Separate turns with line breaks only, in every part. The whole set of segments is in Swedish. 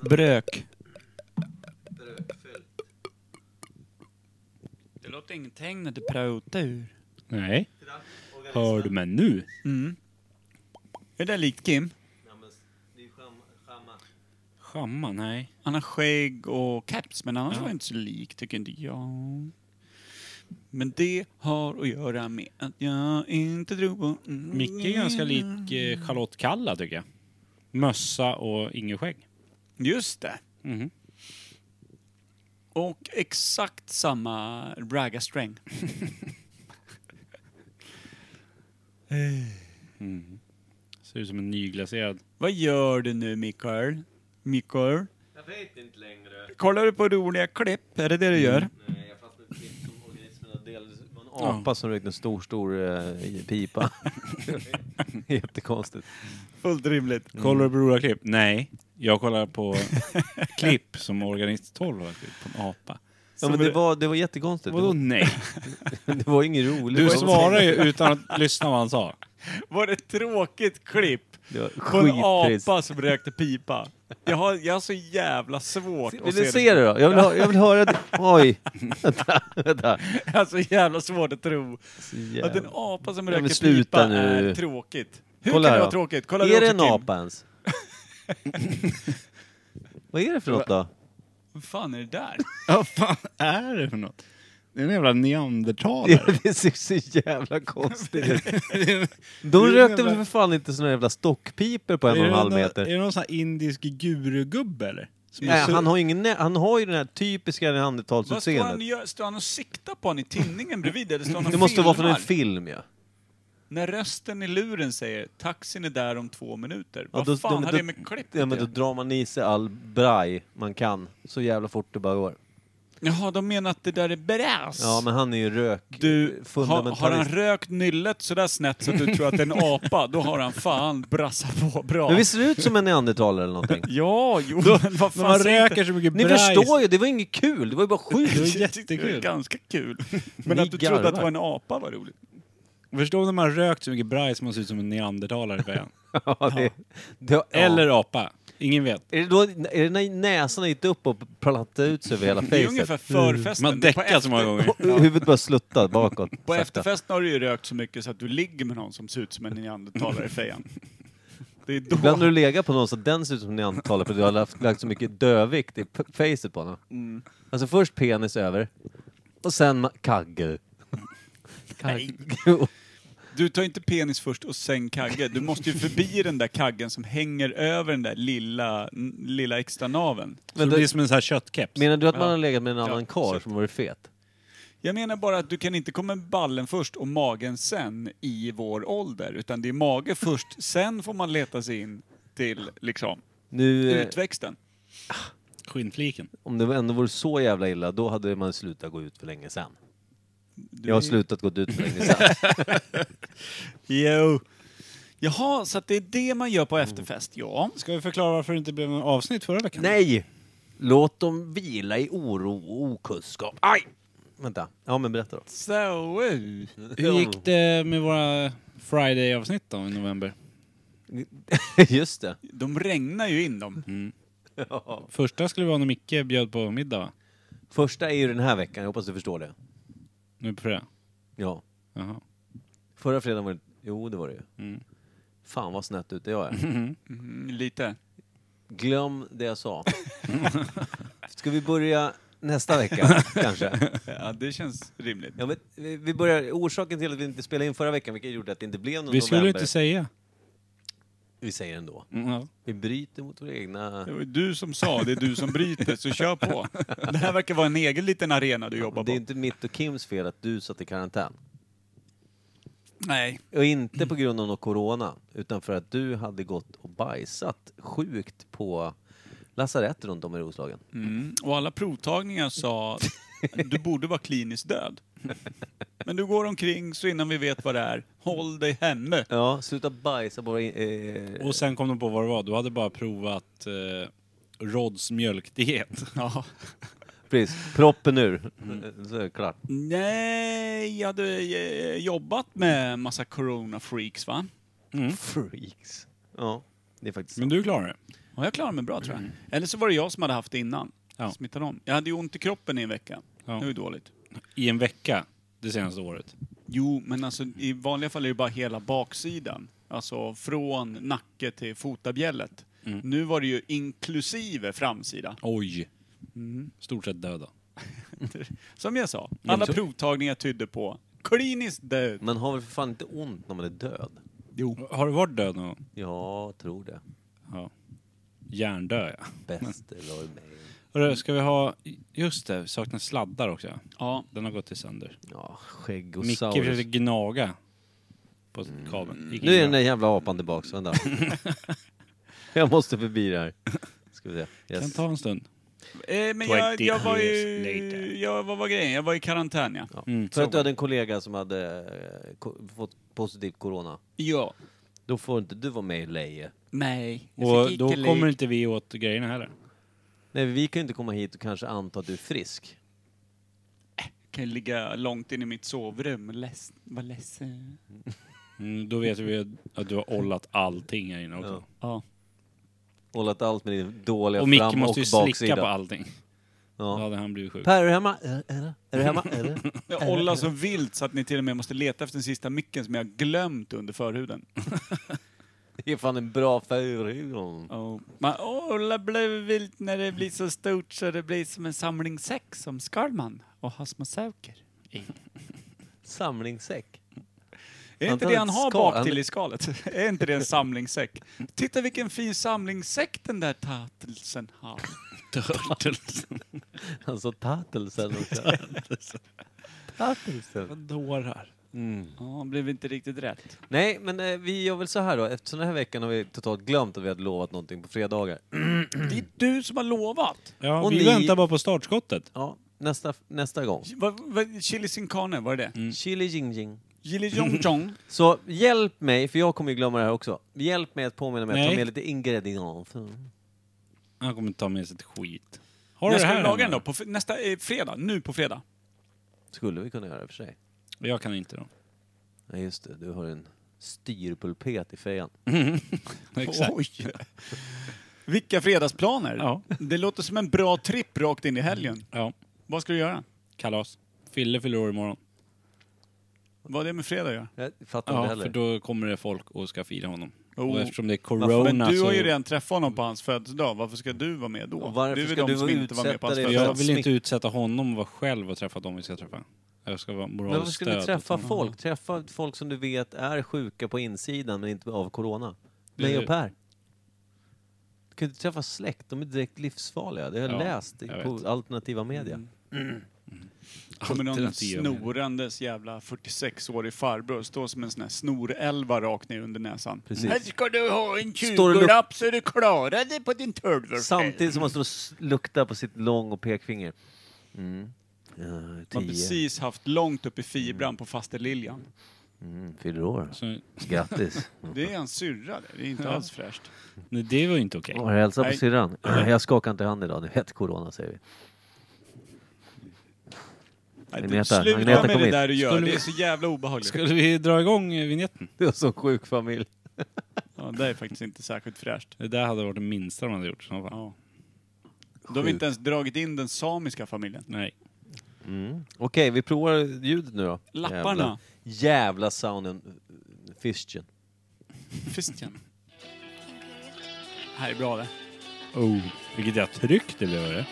Brök.
Brökfyllt.
Det låter ingenting när du pratar ur.
Nej.
Kraft, organism.
Hör du mig nu?
Mm. Är det likt Kim?
Ja, men s- det är skam- skamma.
Skamma? Nej.
Han har skägg och caps, men annars
Ja.
var det inte så lik, tycker inte jag. Men det har att göra med att jag inte tror på... Mm.
Micke är ganska lik eh, Charlotte Kalla tycker jag. Mössa och inget skägg.
Just det.
Mhm.
Och exakt samma raggarsträng.
Ser ut som en nyglaserad.
Vad gör du nu, Mikael? Mikael?
Jag vet inte längre.
Kollar du på roliga klipp? Är det
Mm.
det du gör?
Nej, jag fastnade i ett klipp som organismerna delades. Det var en apa som rökte en stor, stor eh, i- pipa. Jättekonstigt.
Fullt rimligt.
Mm. Kollar du på roliga klipp? Nej. Jag kollar på klipp som Organist 12 har lagt ut på en apa.
Ja, men det var, det var jättekonstigt. Det
Vadå
var,
nej?
det var inget roligt.
Du
Det var-
svarar ju utan att lyssna vad han sa.
Var det ett tråkigt klipp?
Det var
På en
skittrist.
apa som rökte pipa. Jag har, jag har så jävla svårt att
Vill du
se
se det då? Jag vill, ha, jag vill höra det. Oj! Vänta, vänta.
Jag har så jävla svårt att tro
Så
att en
jävla-
apa som
men
röker
sluta
pipa
nu.
är tråkigt. Hur
Kolla
kan
här
det
då.
vara tråkigt? Kolla
Är
också,
det en
Kim.
apa ens? Vad är det för något då?
Vad fan är det där?
Vad fan är det för något? Det är en jävla
Ja,
neandertalare.
det ser så jävla konstigt ut.
Det
De
är
rökte väl
jävla-
för fan inte såna jävla stockpipor på en
Är
och
det
en halv
någon- Är
meter.
det någon sån här indisk gurugubbe eller? Som
Nej,
är så-
han, har ju ingen, nä- han har ju den här typiska
Vad står han och
neandertalsutseendet.
gör? Står han och siktar på honom i tinningen bredvid? Eller står han och
Det måste vara från en
filmar?
film ja.
När rösten i luren säger taxin är där om två minuter. Vad
då-
fan
ja, men
har
då-
det med klippet
Ja men då
att göra?
drar man i sig all braj man kan. Så jävla fort det bara går.
Jaha, de menar att det där är bräs.
Ja men han är ju rök...
Du, har, har han
fundamentalist.
rökt nyllet sådär snett så att du tror att det är en apa, då har han fan brassat på bra.
Men vi ser ut som en neandertalare eller någonting.
Ja, jo, men vad
När
fan
man
säger inte-
röker så mycket
Ni
brajs.
förstår ju, det var inget kul. Det var ju bara
Det var
sjukt.
Det är
jättekul.
ganska kul. Men
Ni
att du trodde att det
garvar.
var en apa var roligt.
Förstår när man rökt så mycket brajs man ser ut som en neandertalare på en.
Ja, det, det, ja.
Eller apa. Ingen vet.
Är det, då, är det när näsan gick upp och plattade ut sig över hela
Det är
facet?
ungefär förfesten.
Man
På
däckar så många
efter-
gånger.
Och Huvudet bara sluttade bakåt.
På
sakta.
efterfesten har du ju rökt så mycket så att du ligger med någon som ser ut som en neandertalare i fejan. Det är då...
Ibland har du legat på någon så den ser ut som neandertalare för att du har lagt, lagt så mycket dödvikt i p- facet på honom.
Mm.
Alltså först penis över och sen ma- kagge. Kagge.
Du tar inte penis först och sen kagge. Du måste ju förbi den där kaggen som hänger över den där lilla, n- lilla extra naven.
Så det
då-
blir som en sån här köttkeps.
Menar du att man
Ja.
har legat med en annan
Ja,
karl
så.
som varit fet?
Jag menar bara att du kan inte komma med ballen först och magen sen i vår ålder. Utan det är mage först, sen får man leta sig in till liksom
Nu, eh,
utväxten.
Skinnfliken.
om det ändå vore så jävla illa, då hade man slutat gå ut för länge sen.
Du
Jag har
är-
slutat gå ut för länge sen.
Jo. Jaha, så att det är det man gör på efterfest, ja.
Ska vi förklara varför det inte blev något avsnitt förra veckan?
Nej! Låt dem vila i oro och okunskap. Aj! Vänta. Ja, men berätta då.
Så. eh.
Hur gick det med våra Friday-avsnitt då i november?
Just det.
De regnar ju in dem.
Första skulle vara när Micke bjöd på middag va?
Första är ju den här veckan, jag hoppas du förstår det.
Nu på fredag?
Ja.
Jaha.
Förra fredagen var det... Jo, det var det ju.
Mm.
Fan vad snett ute jag är.
Mm, lite.
Glöm det jag sa. Ska vi börja nästa vecka, kanske?
Ja, det känns rimligt.
Ja, men vi vi börjar... Orsaken till att vi inte spelade in förra veckan, vilket gjorde att det inte blev någon
Vi skulle
november.
inte säga.
Vi säger ändå.
Mm, ja.
Vi bryter mot våra egna...
Det var ju du som sa, det är du som bryter, så kör på. Det här verkar vara en egen liten arena du jobbar
Det är
på.
inte mitt och Kims fel att du satt i karantän.
Nej.
Och inte på grund av någon corona, utan för att du hade gått och bajsat sjukt på lasarett runt om i Roslagen.
Mm. Och alla provtagningar sa, du borde vara kliniskt död. Men du går omkring, så innan vi vet vad det är, håll dig hemme.
Ja, sluta bajsa på våra... Eh,
Och sen kom de på vad det var. Du hade bara provat eh, Rods mjölkdiet.
Ja.
precis, proppen ur.
Mm.
Så är det klart.
Nej, jag hade eh, jobbat med massa corona-freaks va?
Freaks. Ja, det är faktiskt sant.
Men du klarade det.
Och jag klarade mig bra tror jag. Eller så var det jag som hade haft det innan.
Mm. Ja.
Smittade om. Jag hade ju ont i kroppen i en vecka.
Ja.
Det var ju dåligt.
I en vecka det senaste året.
Jo, men alltså i vanliga fall är det bara hela baksidan. Alltså från nacke till fotabjället.
Mm.
Nu var det ju inklusive framsida.
Oj! Stort sett döda.
Som jag sa, alla
Mm. så-
provtagningar tydde på kliniskt död.
Man har väl för fan inte ont när man är död?
Har du varit död någon gång?
Ja, tror det.
Ja. Hjärndö, ja.
Bäste lormein.
Hörru, ska vi ha... Just det, vi saknar sladdar också.
Ja,
Den har gått till sönder.
Ja, skägg och Mm.
Micke försökte gnaga på kabeln. Gick
Nu är
inte
den
bra.
där jävla apan tillbaks, vänta. jag måste förbi det här. Ska vi se.
Kan
Yes.
ta en stund.
Eh, men jag,
20
jag var
years
ju...
later.
Jag, vad var grejen? Jag var i karantän, ja.
Ja.
Mm,
För
så
att du hade en kollega som hade eh, ko- fått positivt corona.
Ja.
Då får inte du vara med i Leje.
Nej.
Och då kommer inte vi åt grejerna heller.
Nej, vi kan ju inte komma hit och kanske anta att du är frisk.
kan ju ligga långt in i mitt sovrum och läs, vara ledsen.
Mm, då vet vi att du har ollat allting här inne också.
Ja.
Hållat allt med din dåliga
Och
fram
Micke
och
måste ju slicka
baksida.
på allting. Då
Ja.
hade han blivit sjuk.
Per, är du hemma? Är du- är du hemma? Är du?
Jag ollar så vilt så att ni till och med måste leta efter den sista micken som jag har glömt under förhuden.
Det är fan en bra förhud.
Oh. Man ollar blev vilt när det blir så stort så det blir som en samling säck som Skalman och har små säker.
Samlingssäck.
Är
Han
inte
tar
det
ett
han har
skal-
bak till
han-
i skalet? Är inte det en samlingssäck? Titta vilken fin samlingssäck den där Tatelsen har.
Turtles.
Alltså tattelsen också. tattelsen.
Dårar.
Ja, blev inte riktigt rätt.
Nej, men eh, vi gör väl så här då. Eftersom den här veckan har vi totalt glömt att vi hade lovat någonting på fredagar.
Det är du som har lovat.
Ja,
Och
vi
ni-
väntar bara på startskottet.
Ja, nästa, nästa gång.
Vad- vad- Chili sin carne, var det det?
Mm.
Chili jing jing.
Chili jong jong.
Så hjälp mig, för jag kommer ju glömma det här också. Hjälp mig att påminna mig att ta
Nej.
med lite ingredienser.
Han kommer ta med sig ett skit. Har
När
du det
ska
här?
du laga den då?
hemma?
På f- nästa eh, fredag? Nu på fredag?
Skulle vi kunna göra i och för sig.
Jag kan inte då.
Nej, just det. Du har en styrpulpet i fejan.
Exakt.
Oj! Vilka fredagsplaner!
Ja.
Det låter som en bra tripp rakt in i helgen.
Ja.
Vad ska du göra?
Kalas. Fille fyller år imorgon.
Vad har det med fredag att göra?
Jag fattar inte
Ja,
heller.
för då kommer det folk och ska fira honom.
Oh.
Och eftersom det är
Varför?
corona
Men du har ju
så...
redan träffat honom på hans födelsedag. Varför ska du vara med då?
Och varför
du är väl
ska
de
du
som inte var med på hans
utsätta dig för
födelsedag.
Jag vill
smitt-
inte utsätta honom och vara själv och träffa dem vi ska träffa. Jag ska vara
Men varför
moraliskt
skulle
stöd.
du träffa
åt honom.
folk? Träffa folk som du vet är sjuka på insidan men inte av corona.
Det-
Mig och Per. Du kan ju inte träffa släkt, de är direkt livsfarliga. Det har jag
Ja,
läst i-
jag
på
vet. Mm.
alternativa media.
Kommer någon
Alternativ.
snorandes jävla 46-årig farbror och stå som en sån här snorälva rakt ner under näsan.
Precis.
Här ska du ha en
Står det lu-
20-lapp så du klarar dig på din tolvor.
Samtidigt som man står och s- luktar på sitt lång och pekfinger. Mm. Eh,
Man har
tio.
precis haft långt upp i fibran på fasterliljan.
Mm, fyller år.
Så,
Grattis.
Det är en syrra det. Det är inte alls fräscht.
nej, det var ju inte okej.
Har du hälsat på
Nej.
syrran? Eh, Jag skakar inte hand idag, det hette corona säger vi.
Nej,
Agneta,
du, sluta
Agneta,
med
kom
det
hit.
där du gör.
Skulle
Det
vi-
är så jävla obehagligt.
Skulle vi dra igång eh, vignetten?
Du har sån sjuk familj.
Ja, det är faktiskt inte särskilt fräscht.
Det där hade varit det minsta man hade gjort. i så fall.
Ja. Då har vi inte ens dragit in den samiska familjen.
Nej.
Mm. Okej, vi provar ljudet nu då.
Lapparna.
Jävla, jävla sounden. Fischen.
Fistjen. Här är bra det.
Oh, vilket jag tryck det blev. var det?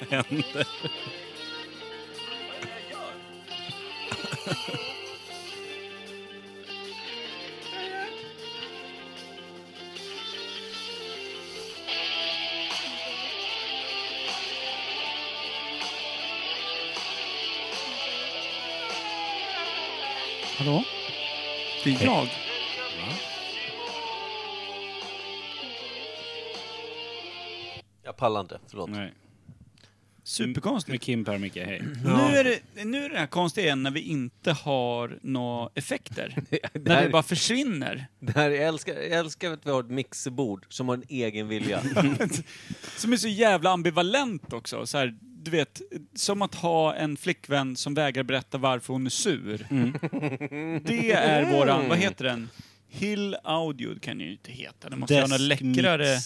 Vad hände?
Hallå? Det är jag.
Jag pallar inte, förlåt.
Nej.
Superkonstigt.
Med Kim Per Micke, hej.
Nu, är det, nu är det här konstiga igen när vi inte har några effekter.
det,
när
här,
det bara försvinner.
det här, jag, älskar, jag älskar att vi har ett mixerbord som har en egen vilja.
Som är så jävla ambivalent också. Så här, du vet, som att ha en flickvän som vägrar berätta varför hon är sur.
Mm.
Det är våran, vad heter den? Hill Audio kan den ju inte heta. Den måste ju ha något läckrare.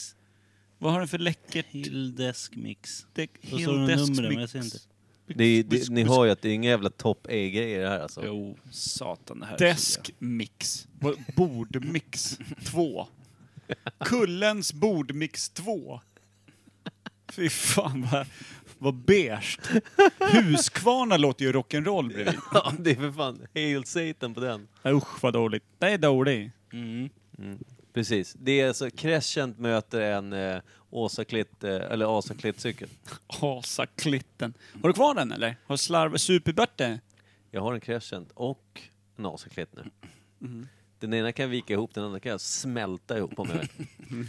Vad har den för läckert?
Hildeskmix.
De-
Då står det
Hildesk
nummer men jag
mix.
ser inte.
Det är, det, ni hör ju att det är inga jävla topp A-grejer det här alltså.
Jo, satan det här
Desk mix. Vad- Bordmix 2. Kullens bordmix 2. Fy fan vad, vad beige. Huskvarna låter ju rock'n'roll bredvid.
Ja, det är för fan Hail Satan på den.
Nej, Usch vad dåligt. Det är dåligt.
Mm.
Precis. Det är alltså Crescent möter en eh, Åsa Klitt, eh, eller Asa Klitt-cykel.
Asaklitten. Har du kvar den eller? Har slarv... Superbörte?
Jag har en Crescent och en Asa Klitt nu.
Mm.
Den ena kan vika ihop, den andra kan jag smälta ihop om jag vill.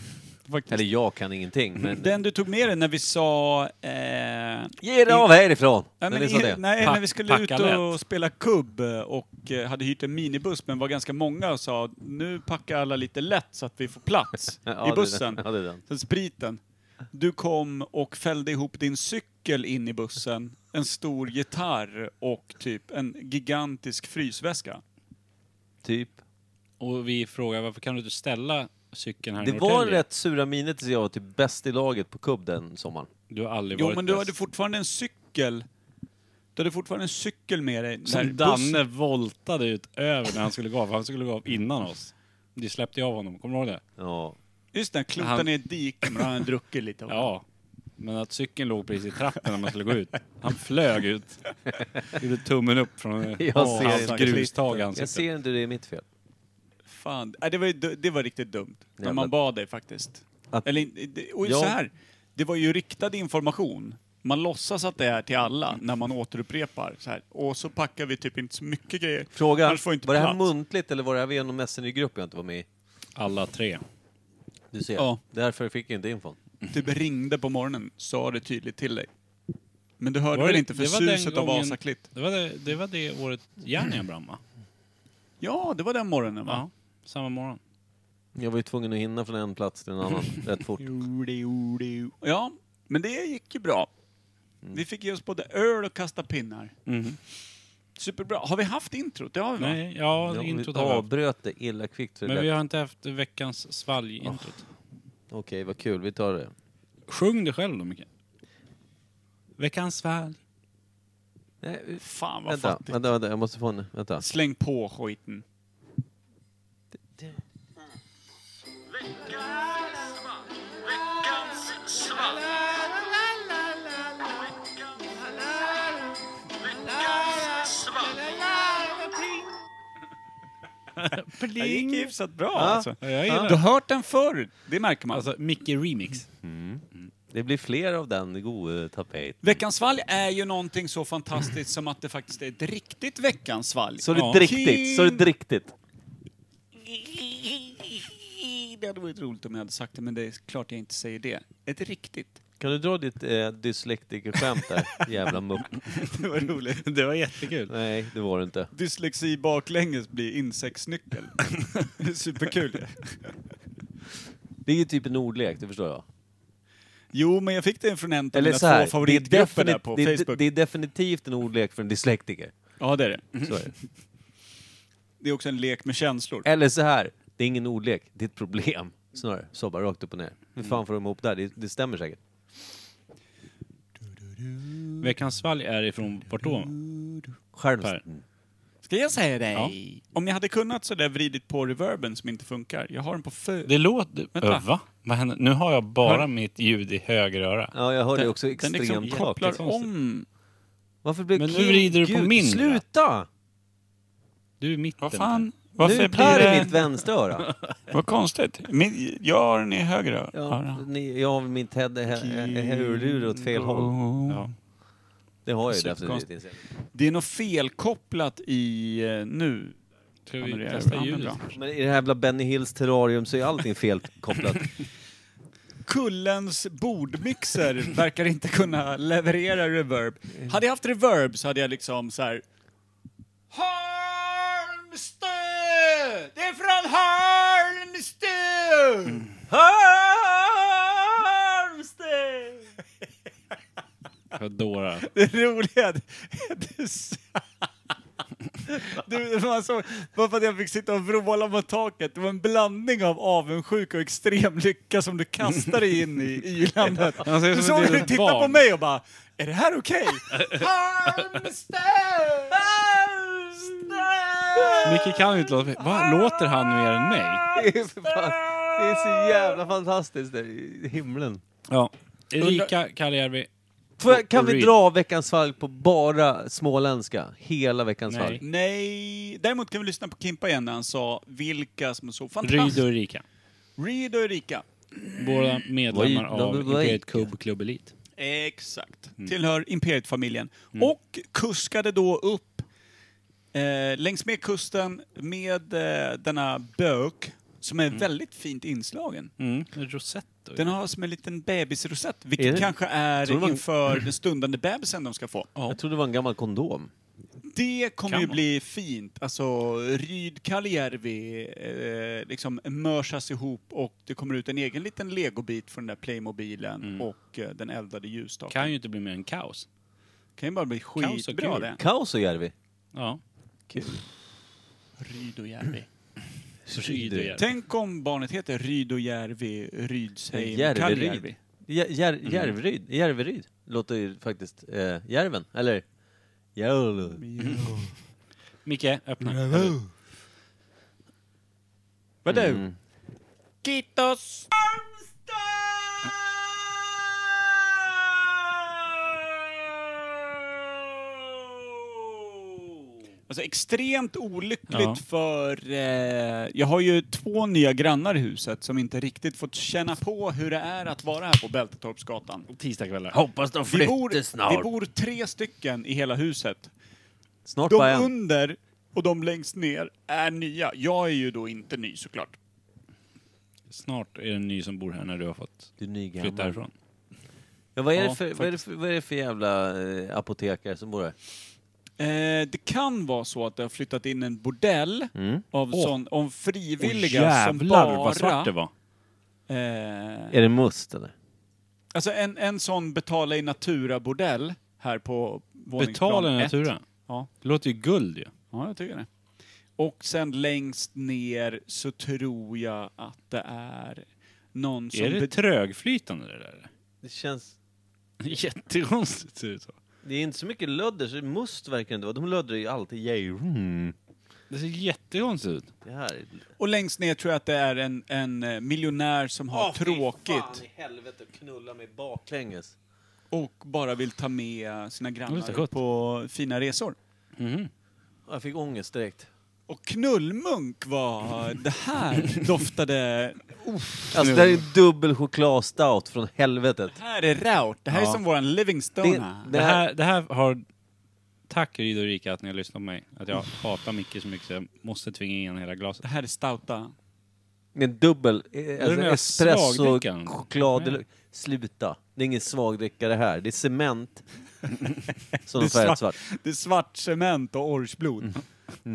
Eller jag kan ingenting, men...
Den du tog med dig när vi sa... Eh,
Ge dig av härifrån!
Ja,
När
men
ni sa
i-
det.
Nej,
liksom Pack-
när vi skulle ut
packa
och
lätt.
spela kubb och eh, hade hyrt en minibuss men var ganska många och sa nu packar alla lite lätt så att vi får plats
Ja, det är
i bussen.
den. Ja, det är den.
Sen spriten. Du kom och fällde ihop din cykel in i bussen, en stor gitarr och typ en gigantisk frysväska.
Typ.
Och vi frågar varför kan du inte ställa cykeln här
Det
i
var
Norrtälje?
rätt sura miner tills jag var typ bäst i laget på kubb den sommaren.
Du har aldrig
Jo,
varit
men du
bäst.
hade fortfarande en cykel. Du hade fortfarande en cykel med dig. när
Som
bussen-
Danne voltade ut över när han skulle gå av. för Han skulle gå av innan oss. Det släppte jag av honom, kommer du ihåg det?
Ja.
Just det, klotade
Han-
ner i ett dike men han hade druckit lite. av det.
Ja. Men att cykeln låg precis i trappen när man skulle gå ut. Han flög ut. Gjorde tummen upp från
Jag ser
hans
inte.
grustag i
Jag
ansiktet.
ser inte det är mitt fel.
Fan, Nej, det, var, ju du- det var riktigt dumt. När
Jävla-
man bad dig faktiskt.
Att-
Eller, in- det- och
Ja.
så här, det var ju riktad information. Man låtsas att det är till alla när man återupprepar. Så här. Och så packar vi typ inte så mycket grejer.
Fråga,
Annars får vi inte
var det här
plats.
muntligt eller var det här via någon messengergrupp jag inte var med i?
Alla tre.
Du ser,
Ja.
därför fick jag inte infon.
Typ ringde på morgonen, sa det tydligt till dig. Men du hörde
Var
väl
det-
inte för
det var den
suset av
gången-
Vasaklitt?
Det var det, det, var det året Järnia brann va?
Ja, det var den morgonen va?
Ja. Samma morgon.
Jag var ju tvungen att hinna från en plats till en annan rätt fort.
Ja, men det gick ju bra. Vi fick ge oss både öl och kasta pinnar. Superbra. Har vi haft introt? Det har vi va?
Nej, ja,
Jag
introt har vi haft.
avbröt det illa kvickt för det
Men vi
lät-
har inte haft veckans svalg-introt.
Okej, vad kul. Vi tar det.
Sjung det själv då, Micke. Veckans svalg.
Nej,
Fan vad
vänta,
fattigt.
vänta, vänta, jag måste få en... Vänta.
Släng på skiten. Det gick hyfsat bra alltså.
Ja, jag
Du
gillar
har hört den förr, det märker man.
Alltså, Micke Remix.
Det blir fler av den gode tapet.
Veckans valg är ju någonting så fantastiskt som att det faktiskt är ett riktigt veckans valg.
Så är
Ja.
det riktigt, så är det riktigt.
Det hade varit roligt om jag hade sagt det, men det är klart jag inte säger det. Ett riktigt.
Kan du dra ditt eh, dyslektiker-skämt där, jävla mupp?
Det var roligt.
Det var jättekul.
Nej, det var det inte.
Dyslexi baklänges blir insektsnyckel. Det är Superkul.
Det är ju typ en ordlek, det förstår jag.
Jo, men jag fick den från en av
Eller
mina
så
två
här, det, är
favoritgrupper där
definit-
på
det, är-
Facebook.
det är definitivt en ordlek för en dyslektiker.
ja, det är det.
Så är det.
Det är också en lek med känslor.
Eller så här, det är ingen ordlek, det är ett problem. Snarare, så bara rakt upp och ner. Hur fan får de ihop det här? Det, det stämmer säkert.
Veckans svalg är ifrån vart då?
Själv...
Per.
Ska jag säga dig? Om jag hade kunnat så där vridit på reverben som inte funkar. Jag har den på fö...
Det låter...
Vänta.
Ö, va? Vad händer? Nu har jag bara
Hör-
mitt ljud i höger öra.
Ja, jag hör det också
den
extremt
liksom
högt.
kopplar
konstigt.
om.
Varför blev
Men nu
Kim-
vrider du på
Gud,
min, va?
Sluta!
Du är i mitten.
Vad fan?
nu
Varför blir
Per i
det...
mitt vänstöra.
Vad konstigt. Min... Jag har den i höger ö-
Ja,
öra.
ni, jag har mitt head- he- he- hörlur åt fel håll.
Ja.
Det har jag ju
Superkonstigt.
definitivt. inser jag.
Det är något felkopplat i eh, nu.
Ska
Ja,
vi
men det är- ja,
testa
men
ljudet?
bra.
Men i det här jävla Benny Hills terrarium så är allting felkopplat.
Kullens bordmixer verkar inte kunna leverera reverb. Hade jag haft reverb så hade jag liksom så här. Halmstö! Det är från Halmstö!
Halmstad!
Vad dåligt svåra.
Det roliga är att du sa- du, man såg, bara för att jag fick sitta och vråla mot taket, det var en blandning av avundsjuka och extrem lycka som du kastade in i ylandet.
Han ser ut
Du
som
såg
ett
hur du
litet
tittade på
barn.
mig och bara, är det här okej? Halmstad! Halmstad!
Micke kan ju inte låta... Vad låter han mer än mig?
Det är för fan- det är så jävla fantastiskt där i himlen.
Ja. Erika Kaljärvi.
Får jag, kan
Och
vi
Reed.
dra veckans fall på bara småländska? Hela veckans
Nej.
fall?
Nej, däremot kan vi lyssna på Kimpa igen när han sa vilka som är så
Ryd
fantastiskt.
och Erika.
Reed och Erika.
Båda medlemmar
Oj, de
av
är
Imperiet
lika.
Cub Club Elite.
Exakt. Tillhör Imperiet-familjen. Och kuskade då upp eh, längs med kusten med eh, denna bök som är väldigt fint inslagen.
Mm. Rosetto.
Den har som en liten bebisrosett,
Är
vilket
det?
kanske
Tror
är
du man-
inför den stundande bebisen de ska få.
Jag trodde det var en gammal kondom.
Det kommer
Kan
ju
man?
bli fint. Alltså, Ryd Kalijärvi eh, liksom mörsas ihop och det kommer ut en egen liten legobit från den där Playmobilen och eh, den eldade ljusstaken.
Kan
Kan,
ju inte bli mer än kaos.
kan ju bara bli
och
skitbra
kul.
det.
Kausojärvi.
Ja.
Kul.
Rydojärvi.
Rydojärvi.
Tänk om barnet heter Rydojärvi, Rydsheim,
Järveryd.
Kalijärvi.
Jär, jär,
Mm.
Järvryd. Järveryd. Låter ju faktiskt eh, Järven. Eller? Järvel.
Micke, öppna.
Mm. Vad du?
Mm.
Kitos! Alltså extremt olyckligt
Ja.
för... Eh, jag har ju två nya grannar i huset som inte riktigt fått känna på hur det är att vara här på Bältetorpsgatan.
Tisdagskvällar.
Hoppas de
Vi bor, vi bor tre stycken i hela huset.
Snart bara
De
en.
under och de längst ner är nya. Jag är ju då inte ny såklart.
Snart är det en ny som bor här när du har fått
Du är
flytta
nygammal.
härifrån.
Ja, vad, är det
Ja,
för, vad, är det för, vad är det för jävla eh, apotekare som bor här?
Eh, det kan vara så att det har flyttat in en bordell av
Mm. Åh.
sån, om frivilliga som
jävlar
bara...
vad svart det var.
Eh,
Är det must eller?
alltså en, en sån betala i natura-bordell här på våningsplan
Betala
ett.
natura.
Ja.
Det låter ju guld ju.
ja, jag tycker det. Och sen längst ner så tror jag att det är någon som...
Är det
be-
trögflytande det där?
Det känns...
Jättekonstigt ser det ut så.
Det är inte så mycket lödder, så must verkar det inte vara. De löddrar ju alltid Järven.
Det ser jättekonstigt ut.
Det här är...
Och längst ner tror jag att det är en, en eh, miljonär som har tråkigt
i helvete att knulla mig baklänges.
och bara vill ta med sina
låter
grannar
gott.
på fina resor.
Jag fick ångest direkt.
Och knullmunk var... Det här doftade...
Alltså det här är dubbel chokladstout från helvetet.
Det här är raut. Det här är
Ja.
som våran Livingstone.
Det-
Det här, det här har... Tack Ryd och Rika att ni har lyssnat på mig. Att jag hatar Micke så mycket så jag måste tvinga in hela glaset.
Det här är stouta.
Med en dubbel eh, alltså,
den här
espresso,
svagdrickan?
choklad...
Nej.
eller- Sluta. Det är ingen svagdricka det här. Det är cement. som de
Det är
färgat
svart.
svart.
Det är svart cement och
Mm.
orangeblod.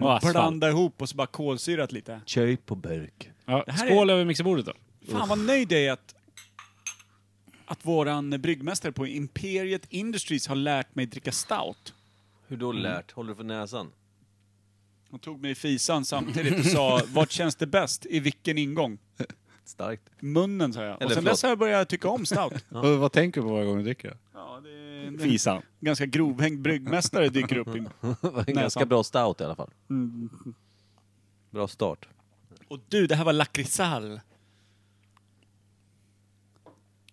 Och asfalt.
Blanda ihop och så bara kolsyrat lite.
Köj på burk.
Ja,
här
skål över mixerbordet då.
Fan vad nöjd jag är att, att våran bryggmästare på Imperiet Industries har lärt mig dricka stout.
Hur då
Mm.
lärt? Håller du för näsan?
Hon tog mig i fisan samtidigt och sa vart känns det bäst? I vilken ingång?
Starkt.
Munnen sa jag. Och sen
Eller förlåt.
dess har jag börjat tycka om stout.
Vad tänker du på varje gång du dricker?
Ja, det är en
Fisan.
ganska grovhängd bryggmästare dyker upp. i-
Det var en
Näsan. Mm.
ganska bra stout i alla fall. Bra start.
Och du, det här var lakritsal.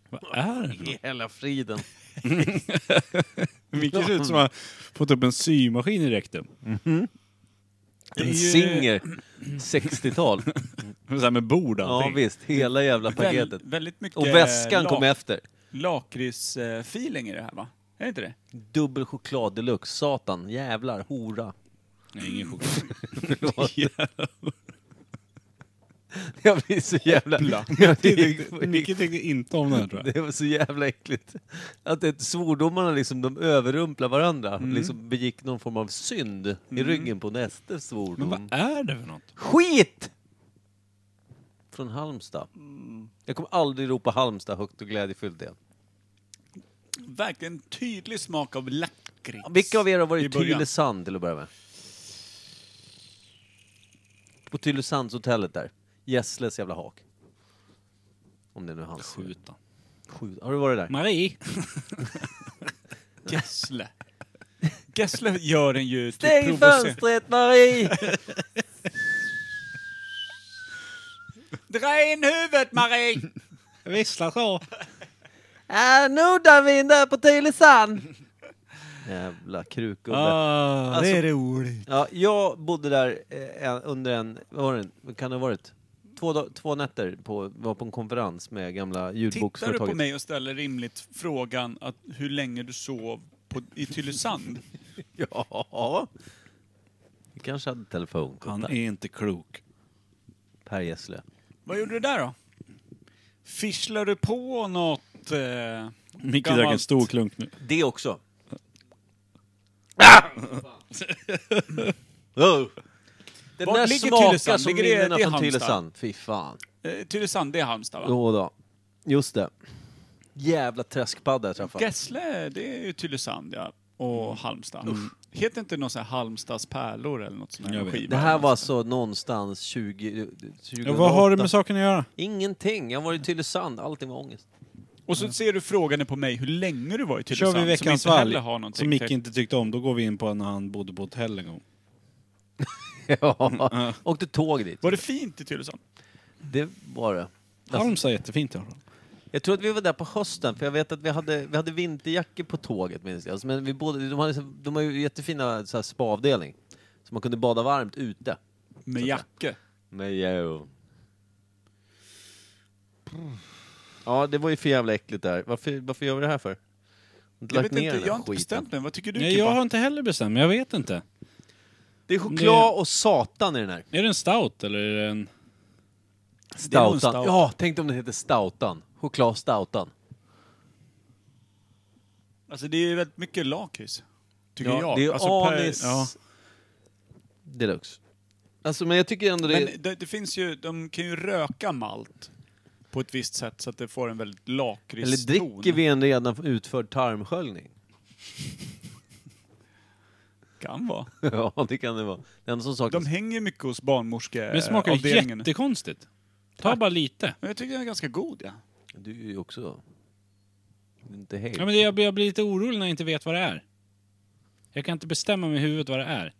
Vad är det?
I hela friden.
Micke ser ut som att han fått upp en symaskin i rektum.
En Singer. 60-tal.
Så här med bord och
Ja
allting.
visst, hela jävla
Väl,
paketet.
väldigt mycket
Och väskan
lak-
kom efter.
lakrits-feeling i det här va? Är det inte det?
Dubbel choklad deluxe. Satan, jävlar, hora.
Nej, ingen choklad.
Jag blir så jävla... Jag blir-
Micke tyckte inte om den här, tror jag.
Det var så jävla äckligt. Att det, svordomarna liksom, de överrumplar varandra. Liksom begick någon form av synd i ryggen på nästa svordom.
Mm.
Vad är det för något?
Skit! Från Halmstad. Jag kommer aldrig ropa Halmstad högt och glädjefyllt igen.
verkligen tydlig smak av lakrits.
Vilka av er har varit i
I början.
Tylösand till att börja med? På Tylösandshotellet där. Gässles jävla hak. Om det nu är hans.
Skjuta.
Skjut. Har du varit där?
Marie!
Gessle. Gessle gör en ju typ
Stäng
provocer-
fönstret Marie!
Dra in huvudet Marie!
Vissla så!
Äh, Nordavind där på Tylösand! Jävla krukgubbe.
Ah,
Alltså-
det är roligt.
Ja, jag bodde där eh, en- under en, vad var det, vad kan det ha varit? Två, dag- två nätter på, var på en konferens med gamla
Tittar du på
ljudboksföretaget.
mig och ställer rimligt frågan att hur länge du sov på, i Tylösand?
Ja. Vi kanske hade
Han
telefonkontakt.
är inte klok.
Per Gessle.
Vad gjorde du där då? Fischlade du på något? Eh,
Micke
Gammalt.
drack en stor klunk nu.
Det också. Oh. Den
Var
där
ligger
smakar
Tylösand?
som
Ligger det-
minnena
det är
från
Halmstad?
Tylösand. Fy fan.
eh, Tylösand, det är Halmstad va?
Jo då. Just det. Jävla träskpadda jag träffade.
Gessle, det är ju Tylösand ja.
Mm.
Och Halmstad. Heter inte någon sån här Halmstads pärlor eller något sånt
Jag
här
vet.
skiva?
Det här var alltså någonstans 20... 2008.
Ja, vad har det med saken att göra?
Ingenting. Jag var i Tylösand. Allting var ångest.
Och så ser du frågan på mig hur länge du var i
Kör
Tylösand.
vi veckans
som inte heller
valg
har någonting.
som Micke
till-
inte tyckte om, då går vi in på när han bodde på hotell en gång.
ja. Åkte tåg dit.
Var det fint i Tylösand?
Det var det.
Halmstad är jättefint i alla fall.
Jag tror att vi var där på hösten, för jag vet att vi hade, vi hade vinterjackor på tåget minns jag. Alltså, Men vi både, de, hade, så- de har ju jättefina så här, spaavdelning. Så man kunde bada varmt ute.
Med Jacke?
Men jo. Ja, det var ju för jävla äckligt där. Varför, varför gör vi det här för? Inte
Jag
lagt
vet
ner
inte,
den här
jag har inte
skiten.
bestämt mig. Vad tycker du
Nej,
Kippa?
jag har inte heller bestämt mig. Jag vet inte.
Det är choklad och satan i den här.
Är det en stout eller är
Eh,
det en...
är nog en
Stoutan.
stout.
Ja, tänk om den heter Stoutan. Chokladstoutan.
Alltså det är ju väldigt mycket lakrits. Tycker
Ja,
jag.
det är
alltså, per-
anis
ja.
deluxe. Alltså, men jag tycker ändå det...
Men det, det finns ju, de kan ju röka malt på ett visst sätt så att det får en väldigt
Eller
lakritston.
dricker vi en redan utförd tarmsköljning?
Kan vara.
ja, det kan det vara. Det enda som saknas...
De hänger mycket hos barnmorske-
Men det smakar ju
avdelningen.
jättekonstigt. Ta bara lite.
Men jag tycker den är ganska god, ja.
Du är ju också... Inte hej.
Ja, men det, jag, blir- jag blir lite orolig när jag inte vet vad det är. Jag kan inte bestämma mig i huvudet vad det är.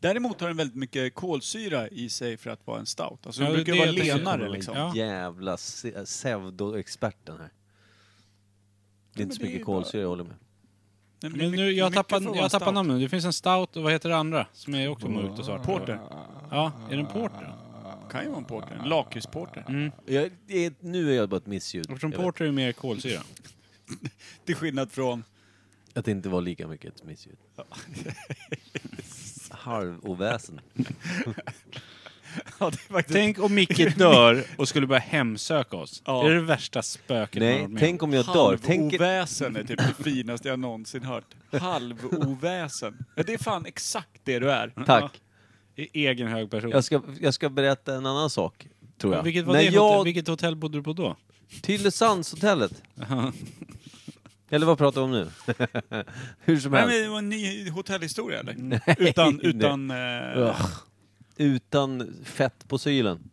Däremot har den väldigt mycket kolsyra i sig för att vara en stout. Alltså
Ja,
den
det-
brukar ju
det
vara
jag tänker på.
lenare liksom.
Ja.
Jävla se- pseudo-experten här. Det är
men
inte så
det är
mycket
bara-
kolsyra, jag håller med.
Den blir
Men nu,
mycket-
jag
mycket
tappar,
för att vara
jag tappar
stout.
namnet. Det finns en stout och vad heter det andra? Som är också mörkt och svart.
Porter.
Ja, är det en porter?
Kan ju vara en porter. En lakritsporter.
Mm.
Jag, det, nu är jag bara ett missljud.
Eftersom
Jag vet
porter är mer kolsyra.
Till skillnad från...
Att det inte var lika mycket ett missljud. Halvoväsen.
Ja, det är faktiskt...
Tänk om Micke dör och skulle börja hemsöka oss.
Ja.
Det är det värsta spöket man har
Nej,
varit med om.
tänk om jag dör. Tänk,
Halvoväsen är typ det finaste jag någonsin hört. Halvoväsen. Ja, det är fan exakt det du är.
Mm.
tack.
I egen hög person.
Jag ska, jag ska berätta en annan sak, tror jag.
Vilket, var
När
det hotell,
jag...
vilket hotell bodde du på då?
Tylösandshotellet. Eller vad pratar vi om nu? Hur som
Nej, men
helst.
det var en ny hotellhistoria eller? Utan, utan... Eh,
Ugh. Utan fett på sylen.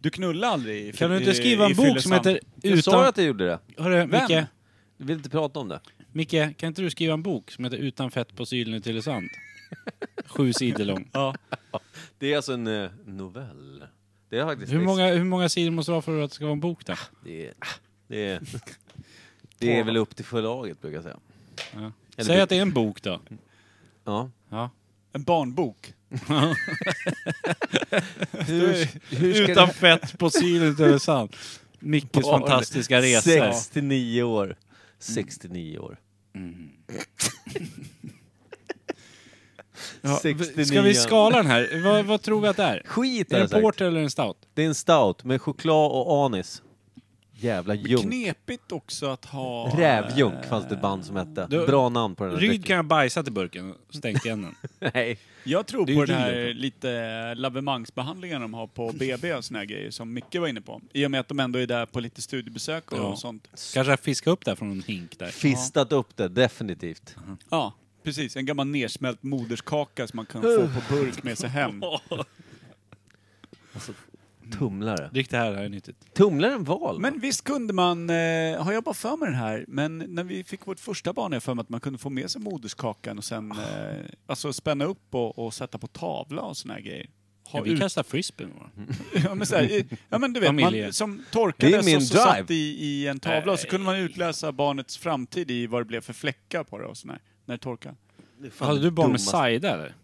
du knullar aldrig i
Kan du
i-
inte skriva
i
en bok som
Fyllesand?
heter
Jag sa
Utan...
att jag gjorde det.
Hörru, Micke,
Du vill inte prata om det.
Micke, kan inte du skriva en bok som heter Utan fett på sylen i Tylösand? Sju sidor lång.
Ja.
Det är alltså en eh, novell. Det är faktiskt...
Hur många, hur många sidor måste det vara för att det ska vara en bok då?
Det är, ah, det är, det är väl upp till förlaget, brukar jag säga.
Ja.
Eller
Säg
bok.
att det är en bok då.
Ja.
Ja.
En barnbok.
Hur, hur ska
Utan fett på sylen i Tylösand. Mickes
Barn.
fantastiska
det...
resa.
69 år. 69 år.
Ja,
69.
Ska vi skala den här? Vad, vad tror vi att det är?
Skit har
Är
jag
det en
sagt.
porter eller en stout?
Det är en stout med choklad och anis. Jävla
Men
junk.
Knepigt också att ha...
Rävjunk fanns det ett band som hette.
Du-
Bra namn på den här
Ryd
drycken.
kan jag bajsa till burken och stänk igen den.
Nej.
Jag tror
Det är
på
ju
den här
Lillebro.
lite lavemangsbehandlingen de har på BB och såna här grejer som Micke var inne på. I och med att de ändå är där på lite studiebesök och
Ja.
sånt.
Kanske jag fiskar upp det här från en hink där.
Fistat upp det, definitivt.
Ja, precis. En gammal nersmält moderskaka som man kan få på burk med sig hem.
Tumlare.
Drick det här, det här är nyttigt.
Tumlare är en val.
Men visst kunde man, eh, har jag bara för mig den här, men när vi fick vårt första barn har jag för mig att man kunde få med sig moderskakan och sen eh, alltså spänna upp och, och sätta på tavla och såna här grejer.
Ja,
Ha
vi
ut- Mm.
kastar frisbeen. va?
ja, men så här, i- ja men du vet,
Familje.
man som
Det är
torkades
min
och så
drive.
satt i, i en tavla och så kunde man utläsa barnets framtid i vad det blev för fläckar på det och sådär. När det torkade.
Det är fan
Hade du barn med
dummast.
Saida eller?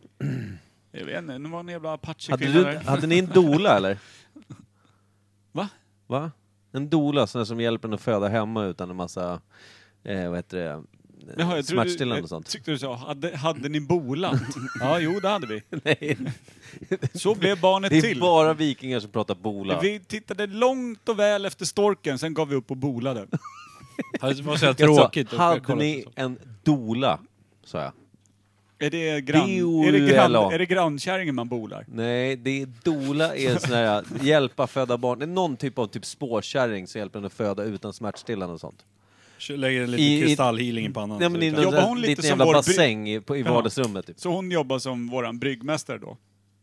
Jag vet inte, nu var det en jävla
Hade,
apache-kvinna
du,
där.
hade ni en dola eller?
Va?
Va? En dola, sån där som hjälper en att föda hemma utan en massa, eh, vad heter det,
Jaha, jag trodde-
smärtstillande
jag
och sånt.
tyckte du sa, hade, hade ni bolat? ja, jo det hade vi.
Nej,
Så blev barnet
det är
till.
bara vikingar som pratar bola.
Vi tittade långt och väl efter storken, sen gav vi upp och bolade.
Hade- Det var så här
Jag sa,
tråkigt. att
hade
kolla
ni
på så.
en dola? Sa jag.
Är det, grann,
B-O-U-L-A.
är det, grann, är det grannkärringen man bolar?
Nej, det är dola är en sån här hjälpa föda barn. Det är någon typ av typ spårkärring som hjälper en att föda utan smärtstillande och sånt.
Lägger lite
I- i-
kristallhealing i pannan.
Nej, men i
så-
någon
typ. Jobbar
där-
hon lite
liten
som
jävla
vår by-
bassäng i, på, i
Ja.
vardagsrummet. Typ.
Så hon jobbar som våran bryggmästare då?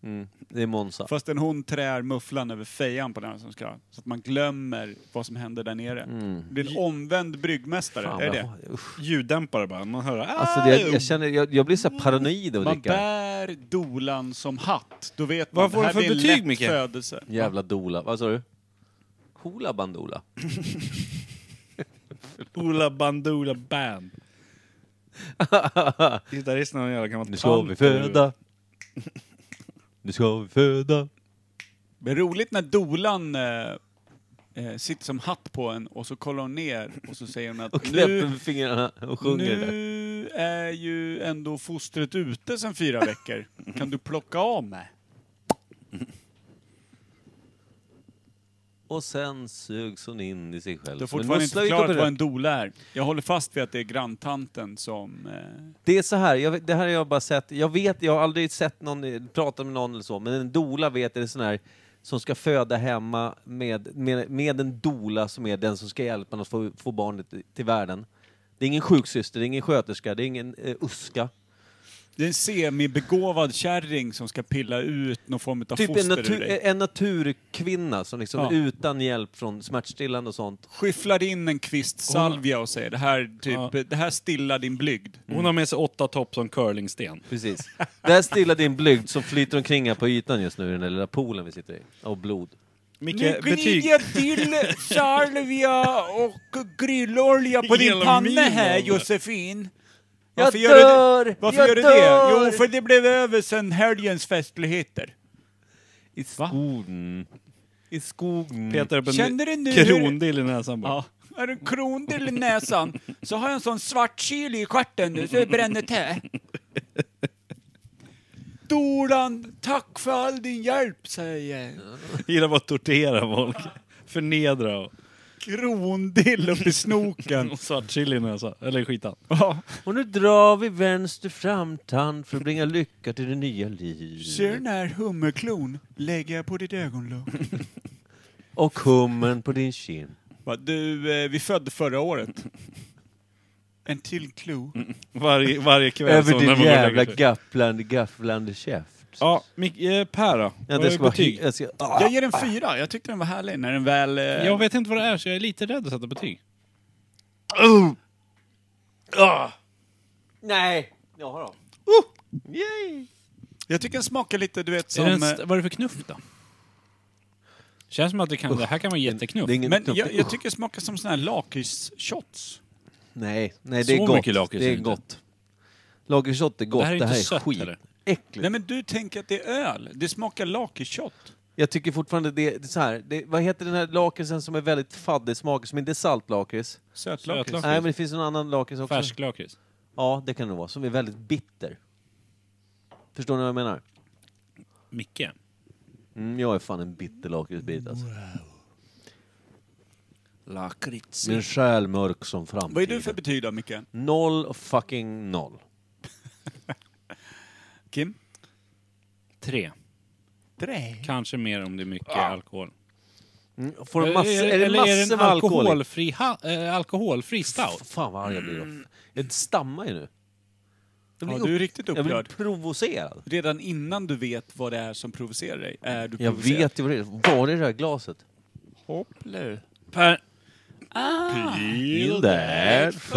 Mm. Det är Monza.
Fastän hon trär mufflan över fejan på den som ska. Så att man glömmer vad som händer där nere.
Mm.
Det blir en omvänd bryggmästare,
Fan,
är
vad-
det det?
usch.
Ljuddämpare bara. Man hör...
Alltså, det, jag, jag, känner, jag, jag blir så här paranoid av att
Man
dricka.
bär dolan som hatt. Då vet
Vad
man,
får du
det här
för
blir en
betyg,
lätt
Micke?
födelse.
Jävla dola. Vad sa du? Hoola Bandoola.
Ola Bandoola Band. Gitarristen har en jävla gammal
Nu ska vi föda. Nu ska vi föda.
Det är roligt när dolan eh, eh, sitter som hatt på en och så kollar hon ner och så säger hon att
Och knäpper
nu,
med fingrarna och sjunger det.
nu är ju ändå fostret ute sedan fyra veckor. Kan du plocka av mig?
Och sen sugs hon in i sig själv.
Du har
som en
fortfarande inte
mussla i
förklarat
koppel.
vad en dola är. Jag håller fast vid att det är granntanten som... Eh,
Det är så här, jag, vet- det här har jag bara sett, jag vet, jag har aldrig sett någon, eh, pratat med någon eller så, men en dola vet jag, det är sån här som ska föda hemma med, med, med en dola som är den som ska hjälpa en att få, få barnet till- till världen. Det är ingen sjuksyster, det är ingen sköterska, det är ingen eh, uska.
det är en semibegåvad kärring som ska pilla ut någon form av
Typ en,
foster ur
natur,
dig.
en naturkvinna som liksom
Ja.
utan hjälp från smärtstillande och sånt.
Skyfflar in en kvist salvia och säger det här, typ, det här stillar din blygd.
Hon har med sig åtta topp som curlingsten.
Precis. Där stillar din blygd som flyter omkring här på ytan just nu i den där lilla poolen vi sitter i. Av blod.
Micke, betyg.
till salvia och grillolja
på din Hela panna minen. här,
Josefin.
Jag
Varför gör du det?
dör!
Varför
Jag
gör du det?
dör!
Jo, för det blev över sen helgens festligheter.
I skogen. I skogen.
Petar upp en
Känner du nu hur-
krondill i näsan bara.
Ja. Har du en krondel i näsan så har jag en sån svart kyl i stjärten nu så det bränner till. Dolan, tack för all din hjälp, säger jag.
Gillar bara att tortera folk. Förnedra och,
Krondill upp i snoken.
och svartchili i näsan. Eller skitan.
Ja.
Och nu drar vi vänster framtand för att bringa lycka till det nya
Ser den
livet.
här hummerklon lägger jag på ditt ögonlock.
Och hummen på din kind.
Du, eh, vi födde förra året. En till klo.
Varje, varje kväll.
Över
som när man
din
går och lägger
jävla
sig.
gafflande, gafflande käft.
Ja, Mick, eh, Per då?
Ja,
Vad är
det ska vara
betyg?
hy- jag ska, ah.
Jag ger den fyra. Jag tyckte den var härlig när den väl... eh,
Jag vet inte vad det är så jag är lite rädd att sätta betyg.
Nej! Jag har dem. Yay!
Jag tycker den smakar lite, du vet,
är det en,
som... eh,
st- vad är det för knuff då? Känns som att det, kan, det här kan vara jätteknuff.
Det är ingen
Men
knuff.
jag, jag tycker den smakar som sån här lakritsshots.
Nej, nej det är
Så
gott.
mycket lakrits
det är
är det inte.
gott. Lakritsshot är gott, det här är,
inte sött,
skit.
eller?
Äckligt.
Nej men du tänker att det är öl. Det smakar lakritsshot.
Jag tycker fortfarande det, det är så här. Det, vad heter den här lakritsen som är väldigt faddig smak, som inte är saltlakrits?
Sötlakrits.
Sötlakrits.
Nej, men det finns någon annan lakrits också.
Färsklakrits.
Ja, det kan det vara. Som är väldigt bitter. Förstår ni vad jag menar?
Micke.
Mm, jag är fan en bitter lakritsbit alltså.
Lakrits.
Min själ mörk som framtiden.
Vad är du för betyg då, Micke?
Noll fucking noll.
Kim?
Tre.
Tre.
Kanske mer om det är mycket alkohol.
Mm, Ah. Får
eh,
en massa,
Eller
är det
eller är det
massor
en
med alkohol? i?
alkoholfri, ha, eh, alkoholfri stout?
Fan vad arg jag blir då. Jag stammar ju nu. Jag
Mm. Ja,
blir
du är
upp-
riktigt
jag blir
upprörd.
provocerad.
Redan innan du vet vad det är som provocerar dig är du
Jag
provocerad.
vet ju vad det är. Var är det där glaset?
Per,
Peel that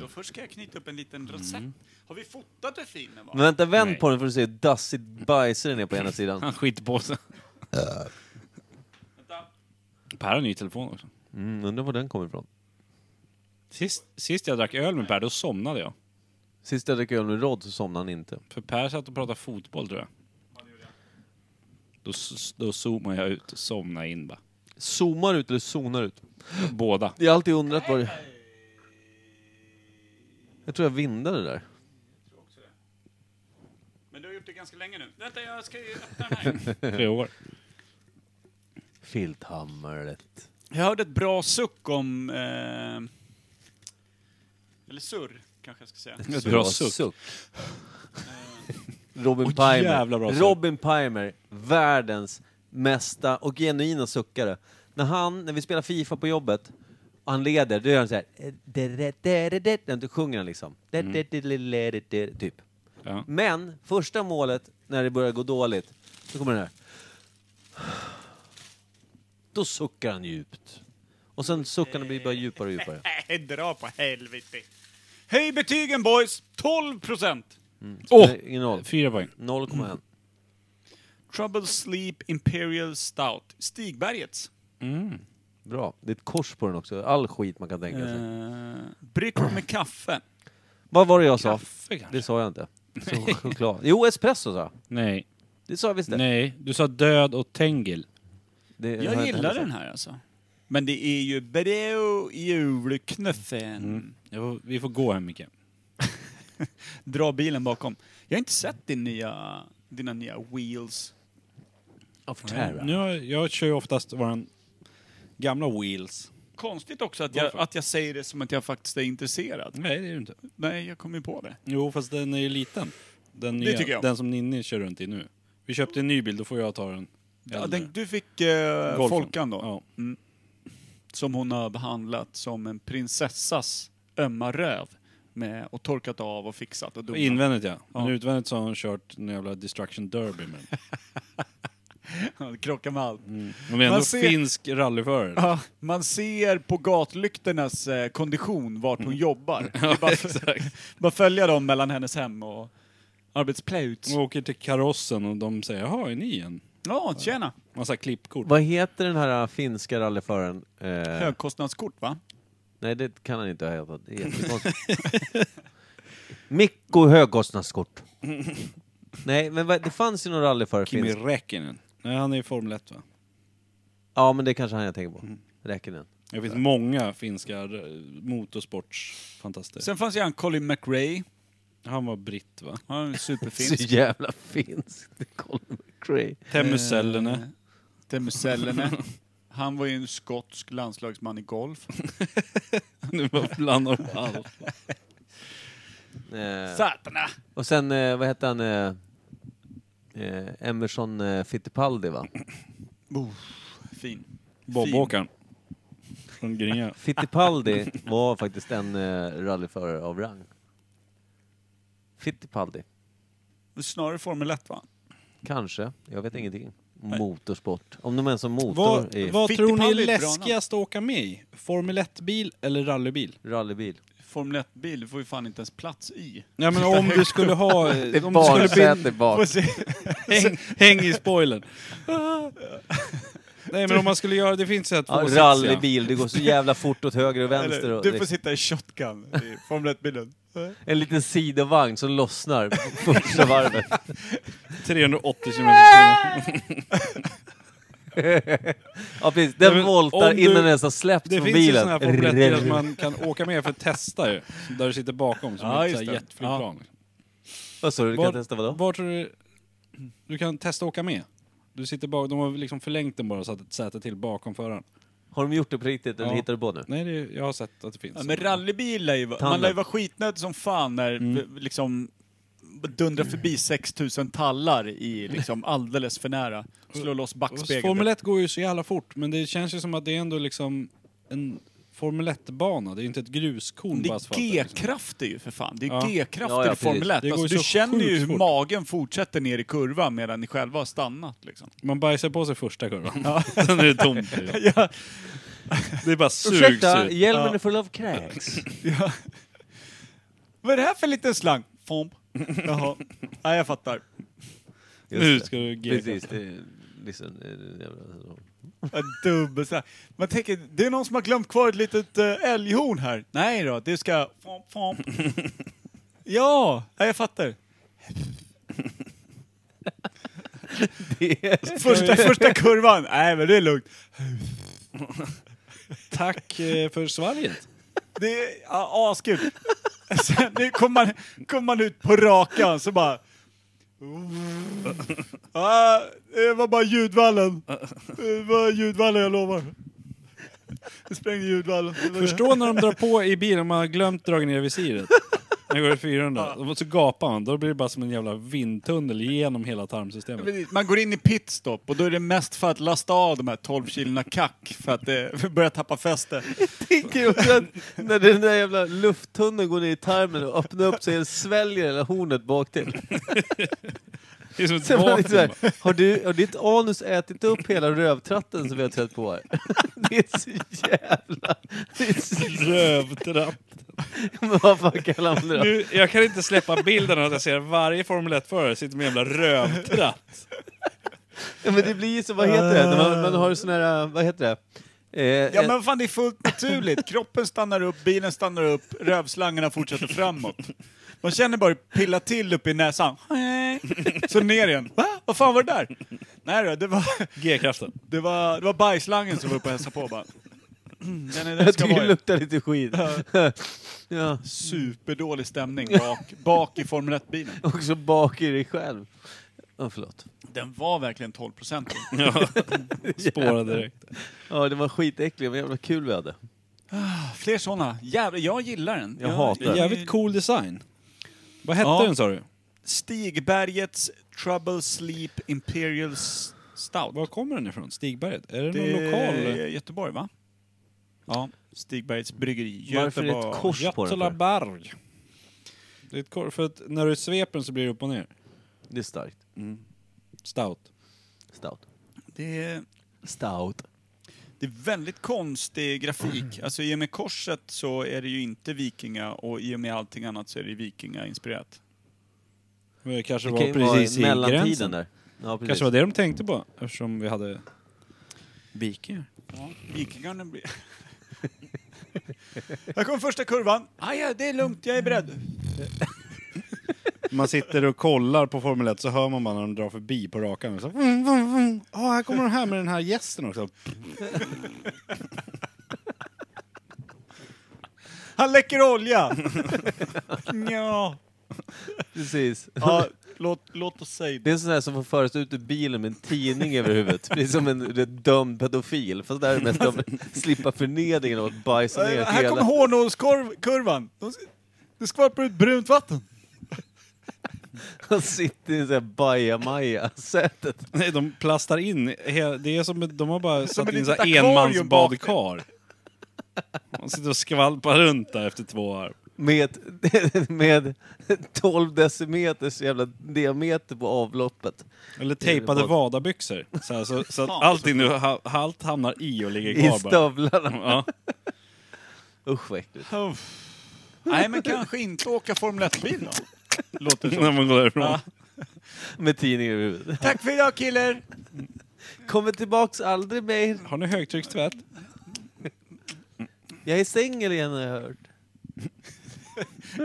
Då först ska jag knyta upp en liten rosett. Har vi fotat hur fin den var?
Men vänta, vänd
Nej.
på den för att se hur dassigt bajsig den är på ena sidan.
han skiter på sig.
Vänta.
Per har ny telefon också.
Mm, undrar var den kommer ifrån.
Sist, sist jag drack öl med Per, då somnade jag.
Sist jag drack öl med Rod så somnade han inte.
För Per satt och pratade fotboll tror jag. Då, s- då zoomade jag ut och somnade in bara.
Zoomar ut eller zonar ut?
Båda.
Jag har alltid undrat vad det... Jag tror jag vindade där.
Men du har gjort det ganska länge nu. Vänta, jag ska ju öppna den här.
Tre år.
Filthamret.
jag hörde ett bra suck om... Eh, eller surr, kanske jag ska säga.
Ett bra suck.
Robin
Åh,
Pimer.
jävla bra suck.
Robin Pimer, världens mesta och genuina suckare. När han, när vi spelar Fifa på jobbet, och han leder, då gör han så här. eh, da-da-da-da-da. Då sjunger han liksom.
Mm.
Da-da-da-da-da-da, Typ.
Ja.
Men första målet, när det börjar gå dåligt, då kommer den här. Då suckar han djupt. Och sen suckarna blir bara djupare och djupare.
Nej, dra på helvete. Höj betygen boys! 12 procent!
Åh!
Det är Ingen roll.
Fyra poäng.
0,1.
Trouble Sleep Imperial Stout. Stigbergets.
Bra. Det är ett kors på den också. All skit man kan tänka sig.
Eh, bryggt med kaffe.
Vad var det jag sa?
Kaffe kanske?
Det sa jag inte. Så choklad. Jo, espresso sa jag.
Nej.
Det sa jag visst det.
Nej. Du sa död och tängel.
det har
Jag
inte heller
gillar
sagt.
den här alltså. Men det är ju bra julknuffen.
Jag får, vi får gå hem Micke.
Dra bilen bakom. Jag har inte sett din nya, dina nya wheels.
Of Terra.
Nu, har- jag kör ju oftast våran gamla wheels.
Konstigt också att jag,
Varför?
att jag säger det som att jag faktiskt är intresserad.
Nej, det är det inte.
Nej, jag kom ju på det.
Jo, fast den är ju liten. Den,
Det
nya,
tycker jag.
den som Ninni kör runt i nu. Vi köpte en ny bil, då får jag ta den
Ja,
äldre.
den du fick eh,
Golfen.
Folkan då,
Ja.
som hon har behandlat som en prinsessas ömma röv. Med, och torkat av och fixat och donat.
Invändigt ja. Men
Ja.
utvändigt så har hon kört en jävla destruction derby med den.
Ja, det krockar med allt.
Hon Mm. är ändå
Man ser-
finsk rallyförare.
Ja, man ser på gatlyktornas eh, kondition vart hon jobbar. Det är bara, bara följa dem mellan hennes hem och arbetsplats.
Hon åker till karossen och de säger ”Jaha, är ni en?”
Ja, tjena!
Massa klippkort.
Vad heter den här äh, finska rallyföraren? Eh,
Högkostnadskort va?
nej, det kan han inte ha hetat. Det är jättekonstigt. Mikko högkostnadskort. nej, men vad- det fanns ju någon rallyförare
Kimi
finsk.
Räikkönen. Nej, han är i Formel 1 va?
Ja, men det är kanske han jag tänker på. Räkningen.
Det finns många finska eh, motorsportsfantaster.
Sen Eh. fanns ju han Colin McRae.
Han var britt va?
Han är
Så
superfinsk.
jävla finskt. Det är Colin McRae.
Temusellänen.
Eh, Temusellänen. Han var ju en skotsk landslagsman i golf.
Nu var bland av allt.
Eh,
Satana!
och sen, eh, vad hette han? Eh, eh, Emerson eh, Fittipaldi, va?
Fin.
Bob-åkaren. Från Gringa.
Fittipaldi var faktiskt en eh, rallyförare av rang. Fittipaldi.
Snarare Formel 1 va?
Kanske. Jag vet ingenting. Motorsport. Om de ens har motor
Mm. Vad,
i
vad tror ni är
Fittipaldi är ett bra
läskigast att åka med i? Formel 1-bil eller rallybil?
rallybil.
Formel 1-bil, du får ju fan inte ens plats i.
Nej men om du skulle ha... eh,
Det är
om du skulle bli
barnsäte bak.
Får se.
Häng, häng i spoilern. Nej men om man skulle göra, det finns ett
Ja, rallybil. Det går så jävla fort åt höger och vänster.
Eller,
Och, liksom
du får sitta i shotgun i Formel 1-bilen.
en liten sidovagn som lossnar på första varvet.
380 km i timmen.
Ja, precis.
Nej,
Den
men
voltar
om du-
innan den ens har släppts
Det
från
finns ju sådana
bilen.
här Formel 1-bilar som man kan åka med för att testa ju. Där du sitter bakom som
Ja,
ett
just
så här
det.
jetflygplan.
Vad sa du? Du
Var-
kan testa vadå?
Var tror du... Du kan testa att åka med. Du sitter bak, de har liksom förlängt den bara så att ett säte till bakom föraren.
Har de gjort det på riktigt eller
Ja.
hittar du på nu?
Nej, det är, jag har sett att det finns.
Ja, men rallybil lär ju vara-
Tanden.
man lär ju vara skitnödig som fan när
Mm.
v- liksom dundrar förbi 6000 tallar i liksom alldeles för nära. Slår loss backspegeln.
Formel 1 går ju så jävla fort, men det känns ju som att det är ändå liksom en Formel 1-bana. Det är inte ett gruskorn
Det
på
är
asfalten. liksom.
G-kraft det är ju för fan. Det är
Ja.
G-krafter
Ja, ja,
i Formel 1.
precis. Det går
Alltså, du
ju så
känner ju
sjukt
hur
fort.
magen fortsätter ner i kurvan medan ni själva har stannat. Liksom.
Man bajsar på sig första kurvan. Sen är det tomt.
Ja.
Det är bara sugs
Ursäkta,
ut.
hjälmen är full av kräks.
Vad är det här för liten slang? Fomp. Jaha. Nej, jag fattar.
Nu ska du G-kraft.
Precis, det är liksom... det är jävla-
Ja, Dubbelslang. Man tänker, det är någon som har glömt kvar ett litet eh, älghorn här. Nej då, det ska... Fomp, fomp. Ja, nej, jag fattar.
Det är-
Första, första kurvan. Nej, men det är lugnt.
Tack eh, för svarget.
Det är ja, askul. Sen nu kommer man, kom man ut på rakan så bara... Ah, det var bara ljudvallen. Det var ljudvallen, jag lovar. Jag sprängde ljudvallen.
Förstå när de drar på i bilen man har glömt dra ner visiret. När det går i 400. Och så gapar man. Då blir det bara som en jävla vindtunnel genom hela tarmsystemet.
Precis, Man går in i pitstop och då är det mest för att lasta av de här 12 kilona kack för att eh, börja tappa fäste.
tänker ju också att när den där jävla lufttunneln går ner i tarmen och öppnar upp så helt sväljer hela hornet bak till.
Det är som ett
Sen man lite så
vakuum.
här, har, du, har ditt anus ätit upp hela rövtratten som vi har trätt på här? Det är så jävla... Det är så,
Rövtrapp.
men vad fan kallar man det då?
Nu, jag kan inte släppa bilden av att jag ser varje Formel 1-förare sitter med en jävla rövtratt.
Ja, men det blir ju så, vad heter det? När man, man har sån här, vad heter det? Eh,
Ja men vad fan det är fullt naturligt. Kroppen stannar upp, bilen stannar upp, rövslangarna fortsätter framåt. Man känner bara hur det pillar till upp i näsan. Så ner igen. Va? Vad fan var det där? Nej då, det var,
G-kraften.
det var, det var bajslangen som var uppe och hälsade på bara. Mm, Den är där den
jag
ska
tycker
vara.
det
i.
luktar lite skit. Ja,
Superdålig stämning bak, bak i Formel 1-bilen.
också bak i dig själv. Oh, förlåt.
Den var verkligen 12 procent.
Spårade direkt.
Ja, det var skitäckligt, men jävla kul vi hade.
Fler såna. Jävlar, jag gillar den.
Jag hatar den.
Jävligt cool design. Vad hette
Ja.
den sa du?
Stigbergets Trouble Sleep Imperial S- Stout.
Var kommer den ifrån? Stigberget? Är det,
Det
någon
är
lokal?
Göteborg va? Ja, Stigbergets bryggeri.
Varför är det ett kors på den? för?
Götalaberg. Det är ett kor- för att när du sveper den så blir det upp och ner. Mm.
Det är starkt.
Stout.
Stout.
Det är,
Stout.
det är väldigt konstig
Mm.
grafik. Alltså i och med korset så är det ju inte vikinga och i och med allting annat så är det vikinga-inspirerat.
Men Det kanske
Det
var
kan ju
precis
vara i
i
mellantiden
gränsen.
där. Ja, precis.
kanske var det de tänkte på eftersom vi hade Vikingar.
Ja, vikingarna blir... Här kommer första kurvan. Aja, det är lugnt, jag är beredd.
Man sitter och kollar på Formel 1 så hör man bara när de drar förbi på rakan. Så, vum, vum, vum. Ah, här kommer den här med den här gästen också.
Han läcker olja! ja.
Precis.
ja låt, låt oss säga
Det är en sån här som får föras ut ur bilen med en tidning över huvudet. Precis som en dömd pedofil. Fast där är det mest om att slippa förnedringen av att bajsa ner
Äh, Här
hela.
kommer hårnålskurvan. De- Det skvalpar ut brunt vatten.
Han sitter i en sån här bajamaja-sätet.
Nej, de plastar in. he- Det är som, de har bara satt
ett
in så
litet
här
akvarium
enmansbadkar. Man sitter och skvalpar runt där efter två år.
Med, med 12 decimeters jävla diameter på avloppet.
Eller tejpade
bad-
vadabyxor. Så, här, så, så att
Fan,
allting nu, ha- allt hamnar i och ligger
I
kvar bara.
stövlarna.
Ja.
Usch vad äckligt.
Nej, men kanske inte åka Formel 1-bil då. Låter
När man går därifrån.
Ja.
Med tidning över huvudet.
Tack för idag killar!
Kommer tillbaks aldrig mer.
Har ni högtryckstvätt?
Jag är singel igen har jag hört.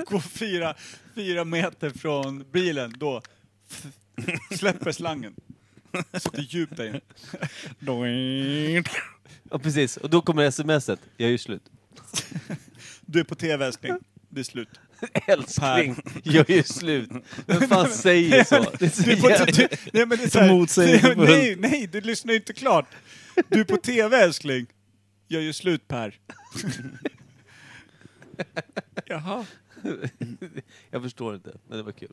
Gå fyra, fyra meter från bilen, då f- släpper slangen. Så det är djupt där inne.
Ja precis, och då kommer smset. Jag är ju slut.
Du är på tv älskling. Det är slut.
Älskling, jag är ju slut. Vem fan säger så? Det är så
Du får inte...
jävla-
Du, nej, men det är så här,
Motsägelsefullt.
nej, nej, du lyssnar ju inte klart. Du är på tv älskling. gör ju slut Per. Jaha.
Jag förstår inte, men det var kul.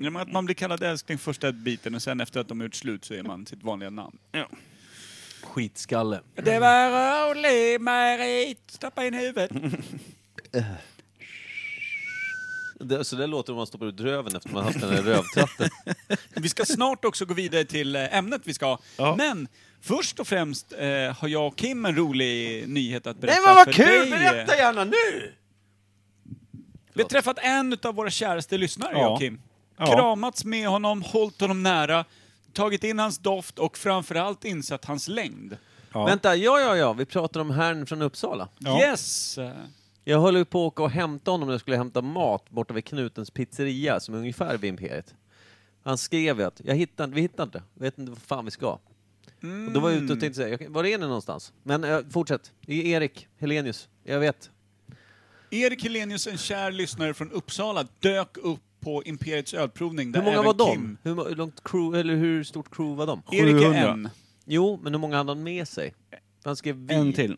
Ja, men att man blir kallad älskling första biten och sen efter att de har gjort slut så är man sitt vanliga namn.
Skitskalle.
Det var rolig Marit, stoppa in huvudet.
Det, så det låter om man stoppar ut röven efter man har haft den där rövtratten.
Vi ska snart också gå vidare till eh, ämnet vi ska ha.
Ja.
Men först och främst eh, har jag och Kim en rolig nyhet att berätta
Nej men vad
för dig.
kul! Berätta gärna nu!
Vi har träffat en av våra käraste lyssnare,
Ja.
jag och Kim.
Ja.
Kramats med honom, hållit honom nära, tagit in hans doft och framförallt insett hans längd.
Ja.
Vänta, ja ja ja, vi pratar om herrn från Uppsala.
Ja.
Yes! Eh,
Jag höll ju på att åka och hämta honom när jag skulle hämta mat borta vid Knutens pizzeria, som är ungefär vid Imperiet. Han skrev ju att jag hittar, inte- vi hittar inte, vi vet inte vad fan vi ska. Och då var jag ute och tänkte säga, jag- var är ni någonstans? Men eh, fortsätt, det är Erik Helenius, jag vet.
Erik Helenius, en kär lyssnare från Uppsala, dök upp på Imperiets ölprovning. Där
Hur många
även
var
Kim-
de? Hur, mo- hur långt crew, eller hur stort crew var de?
Erik är
700.
en.
Jo, men hur många hade han med sig? Han skrev vi.
En till.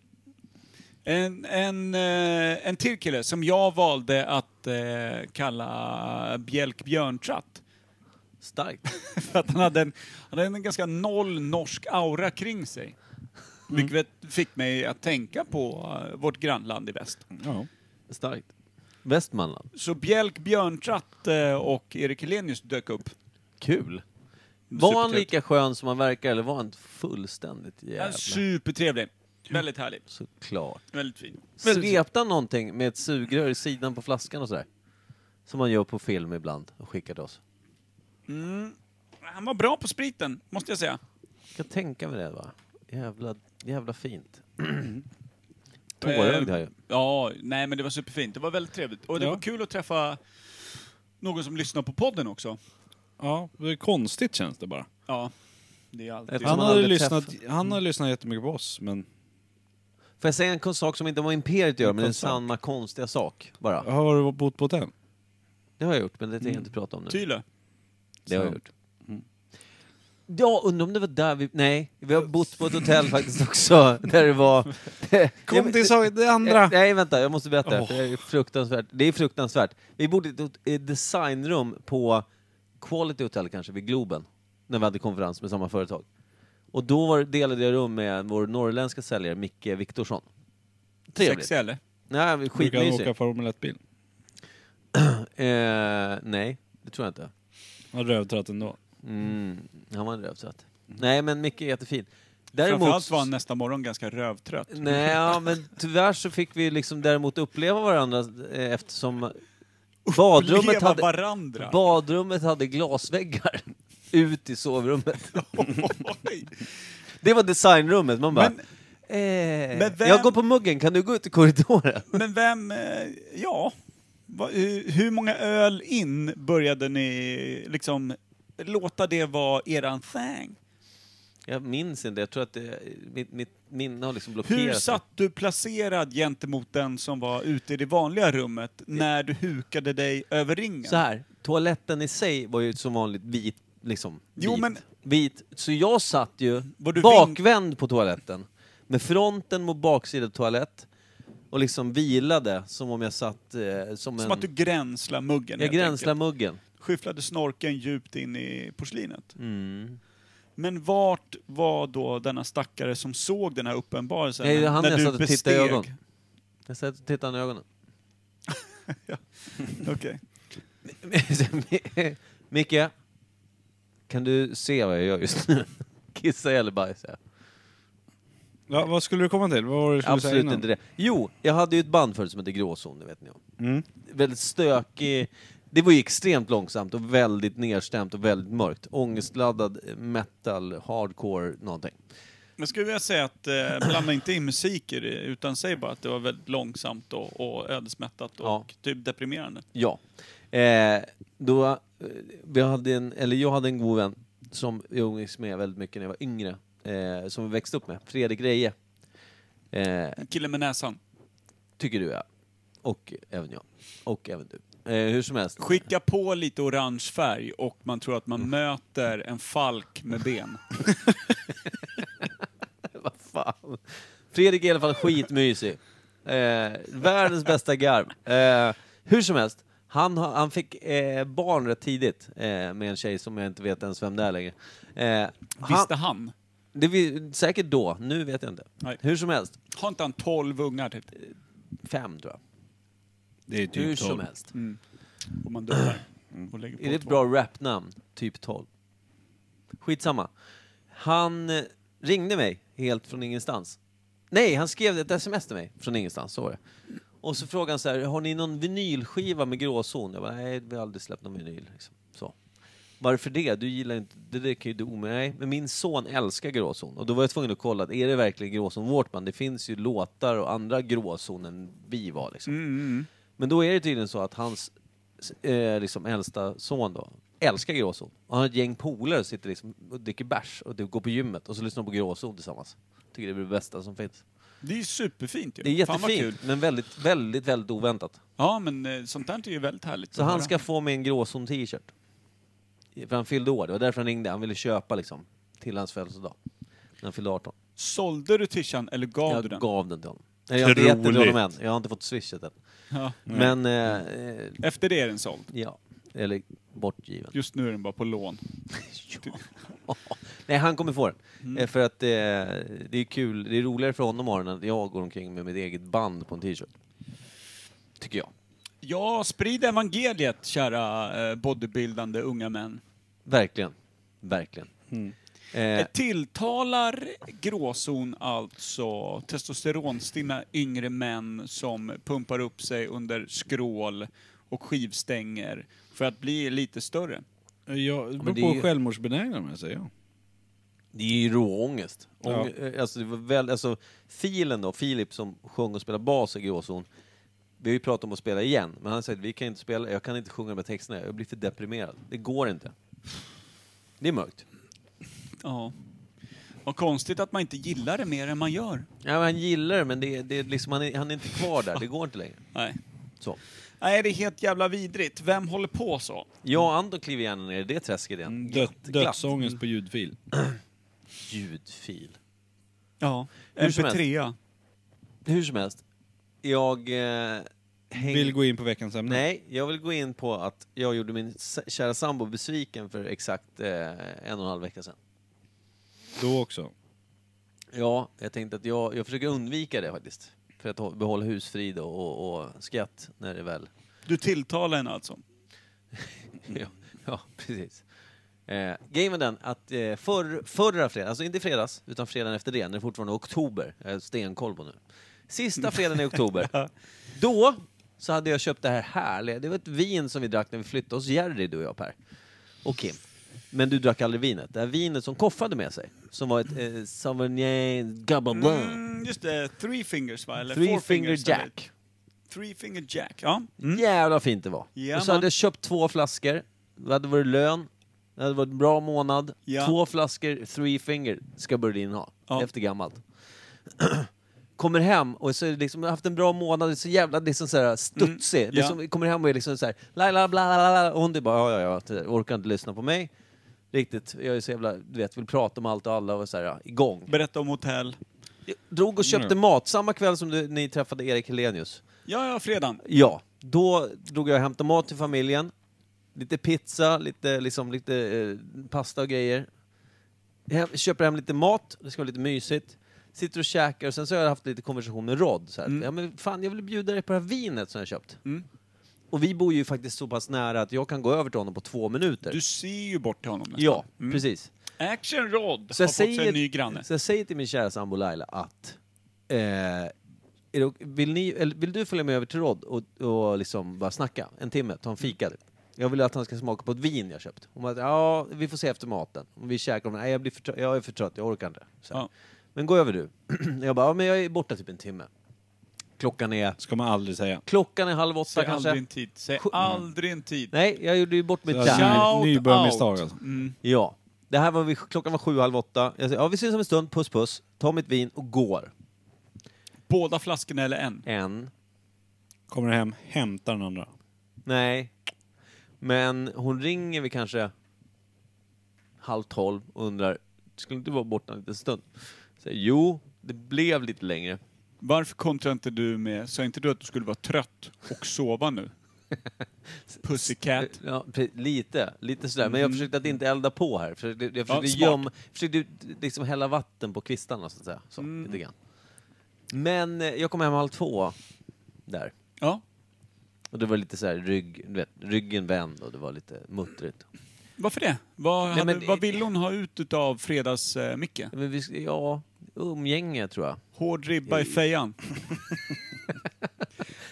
En, en, eh, en till kille som jag valde att eh, kalla Bjälk Björntratt.
Starkt.
För att han hade, en, han hade en ganska noll norsk aura kring sig. Vilket fick mig att tänka på eh, vårt grannland i väst.
Ja.
Starkt. Västmanland.
Så Bjälk Björntratt eh, och Erik Helenius dök upp.
Kul. Var han
Supertrevligt.
lika skön som han verkar eller var han fullständigt jävla...
Supertrevlig. Väldigt härlig.
Såklart.
Väldigt fin.
Svepte han någonting med ett sugrör i sidan på flaskan och sådär? Som man gör på film ibland och skickar till oss.
Han var bra på spriten, måste jag säga.
Jag kan tänka mig det va? Jävla, jävla fint.
Eh,
Tårögd här ju.
Ja, nej men det var superfint. Det var väldigt trevligt. Och det
Ja.
var kul att träffa någon som lyssnar på podden också.
ja, det är konstigt känns det bara.
Ja, det är alltid...
Ett-
Han
man
har,
aldrig
lyssnat,
träffat.
han har lyssnat jättemycket på oss, men
Får jag säga en kon- sak som inte har med Imperiet att göra, men det är
kon- sak.
samma konstiga sak bara.
har du bott på hotell?
Det har jag gjort, men det tänker jag inte prata om nu.
Tyle.
Det har jag gjort. Ja, undrar om det var där vi... Nej, vi har bott på ett hotell faktiskt också, där det var... Ja, men-
sak, det
Eh, Nej, vänta, jag måste berätta. För det, är fruktansvärt. det är fruktansvärt. Vi bodde i ett hot- eh, designrum på Quality Hotel kanske, vid Globen, när vi hade konferens med samma företag. Och då var, delade jag rum med vår norrländska säljare, Micke Viktorsson. Trevligt.
Sexig eller?
Nej, men
Brukar han
skitmysigt.
åka Formel 1-bil?
Eh, nej, det tror jag inte.
Han rövtratt ändå.
Mm, han var en rövsöt. Nej, men Micke är jättefin.
Framförallt var han nästa morgon ganska rövtrött.
Nej, ja, men tyvärr så fick vi liksom däremot uppleva varandra eh, eftersom badrummet
Leva
hade,
varandra.
badrummet hade glasväggar ut i sovrummet.
Oj.
Det var designrummet. Man bara...
Men-
eh,
men vem-
Jag går på muggen, kan du gå ut i korridoren?
men vem... eh, Ja. Va- hur- Hur många öl in började ni liksom låta det vara eran thing?
Jag minns inte, jag tror att det, mitt, mitt minne har liksom blockerat.
Hur
det.
satt du placerad gentemot den som var ute i det vanliga rummet när du hukade dig över ringen?
Så här, toaletten i sig var ju som vanligt vit, liksom.
Jo,
vit,
men-
vit. Så jag satt ju
Var du
bakvänd på toaletten. Med fronten mot baksida toalett. Och liksom vilade som om jag satt eh, som en...
Som att du gränslade muggen
jag
helt
gränslade
enkelt.
muggen.
Skyfflade snorken djupt in i porslinet.
Mm.
Men vart var då denna stackare som såg den här uppenbarelsen?
Nej, det är han
när
jag
du
satt och tittade
besteg?
i ögonen. Jag satt och tittade i ögonen.
Okej.
Micke, kan du se vad jag gör just nu? Kissa eller bajsa?
Ja, vad skulle du komma till? Vad var det du skulle säga
Absolut
innan?
inte det. Jo, jag hade ju ett band förut som hette Gråzon, det vet ni om.
Mm.
väldigt stökig. Det var ju extremt långsamt och väldigt nedstämt och väldigt mörkt. Ångestladdad metal, hardcore, någonting.
Men skulle jag säga att, eh, blanda inte in musik i det, utan säg bara att det var väldigt långsamt och, och ödesmättat och
Ja.
typ deprimerande.
Ja. Eh, då, eh, vi hade en, eller jag hade en god vän som jag umgicks med väldigt mycket när jag var yngre. Eh, som jag växte upp med. Fredrik Reje. Eh,
Killen med näsan.
tycker du ja. Och även jag. Och även du. Eh, hur som helst.
Skicka på lite orange färg och man tror
Mm.
att man möter en falk med ben.
Vad fan. Fredrik är i alla fall skitmysig. Eh, världens bästa garv. Eh, hur som helst, han, har- han fick eh, barn rätt tidigt eh, med en tjej som jag inte vet ens vem det är längre. Eh, han,
Visste han?
det vi, säkert då, nu vet jag inte.
Nej.
Hur som helst,
Har inte han 12 ungar typ?
fem tror jag.
Det är
Hur
typ
som
12.
helst.
Mm. Om man dör och lägger på
Mm. Är det ett
två.
bra rapnamn? Typ 12. Skitsamma. Han eh, ringde mig helt från ingenstans. Nej, han skrev ett sms till mig från ingenstans. Så var det. Och så frågade han så här, har ni någon vinylskiva med gråzon? Jag bara, nej, vi har aldrig släppt någon vinyl. Liksom. Så. Varför det? Du gillar inte, det där kan ju du omöjligt. Nej, men min son älskar gråzon. Och då var jag tvungen att kolla, är det verkligen gråzon vårt band? Det finns ju låtar och andra gråzon än vi var liksom.
Mm,
Men då är det tydligen så att hans eh, liksom äldsta son då älskar gråzon. Och han har ett gäng polare och sitter liksom och dricker bärs och går på gymmet och så lyssnar de på gråzon tillsammans. Tycker det är det bästa som finns.
Det är ju superfint ju.
Det är
Fan vad kul.
jättefint, men väldigt, väldigt, väldigt oväntat.
Ja, men eh, sånt där är ju väldigt härligt
Så
att
han
höra.
ska få mig en gråzon t-shirt. För han fyllde år, det var därför han ringde. Han ville köpa liksom, till hans födelsedag. När han fyllde 18.
Sålde du tishan eller gav du
Jag
den?
gav den till honom. Nej, jag har inte gett den till
Otroligt.
honom än. Jag har inte fått swishet än.
Ja.
Men, eh, eh,
Efter det är den såld.
ja. Eller bortgiven.
Just nu är den bara på lån.
Nej, han kommer få den. Eh, För att eh, det är kul, det är roligare för honom att ha den än att jag går omkring med mitt eget band på en t-shirt. Tycker jag.
Ja, sprid evangeliet, kära eh, bodybuildande unga män.
Verkligen. Verkligen.
Mm.
Eh,
Eh, Tilltalar gråzon alltså testosteronstinna yngre män som pumpar upp sig under skrål och skivstänger för att bli lite större?
Ja, det
men
beror
det
på
är
hur
ju-
självmordsbenägna de är, säger jag.
det är ju råångest.
Ja.
Ång- eh, Alltså, det var väl, alltså, filen då, Filip som sjöng och spelade bas i Gråzon. Vi har ju pratat om att spela igen, men han säger att vi kan inte spela, jag kan inte sjunga de här texterna, jag blir för deprimerad. Det går inte. Det är mörkt.
Ja. Vad konstigt att man inte gillar det mer än man gör.
Ja, men han gillar det, men det, är- det är liksom, han, är, han är inte kvar där, det går inte längre.
Nej.
Så.
Nej, det är helt jävla vidrigt. Vem håller på så?
Jag och Anton kliver gärna ner i det träsket igen.
Mm. Död,
Glatt, glatt.
dödsångest på ljudfil.
Ljudfil.
Ja.
Hur som helst.
MP3.
Hur som helst, jag eh, häng...
Vill gå in på veckans ämne?
Nej, jag vill gå in på att jag gjorde min s- kära sambo besviken för exakt eh, en och en halv vecka sedan.
Då också.
Ja, jag tänkte att jag, jag försöker undvika det faktiskt. För att hå- behålla husfrid och, och, och skratt när det väl...
Du tilltalar henne alltså?
ja, ja, precis. Eh, grejen med den att eh, förr, förra fredagen, alltså inte i fredags, utan fredagen efter det, när det fortfarande är oktober, jag har stenkoll på nu. Sista fredagen i oktober, då så hade jag köpt det här härliga, det var ett vin som vi drack när vi flyttade oss, Jerry, du och jag Per. Och Kim. Men du drack aldrig vinet. Det här vinet som koffade med sig, som var ett eh, Sauvignon Gabba Blanc.
Mm, just det, Three Fingers va? Eller
Three
Four
Finger
Fingers, eller-
Jack.
Three Finger Jack, ja.
Jävla fint det var.
Mm. Ja,
och så hade
man.
jag köpt två flaskor. Det hade varit lön. Det hade varit en bra månad.
Ja.
Två flaskor, three finger, ska Berlin ha.
Ja.
Efter gammalt. kommer hem och så är det liksom, jag har haft en bra månad, det är så jävla liksom så här studsig.
Mm, ja.
Liksom, kommer hem och är liksom så här, la la bla la la. Och hon typ bara, ja ja ja, orkar inte lyssna på mig. Riktigt, jag är så jävla, du vet, vill prata om allt och alla och så här, ja, igång.
Berätta om hotell.
Jag drog och köpte
Mm.
mat samma kväll som du, ni träffade Erik Helenius.
Ja, ja, fredagen.
Ja, då drog jag och hämtade mat till familjen. Lite pizza, lite, liksom, lite eh, pasta och grejer. Hem, köper hem lite mat, det ska vara lite mysigt. Sitter och käkar och sen så har jag haft lite konversation med Rod. Så här.
Mm.
Ja, men fan, jag vill bjuda dig på det här vinet som jag köpt. Och vi bor ju faktiskt så pass nära att jag kan gå över till honom på två minuter.
Du ser ju bort till honom nästan. Mm.
Ja, precis.
Action Rod
Så
har
jag,
fått sig en ny
säger,
granne.
så jag säger till min kära sambo Laila att eh, är det, ok- vill, ni, eller, vill du följa med över till Rod och, och liksom bara snacka en timme, ta en fika? Typ. Jag vill att han ska smaka på ett vin jag köpt. Hon bara, ja vi får se efter maten. Och vi käkar och hon, nej jag, blir för, trött- jag är för trött, jag orkar inte. Så här.
Ja.
Men gå över du. jag bara, ja, men jag är borta typ en timme. Klockan är,
Ska man aldrig säga.
klockan är halv åtta
Säg aldrig en
kanske.
tid. Säg
Sju-
aldrig en tid.
Nej, jag gjorde ju bort mitt
Så
där.
alltså,
Shout out.
nybörjarmisstag alltså.
Mm.
Ja. Det här var vi, klockan var sju, halv åtta. Jag säger, ja vi ses om en stund, puss puss. Ta mitt vin och går.
Båda flaskorna eller en?
En.
Kommer hem, hämtar den andra.
Nej. Men hon ringer vid kanske halv tolv och undrar, skulle inte du vara borta en liten stund? Säger, jo, Det blev lite längre.
Varför kontrar inte du med, sa inte du att du skulle vara trött och sova nu? Pussycat.
Eh, Ja, pre- lite, lite sådär. Men jag försökte att inte elda på här. Försökte, jag försökte
smart.
gömma, försökte liksom hälla vatten på kvistarna så att säga. Så, lite grann. Men eh, jag kom hem halv två där.
Ja.
Och det var lite så här rygg, du vet, ryggen vänd och det var lite muttrigt.
Varför det? Vad,
Nej,
hade,
men-
vad vill hon ha ut utav eh, fredags-Micke?
Men vi, ja, umgänge tror jag.
Hård ribba i fejan.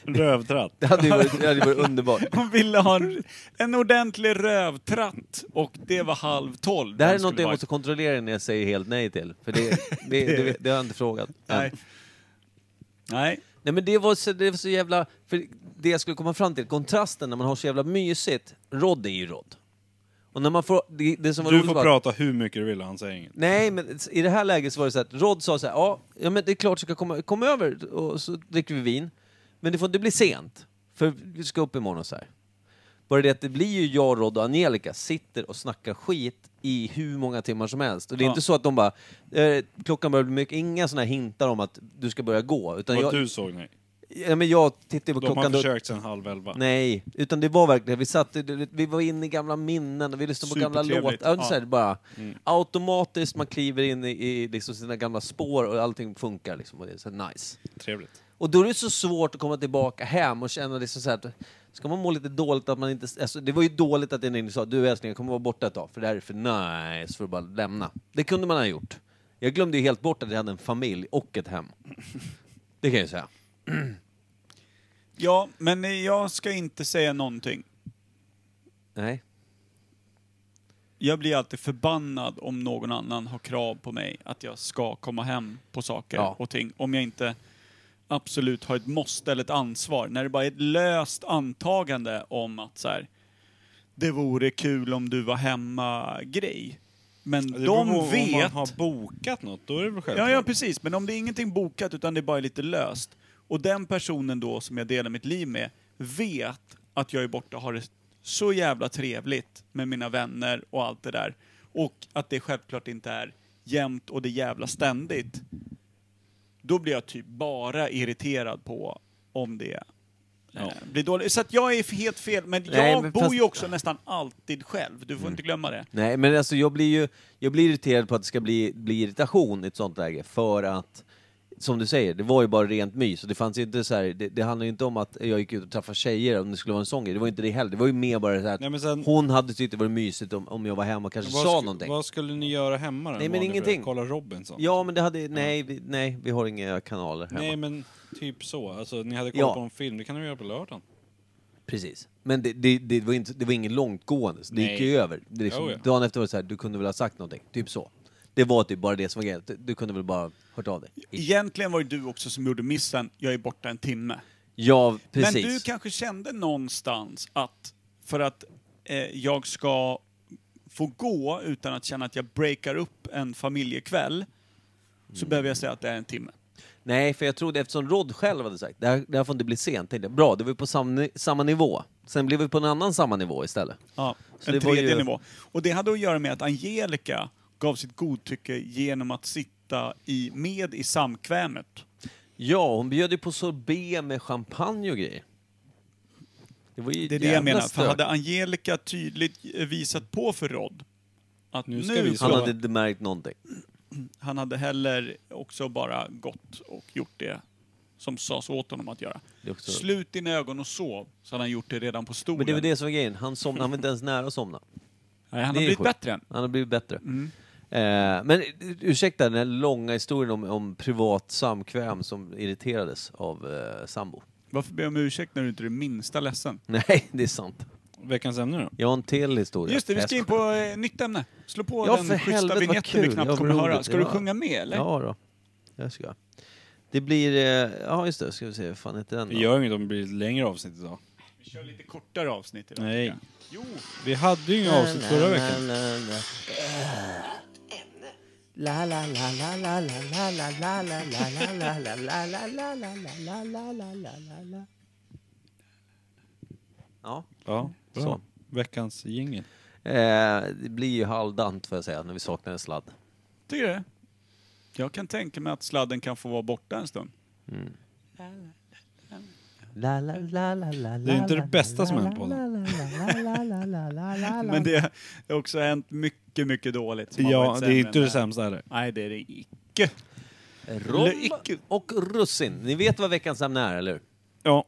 Rövtratt.
Det hade ju varit, det hade ju varit underbart.
Hon ville ha en, en ordentlig rövtratt och det var halv tolv.
Det här är
Den skulle
något jag
vara-
måste kontrollera innan jag säger helt nej till. För det, det, det, det, har jag inte frågat. än.
Nej. Nej.
Nej men det var, så, det var så jävla... För det jag skulle komma fram till, kontrasten när man har så jävla mysigt. Rodd är ju rodd. Och när man får... Det, det som var
Du
roligt
får
var,
prata hur mycket du vill, han säger inget.
Nej, men i det här läget så var det så att Rod sa så här, ja, ja men det är klart du ska komma, kom över och så dricker vi vin. Men det får inte bli sent, för vi ska upp imorgon och så här. Bara det att det blir ju jag, Rod och Angelica sitter och snackar skit i hur många timmar som helst. Och det är
Ja.
inte så att de bara, eh, klockan börjar bli mycket, inga sådana här hintar om att du ska börja gå. Utan
Vad
jag,
du såg, nej.
ja, men jag tittar ju på
De har
klockan då,
försökt sedan halv elva.
Nej, utan det var verkligen, vi satt, vi var inne i gamla minnen, och vi lyssnade på gamla låtar.
Supertrevligt,
Ja. Så
ja. Mm.
här, bara, Automatiskt, man kliver in i, i liksom sina gamla spår och allting funkar liksom, och det är så här nice.
Trevligt.
Och då är det så svårt att komma tillbaka hem och känna liksom så här, att ska man må lite dåligt att man inte, alltså, det var ju dåligt att den sa du älskling jag kommer vara borta ett tag för det här är för nice för att bara lämna. Det kunde man ha gjort. Jag glömde ju helt bort att jag hade en familj och ett hem. Det kan jag ju säga.
Ja, men jag ska inte säga någonting.
Nej.
Jag blir alltid förbannad om någon annan har krav på mig att jag ska komma hem på saker
Ja.
och ting. Om jag inte absolut har ett måste eller ett ansvar. När det bara är ett löst antagande om att så här, det vore kul om du var hemma-grej. Men
Det beror på
de
Om man
vet...
har bokat något, då är det väl självklart.
Ja, ja, precis. Men om det är ingenting bokat utan det är bara är lite löst. Och den personen då som jag delar mitt liv med vet att jag är borta och har det så jävla trevligt med mina vänner och allt det där. Och att det självklart inte är jämnt och det är jävla ständigt. Då blir jag typ bara irriterad på om det eh, blir dåligt. Så att jag är helt fel. Men jag
Nej, men
bor
fast-
ju också nästan alltid själv. Du får inte glömma det.
Nej, men alltså jag blir ju jag blir irriterad på att det ska bli, bli irritation i ett sånt läge för att som du säger, det var ju bara rent mys och det fanns ju inte så här, det, det handlar ju inte om att jag gick ut och träffade tjejer om det skulle vara en sån grej. Det var ju inte det heller. Det var ju mer bara så här att
Nej, men sen-
hon hade tyckt det var mysigt om, om jag var hemma och kanske
Vad,
sa
sku-
någonting.
vad skulle ni göra hemma då?
Nej,
en
men
vanlig
ingenting.
fredag? Kolla Robinson?
Ja, men det hade, nej, vi, nej, vi har inga kanaler hemma.
Nej men typ så. Alltså ni hade kollat
Ja.
på en film, det kan ni göra på lördagen.
Precis. Men det, det, det, var inte, det var inget långtgående, så det
Nej.
gick ju över. Det liksom,
Jo, ja.
Dagen efter var det så här, du kunde väl ha sagt någonting, typ så. Det var typ bara det som var grejen, Du- du kunde väl bara hört av dig.
Egentligen var det du också som gjorde missen. Jag är borta en timme.
Ja, precis.
Men du kanske kände någonstans att för att eh, jag ska få gå utan att känna att jag breakar upp en familjekväll så
Mm.
behöver jag säga att det är en timme.
Nej, för jag trodde eftersom Rod själv hade sagt det här, det här får inte bli sent, tänkte jag, bra, då var vi på samma, samma nivå. Sen blev vi på en annan samma nivå istället.
Ja,
Så
en
det var
tredje
ju-
nivå. Och det hade att göra med att Angelica gav sitt godtycke genom att sitta i, med i samkvämet.
Ja, hon bjöd ju på sorbet med champagne och grejer. Det var ju
Det är det
jävla
jag menar. För
stök.
hade Angelica tydligt eh, visat på för Rod att
Nu
nu,
ska vi
Han
slå.
hade inte märkt någonting.
Han hade heller också bara gått och gjort det som sades åt honom att göra.
Det är också-
Slut dina ögon och sov, så hade han gjort det redan på stolen.
Men det var det som var grejen, han, somnade, han var inte ens nära att somna.
Nej, han
Det
har
är
blivit
sjukt.
bättre än.
Han har blivit bättre.
Mm.
Eh, men ursäkta den här långa historien om, om privat samkväm som irriterades av eh, sambo.
Varför ber jag om ursäkt när du inte är det minsta ledsen?
Nej, det är sant.
Veckans ämne då?
Jag har en till historia.
Just det, vi ska in
Fest.
på eh, nytt ämne. Slå på
Ja, för
den
helvete,
schyssta
vad
vignetten vi
kul.
knappt
Jag
kommer
beror
höra.
det.
Ska du
Ja.
sjunga med eller?
Ja då, det ska jag. Det blir, eh, ja just det, ska vi se, vad fan heter den då?
Vi gör inget om det blir ett längre avsnitt idag.
Vi kör lite kortare avsnitt idag.
Nej.
tycker jag. Jo,
Vi hade ju inga avsnitt förra veckan.
La la la la la la la la la la la la la la la la la la la la la la la la.
Ja.
Ja, bra.
Så.
Veckans jingel.
Eh, det blir ju halvdant får jag säga, när vi saknar en sladd.
tycker du det? Jag kan tänka mig att sladden kan få vara borta en stund.
La, la, la, la, la,
Det är inte
la,
det bästa
la,
som
la,
hänt på
la, la, la, la, la, la, la, la.
Men det har också hänt mycket, mycket dåligt. som har
Ja,
varit
det
sämre
är inte
än
det sämsta heller.
Nej, det är det icke.
Rom
Icke.
och russin. Ni vet vad veckans ämne är, eller hur?
Ja.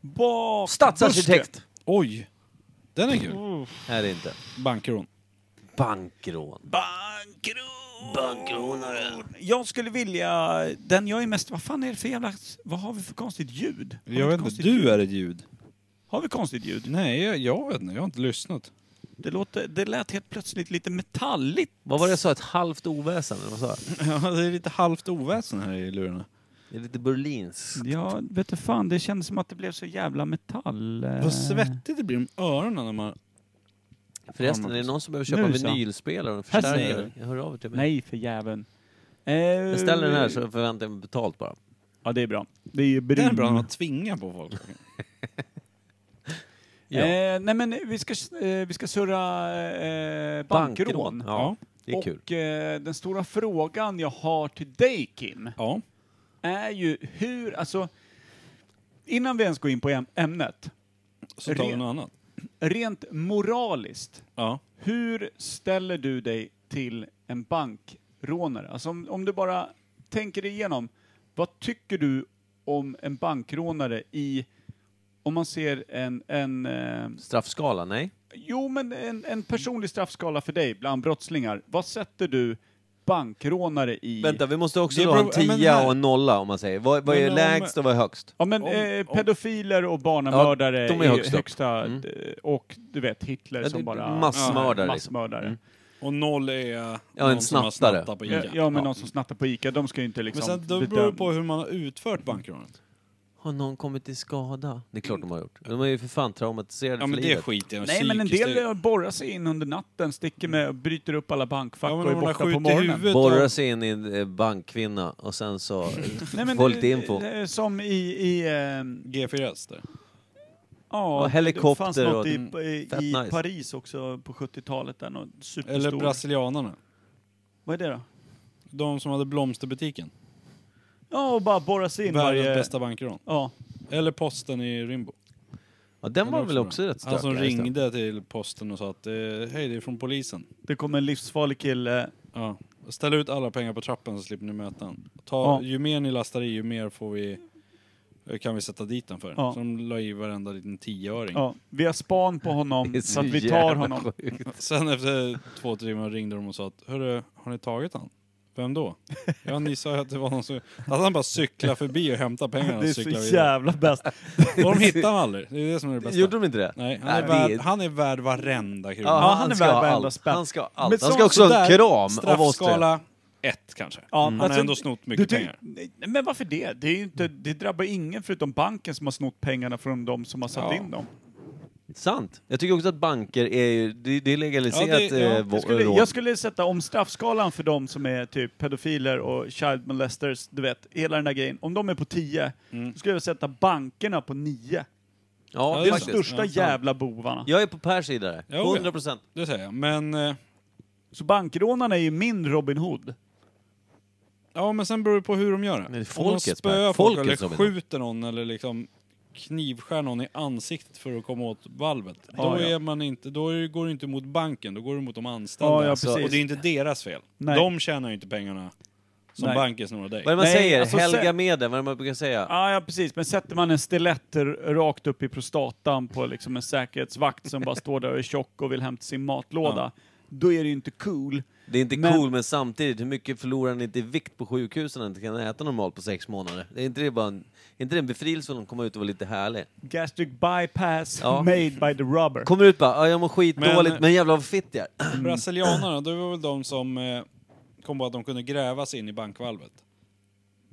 Bak-
Stadsarkitekt!
Oj! Den är
Mm.
kul.
Här är inte.
Bankrån.
Bankrån.
Bankrån! Jag skulle vilja... Den jag är mest... Vad fan är det för jävla... Vad har vi för konstigt ljud? Har vi
Jag
ett
vet inte,
konstigt
du
ljud?
är ett ljud.
Har vi konstigt ljud?
Nej, jag, jag vet inte. Jag har inte lyssnat.
Det, låter, det lät helt plötsligt lite metalligt.
Vad var det jag sa? Ett halvt oväsen? eller Vad sa jag?
Ja, det är lite halvt oväsen här i lurarna.
Det är lite Berlins.
Ja, vet du fan. Det kändes som att det blev så jävla metall... eh.
Vad svettigt det blir om öronen när man...
Förresten, är det någon som behöver köpa
Nu så.
vinylspelare och en
Här ser
förstärkare? Jag hör av er till mig.
Nej, för jävlen. Eh,
Beställ den här så förväntar jag mig betalt bara.
Ja, det är bra. Det är brun.
Det är bra när man tvingar på folk.
Ja.
Eh, nej, men vi ska, eh, vi ska surra eh, bankrån.
Ja, det är
och
kul.
Eh, den stora frågan jag har till dig, Kim,
Ja.
är ju hur, alltså, innan vi ens går in på äm- ämnet,
Så tar vi något annat.
rent moraliskt,
Ja.
hur ställer du dig till en bankrånare? Alltså om, om du bara tänker igenom, vad tycker du om en bankrånare i, om man ser en, en eh,
Straffskala? Nej.
Jo, men en, en personlig straffskala för dig bland brottslingar. Vad sätter du bankrånare i?
Vänta, vi måste också
Det
då ha en
beror- ja, men
tia
här-
och en nolla om man säger. Vad, vad är
Men om-
lägst och vad är högst?
Ja, men
Om-
eh,
om-
pedofiler och barnamördare
Ja, de är
är,
högst upp.
högsta...
Mm.
eh, Och du vet, Hitler
Ja, det-
som bara...
massmördare,
Ja,
liksom.
massmördare.
Och noll är eh, ja,
en snattare.
på
Ja,
Ica.
ja, men någon som snattar på Ica, de ska ju inte
Men
liksom...
sen då beror det på hur man har utfört
Mm.
bankrånet.
Har någon kommit till skada? Det är klart de har gjort. De är ju för fan traumatiserade
Ja
för
men det
livet.
skiter jag i.
Nej, men en
Psykiskt, det-
del eh, borrar sig in under natten, sticker med och bryter upp alla bankfack
Ja, men
och är
om man har
borta på
skjutit i
morgonen.
huvudet
Borrar
och-
sig in i en eh, bankkvinna och sen så
Nej, men,
folk till
eh,
info.
eh, Som i... i eh,
G4S där.
ja,
Och
det
helikopter
fanns något
och-
i,
mm,
i,
fett
i
nice.
Paris också på 70-talet. Där, något
Eller
superstor...
brasilianarna.
Vad är det då?
De som hade blomsterbutiken.
Ja, och bara borra sig in
Världens
varje...
bästa bankrån.
Ja.
Eller posten i Rimbo.
Ja, den var väl också rätt stökig?
Han som
just det.
ringde till posten och sa att eh, hej det är från polisen.
Det kom en livsfarlig kille.
Ja. Ställ ut alla pengar på trappan så slipper ni möta han. Ta,
Ja.
Ju mer ni lastar i ju mer får vi, eh, kan vi sätta dit den för.
Ja.
Så de la i varenda liten tioöring.
Ja, vi har span på
Det är
honom
så
så att vi tar
jävla
honom.
sjukt.
Sen efter två, tre timmar ringde de och sa att Hörru, har ni tagit han? Vem då? Ja ni sa ju att det var någon som... Att han bara cyklar förbi och hämtar pengarna
Det är
och
så
cyklar vidare.
jävla bäst.
Och de hittar han aldrig. Det är det som är det bästa.
Gjorde de inte det?
Nej, han
Nej,
är,
det är-
värd, han är värd varenda krona.
Ja,
han
han,
är
ska
värd
ha
varenda
allt.
spänn.
han ska ha allt.
Men
Han
så-
ska också ha en
sådär,
kram av oss tre.
Straffskala ett kanske.
Mm.
Ja,
Han
alltså,
har ändå snott
Du,
mycket
ty-
pengar.
nej, men varför det? Det, är ju inte, det drabbar ingen förutom banken som har snott pengarna från de som har satt
Ja.
in dem.
Sant. Jag tycker också att banker är ju, det, det är legaliserat
Ja, det- ja,
eh,
jag
vå-
Jag skulle,
rån.
jag skulle sätta om straffskalan för de som är typ pedofiler och child molesters, du vet, hela den där grejen. Om de är på 10, då skulle jag sätta bankerna på 9.
Ja,
Mm. Ja,
Det är de
faktiskt.
största
Ja, sant.
jävla bovarna.
Jag är på Pers sida där.
Jo, ja.
100 procent.
Det säger jag. Men, eh,
Så bankrånarna är ju min Robin Hood.
ja, men sen beror det på hur de gör det.
Men det är
Om de
folket,
spöar
Bert.
folk
Folket
eller
som är det.
skjuter någon eller liksom knivskär någon i ansiktet för att komma åt valvet.
Ja,
då,
ja.
är man inte, då är- går du inte mot banken, då går du mot de anställda.
Ja, ja,
Alltså,
precis.
och det är inte deras fel.
Nej.
De tjänar ju inte pengarna som
Nej.
banken snor dig.
Vad är det man
Nej,
säger?
alltså,
Helga
se- Ah,
medel, vad är det man brukar säga?
Ja, ja, precis. Men sätter man en stilett r- rakt upp i prostatan på liksom en säkerhetsvakt som bara står där och är tjock och vill hämta sin matlåda, då är det ju inte cool.
Det är inte
men-
cool, men samtidigt, hur mycket förlorar ni inte i vikt på sjukhusen när ni inte kan äta normalt på sex månader? Det är inte det bara en, är inte det en befrielse att komma ut och vara lite härlig?
Gastric bypass
Ja.
made by the rubber.
Kommer ut bara, ja, jag mår skitdåligt, men,
Men-
men jävlar vad fitt jag är.
Brasilianarna, Mm. det var väl de som eh, kom på att de kunde gräva sig in i bankvalvet.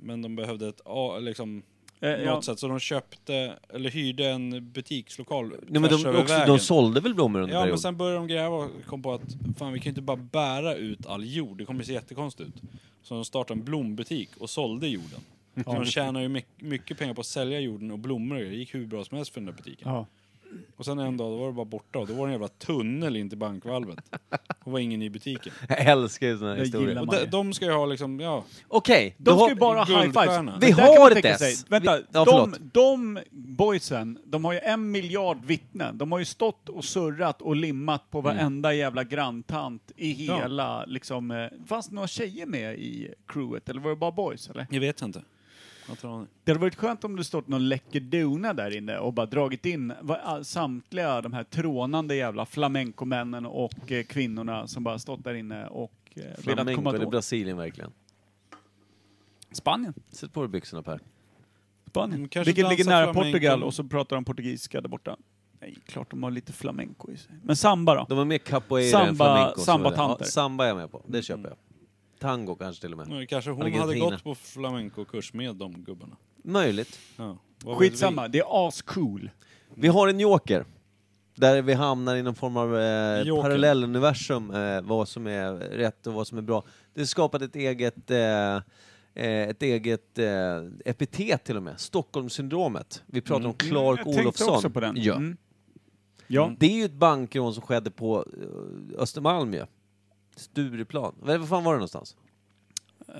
Men de behövde ett, A- liksom,
Eh,
något
ja.
sätt, så de köpte, eller hyrde en butikslokal
Nej, men
tvärs
de,
över
också,
vägen.
de sålde väl blommor under
Ja, men
perioden?
sen började de gräva och kom på att fan, vi kan ju inte bara bära ut all jord, det kommer se jättekonstigt ut. Så de startade en blombutik och sålde jorden. Så de tjänade ju mycket, mycket pengar på att sälja jorden och blommor och grejer. Det gick hur bra som helst för den där butiken.
Ja.
Och sen en dag då var det bara borta och då var det en jävla tunnel in till bankvalvet. Hon var ingen i butiken.
Jag älskar ju såna här
Jag
historier.
gillar
Och
man
de,
ju.
de ska ju ha liksom, ja.
Okej, då
De ska ju
har-
bara ha high-fives.
guldstjärna.
Det
Vi
där kan man
har
tänka
ett
sig.
S.
Vänta,
Vi- ja,
de,
förlåt.
de boysen, de har ju en miljard vittnen. De har ju stått och surrat och limmat
Mm.
på varenda jävla granntant i hela, liksom... eh, Fanns det några tjejer med i crewet, eller var det bara boys, eller?
Jag vet inte. Jag tror hon-
Det hade varit skönt om det stått någon läcker dona där inne och bara dragit in va- all- samtliga de här trånande jävla flamencomännen och eh, kvinnorna som bara stått där inne och eh, velat
Flamenco
komma
eller
åt.
Brasilien verkligen.
Spanien.
Sätt på dig byxorna Per.
Spanien.
De kanske
Vilket ligger
dansar
nära
flamenco.
Portugal och så pratar de portugisiska där borta. Nej, klart de har lite flamenco i sig. Men samba då?
De är mer capoeira
Samba-
än flamenco. som
sambatanter. Mm.
är det. Ja, samba är jag med på, det köper jag. Tango kanske till och med.
Nej, Kanske hon hade
Argentina.
gått på flamencokurs med de gubbarna.
Möjligt.
Ja. Vad vet vi?
Skitsamma, det är ascool.
Vi har en joker. Där vi hamnar i någon form av eh,
Joker.
parallelluniversum, eh, vad som är rätt och vad som är bra. Det är skapat ett eget, eh, eh, ett eget eh, epitet till och med, Stockholmssyndromet. Vi pratar om Clark
Mm. jag tänkte
Olofsson.
också på den.
Ja.
Mm. Ja.
Det är ju ett bankrån som skedde på eh, Östermalm ju. Stureplan. Vad vad fan var det någonstans?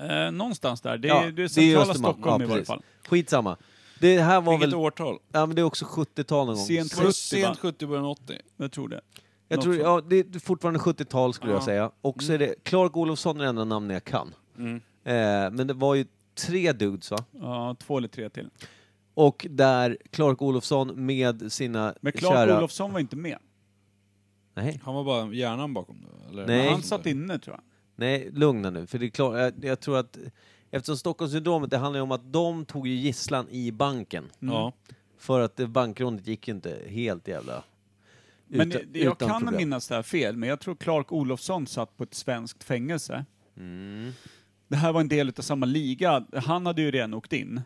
Eh, någonstans där. Det är,
Ja,
det är
ju
centrala
Östermalm.
Stockholm
Ja,
i varje
precis.
fall.
Skitsamma. Det här var
Vilket
väl...
årtal?
Ja, men det är också 70-tal någon gång.
Sent
Var det
70, va?
sent 70, början 80?
Jag tror det.
Jag
Något Mm.
tror,
sånt.
ja, det är fortfarande 70-tal skulle jag
Ja.
säga. Och så är det Clark Olofsson är det enda namnet jag kan.
Mm.
Eh, men det var ju tre dudes va?
Ja, två eller tre till.
Och där Clark Olofsson med sina
Men Clark
kära...
Olofsson var inte med.
Nej,
Han var bara hjärnan bakom det? Eller?
Nej.
Han satt inne tror jag.
nej, lugna nu. För det är klart, jag, jag tror att... Eftersom Stockholmssyndromet, det handlar ju om att de tog ju gisslan i banken.
Mm.
Ja.
För att det bankrånet gick ju inte helt jävla...
Men
utan-
det- jag
utan
kan
problem.
minnas det här fel, men jag tror Clark Olofsson satt på ett svenskt fängelse.
Mm.
Det här var en del av samma liga. Han hade ju redan åkt in.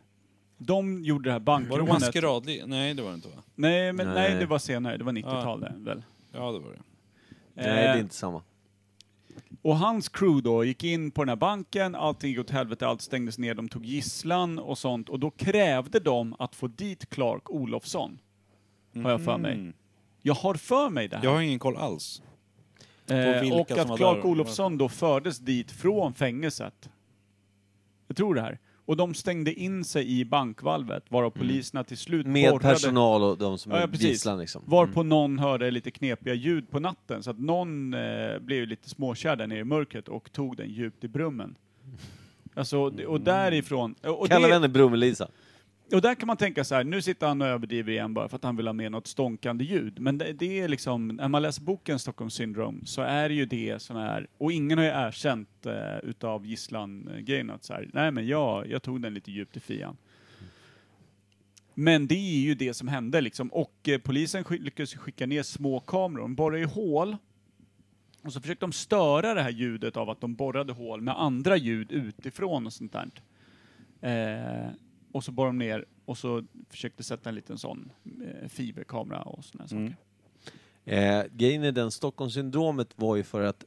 De gjorde det här
Var det
bankrånet.
maskeradlig? Nej, det var det inte va?
Nej, men, nej.
Nej.
det var senare. Det var 90-tal det, väl.
Ja, det var det.
Nej, det är
Eh,
inte samma.
Och hans crew då gick in på den här banken, allting gick åt helvete, allt stängdes ner, de tog gisslan och sånt. Och då krävde de att få dit Clark Olofsson. Har jag för
Mm.
mig. Jag har för mig det här.
Mm. Jag har ingen koll alls.
Eh,
vilka
och
som var
att Clark
där.
Olofsson då fördes dit från fängelset. Jag tror det här. Och de stängde in sig i bankvalvet, varav
Mm.
poliserna till slut
Med
borrade-
personal och de som
Ja, ja,
är
precis.
gisslan liksom.
Varpå
Mm.
någon hörde lite knepiga ljud på natten, så att någon eh, blev ju lite småkär där nere i mörkret och tog den djupt i brummen. Alltså, det-
Mm.
och därifrån... Och,
Kalla
det,
henne Brummelisa.
och där kan man tänka så här, nu sitter han och överdriver igen bara för att han vill ha med något stånkande ljud. Men det, det är liksom, när man läser boken Stockholms syndrom så är det ju det som är, och ingen har ju erkänt eh, utav gisslan-grejen att så här, nej men jag, jag tog den lite djupt i fian. Men det är ju det som hände liksom. Och eh, polisen sk- lyckades ju skicka ner små kameror. De borrade ju hål. Och så försökte de störa det här ljudet av att de borrade hål med andra ljud utifrån och sånt där. Eh, och så borrade de ner och så försökte sätta en liten sån eh, fiberkamera och såna här
Mm.
saker.
Eh, grejen är den, Stockholmssyndromet var ju för att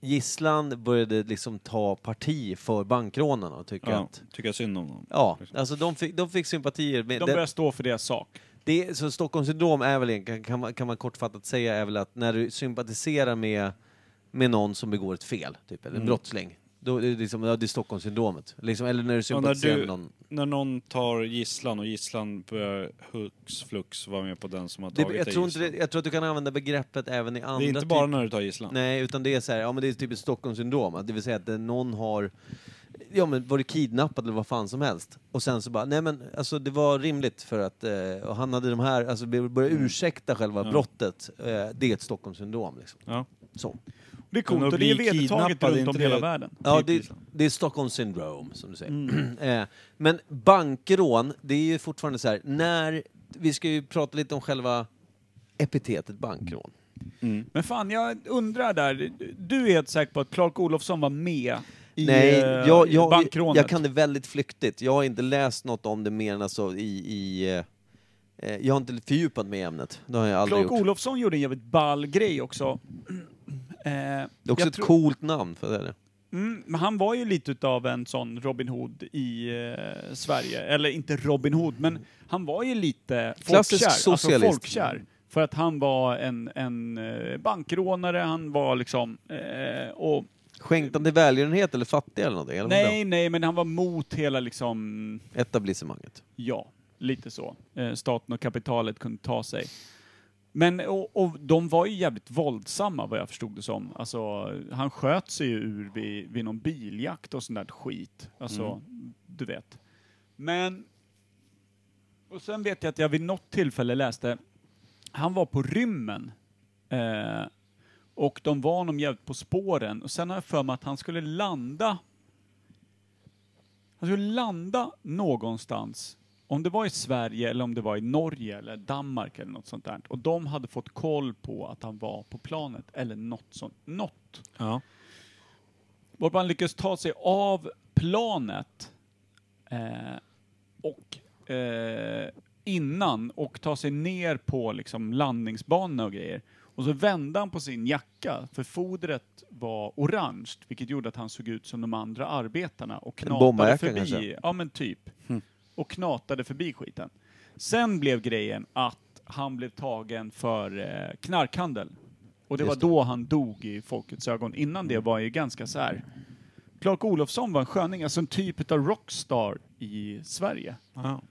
gisslan började liksom ta parti för bankrånarna och tycka
Ja,
att...
tycker jag synd om dem.
Ja, alltså de fick, de fick sympatier. Med
De
den-
börjar stå för deras sak.
det, så Stockholmssyndrom är väl egentligen, kan man, kan man kortfattat säga, är väl att när du sympatiserar med, med någon som begår ett fel, typ,
Mm.
eller en brottsling, då är det, liksom, ja, det är Stockholmssyndromet. Liksom, eller när du
Och när,
sympatiserar
du,
med någon...
när någon tar gisslan och gisslan börjar hux flux vara med på den som har
Det,
tagit
jag,
dig
tror inte
gisslan.
det, jag tror att du kan använda begreppet även i andra
det är inte bara
typer-
när du tar gisslan.
Nej, utan det är så här, ja men det är typ ett Stockholmssyndrom, att det vill säga att eh, någon har ja, men varit kidnappad eller vad fan som helst. Och sen så bara, nej men alltså det var rimligt för att, eh, och han hade de här, alltså börja ursäkta själva brottet. Eh, det är ett Stockholmssyndrom liksom.
Ja.
Så.
Det är
Men
coolt
att
och det är
bli
vedertaget
kidnappad, är
runt
inte
om hela
det-
världen.
Ja, det,
Typiskt.
det är Stockholmssyndrom som du säger. eh, men bankrån, det är ju fortfarande så här, när, vi ska ju prata lite om själva epitetet bankrån.
Men fan, jag undrar där. Du är helt säker på att Clark Olofsson var med i eh,
Nej, jag, jag,
bankrånet?
jag kan det väldigt flyktigt. Jag har inte läst något om det mer än alltså i... i eh, eh, jag har inte fördjupat mig i ämnet. Det har jag aldrig
Clark
gjort.
Olofsson gjorde en jävligt ball grej också. Eh,
Det är också
jag
ett
tror-
coolt namn för det. är det.
Mm, men han var ju lite utav en sån Robin Hood i eh, Sverige. Eller inte Robin Hood, men han var ju lite
Klassisk
folkkär. Alltså
socialist.
folkkär. För att han var en, en eh, bankrånare, han var liksom... Eh, och,
Skänkte han till välgörenhet eller fattiga eller någonting? Eller vad
nej, nej, men han var mot hela liksom...
det var? Etablissemanget.
Ja, lite så. Eh, staten och kapitalet kunde ta sig. Men och, och de var ju jävligt våldsamma vad jag förstod det som. Alltså, han sköt sig ju ur vid, vid någon biljakt och sånt där skit. Alltså, du vet. Men... Och sen vet jag att jag vid något tillfälle läste, han var på rymmen. Eh, och de var honom jävligt på spåren. Och sen har jag för mig att han skulle landa han skulle Alltså, landa någonstans, om det var i Sverige eller om det var i Norge eller Danmark eller något sånt där. Och de hade fått koll på att han var på planet eller något sånt. Något.
Ja.
Varpå han lyckades ta sig av planet eh, och eh, innan och ta sig ner på liksom landningsbanorna och grejer. Och så vände han på sin jacka, för fodret var orange, vilket gjorde att han såg ut som de andra arbetarna och knatade
bombarjacka
förbi.
kanske?
Ja men typ. Och knatade förbi skiten. Sen blev grejen att han blev tagen för eh, knarkhandel. Och det
Just
var då han dog i folkets ögon. Innan det var ju ganska så här. Clark Olofsson var en sköning, alltså en typ av rockstar i Sverige.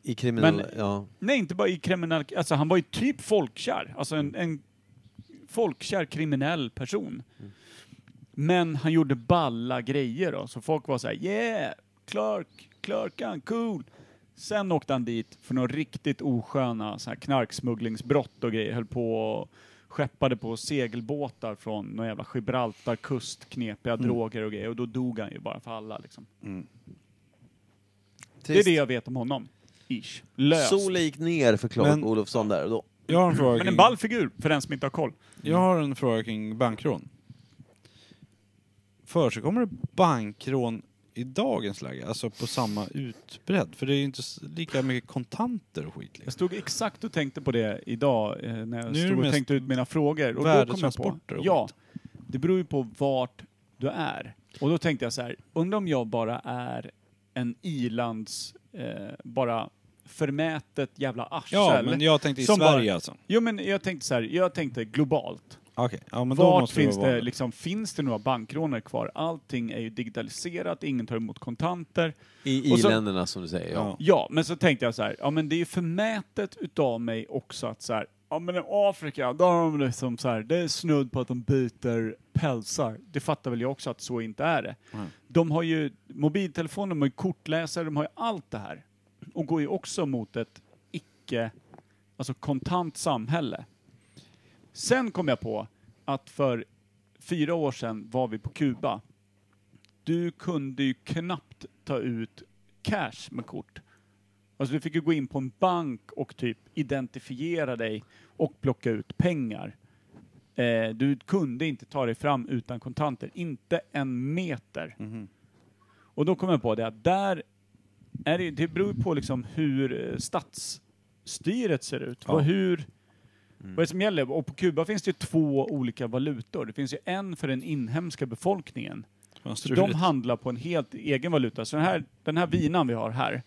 I kriminella...
Men-
Ja.
Nej, inte bara i kriminell... Alltså han var ju typ folkkär. Alltså en, en folkkär kriminell person. Men han gjorde balla grejer då, så folk var så här: yeah, Clark, Clarkan, cool. Sen åkte han dit för några riktigt osköna så här knarksmugglingsbrott och grejer. Höll på och skeppade på segelbåtar från någon jävla Gibraltarkust, knepiga droger och grejer. Och då dog han ju bara för alla liksom. Det är
Trist.
det jag vet om honom. Ish. Löst.
Solen gick ner för Clark
Men-
Olofsson där och då.
Jag har en fråga
Men
kring,
en ball figur, för den som inte har koll.
jag har en fråga kring bankrån. Förekommer det bankrån i dagens läge? Alltså på samma utbredd? För det är ju inte s- lika mycket kontanter och skit.
Jag
Liksom.
stod exakt och tänkte på det idag eh, när jag
Nu är det
stod och
mest
tänkte ut mina frågor. Och då kom jag på,
värdetransporter och
ja,
skit.
det beror ju på vart du är. Och då tänkte jag så här, undrar om jag bara är en ilands, eh, bara förmätet jävla arsel.
Ja, men jag tänkte i
Som bara-
Sverige alltså.
Jo men jag tänkte så här, jag tänkte globalt.
Okej, ja men då
Vart
måste
finns
vara
det,
vanligt.
liksom, finns det några bankrånare kvar? Allting är ju digitaliserat, ingen tar emot kontanter.
I
Och så-
i-länderna som du säger, ja.
Ja.
Ja, men så tänkte jag så här, ja men det är ju förmätet utav mig också att så här, ja men i Afrika, då har de liksom så här, det är snudd på att de byter pälsar. Det fattar väl jag också att så inte är det. De har ju mobiltelefoner, de har ju kortläsare, de har ju allt det här. Och går ju också mot ett icke, alltså kontant samhälle. Sen kom jag på att för fyra år sedan var vi på Kuba. Du kunde ju knappt ta ut cash med kort. Alltså du fick ju gå in på en bank och typ identifiera dig och plocka ut pengar. Eh, du kunde inte ta dig fram utan kontanter, inte en meter. Och då kom jag på det att där är det, ju- det beror ju på liksom hur eh, statsstyret ser ut. Och hur, Vad är det som gäller? Och på Kuba finns det ju två olika valutor. Det finns ju en för den inhemska befolkningen
Vad
så
struligt.
de handlar på en helt egen valuta. Så den här, den här vinan vi har här,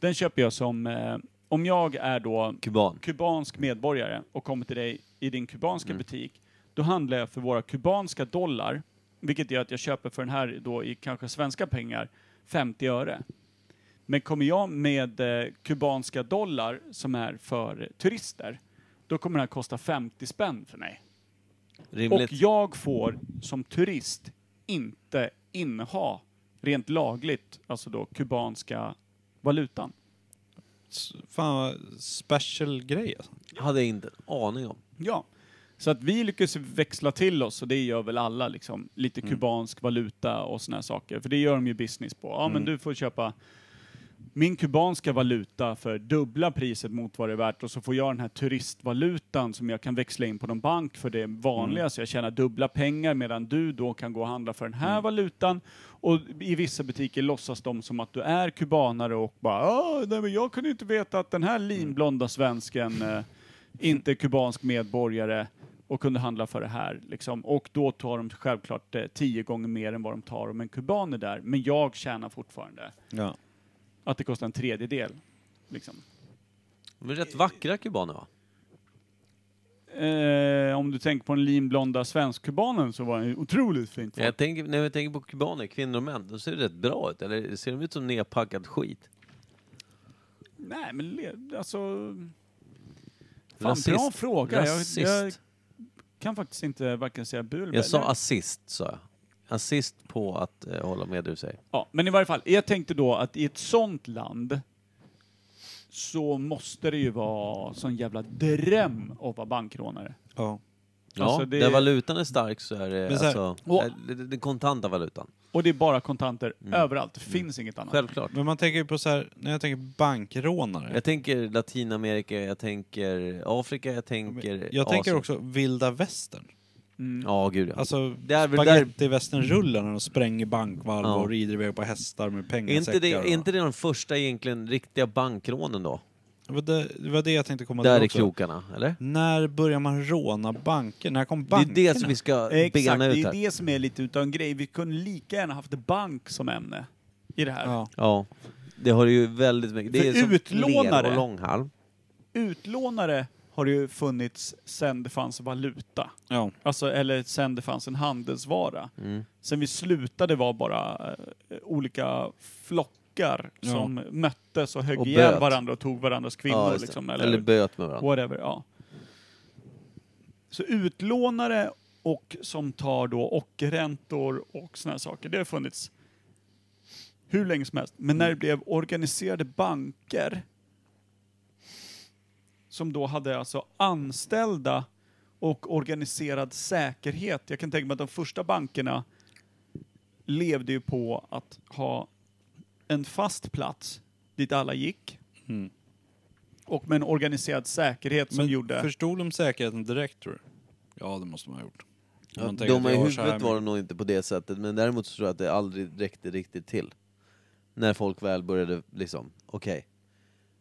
den köper jag som, eh, om jag är då
Kuban.
kubansk medborgare och kommer till dig i din kubanska butik, då handlar jag för våra kubanska dollar, vilket gör att jag köper för den här då i kanske svenska pengar, 50 öre. Men kommer jag med eh, kubanska dollar som är för turister, då kommer den här kosta 50 spänn för mig.
Rimligt.
Och jag får som turist inte inneha rent lagligt, alltså då kubanska valutan.
S- Fan vad special grej alltså.
Hade jag inte en aning om.
Ja. Så att vi lyckas växla till oss, och det gör väl alla, liksom, lite kubansk valuta och såna här saker. För det gör de ju business på. Ja, men du får köpa min kubanska valuta för dubbla priset mot vad det är värt och så får jag den här turistvalutan som jag kan växla in på någon bank för det är vanliga, så jag tjänar dubbla pengar medan du då kan gå och handla för den här valutan. Och i vissa butiker låtsas de som att du är kubanare och bara "Ah, nej, men jag kunde ju inte veta att den här linblonda svensken eh, inte är kubansk medborgare och kunde handla för det här. Liksom. Och då tar de självklart eh, tio gånger mer än vad de tar om en kuban är där. Men jag tjänar fortfarande
Ja.
att det kostar en tredjedel. Liksom.
De är rätt vackra kubaner va?
eh, om du tänker på den linblonda svenskkubanen så var den ju otroligt fint.
Jag tänker, när jag tänker på kubaner, kvinnor och män, de ser rätt bra ut. Eller ser de ut som nedpackad skit?
Nej, men le- alltså... Fan,
Rasist.
bra fråga. Jag,
Rasist.
jag kan faktiskt inte varken säga bu eller bä.
Jag sa assist, sa jag. Assist på att eh, hålla med det du säger.
Ja, men i varje fall, jag tänkte då att i ett sånt land så måste det ju vara sån jävla dröm att vara bankrånare.
Ja.
Ja,
Alltså, det-
där valutan är stark så är det
Men så här-
alltså,
Åh.
eh, det- det- den kontanta valutan.
Och det är bara kontanter
Mm.
överallt, det finns inget annat.
Självklart.
Men man tänker ju på så här, när jag tänker bankrånare.
Jag tänker Latinamerika, jag tänker Afrika, jag tänker
Jag tänker
Asien.
också vilda västern.
Mm.
Ja, gud ja.
Alltså
Det är väl där-
spagettivästernrullar när de spränger bankvalv
Ja.
och rider iväg på hästar med
Är inte
pengasäckar.
det,
och-
är inte det de första egentligen riktiga bankrånen då?
Det var det, det var det jag tänkte komma
Där
till
är
också.
krokarna, eller?
När börjar man råna banker? När kom
Det är
bankerna?
det som vi ska
Exakt,
bena
det
ut
är
här.
det som är lite utav en grej. Vi kunde lika gärna haft bank som ämne i det här.
Ja.
Ja, det har ju väldigt mycket. Det
För
är som
utlånare-
ler och långhalm.
Utlånare har det ju funnits sen det fanns valuta.
Ja.
Alltså, eller sen det fanns en handelsvara.
Mm.
Sen vi slutade var bara eh, olika flockar
Ja.
som möttes och högg
Och
ihjäl
böt.
varandra och tog varandras kvinnor.
Ja, just det.
liksom,
eller,
eller
böt med varandra.
whatever. Ja. Så utlånare och som tar då ockerräntor och såna här saker, det har funnits hur länge som helst. Men när
Mm.
det blev organiserade banker som då hade alltså anställda och organiserad säkerhet. Jag kan tänka mig att de första bankerna levde ju på att ha en fast plats dit alla gick
Mm.
och med en organiserad säkerhet som
Men
gjorde...
Förstod de säkerheten direkt tror du? Ja, det måste man ha gjort. Om
Ja,
man tänker att
de i
jag har så här
huvudet var det
mycket-
nog inte på det sättet, men däremot så tror jag att det aldrig räckte riktigt till. När folk väl började liksom, okej,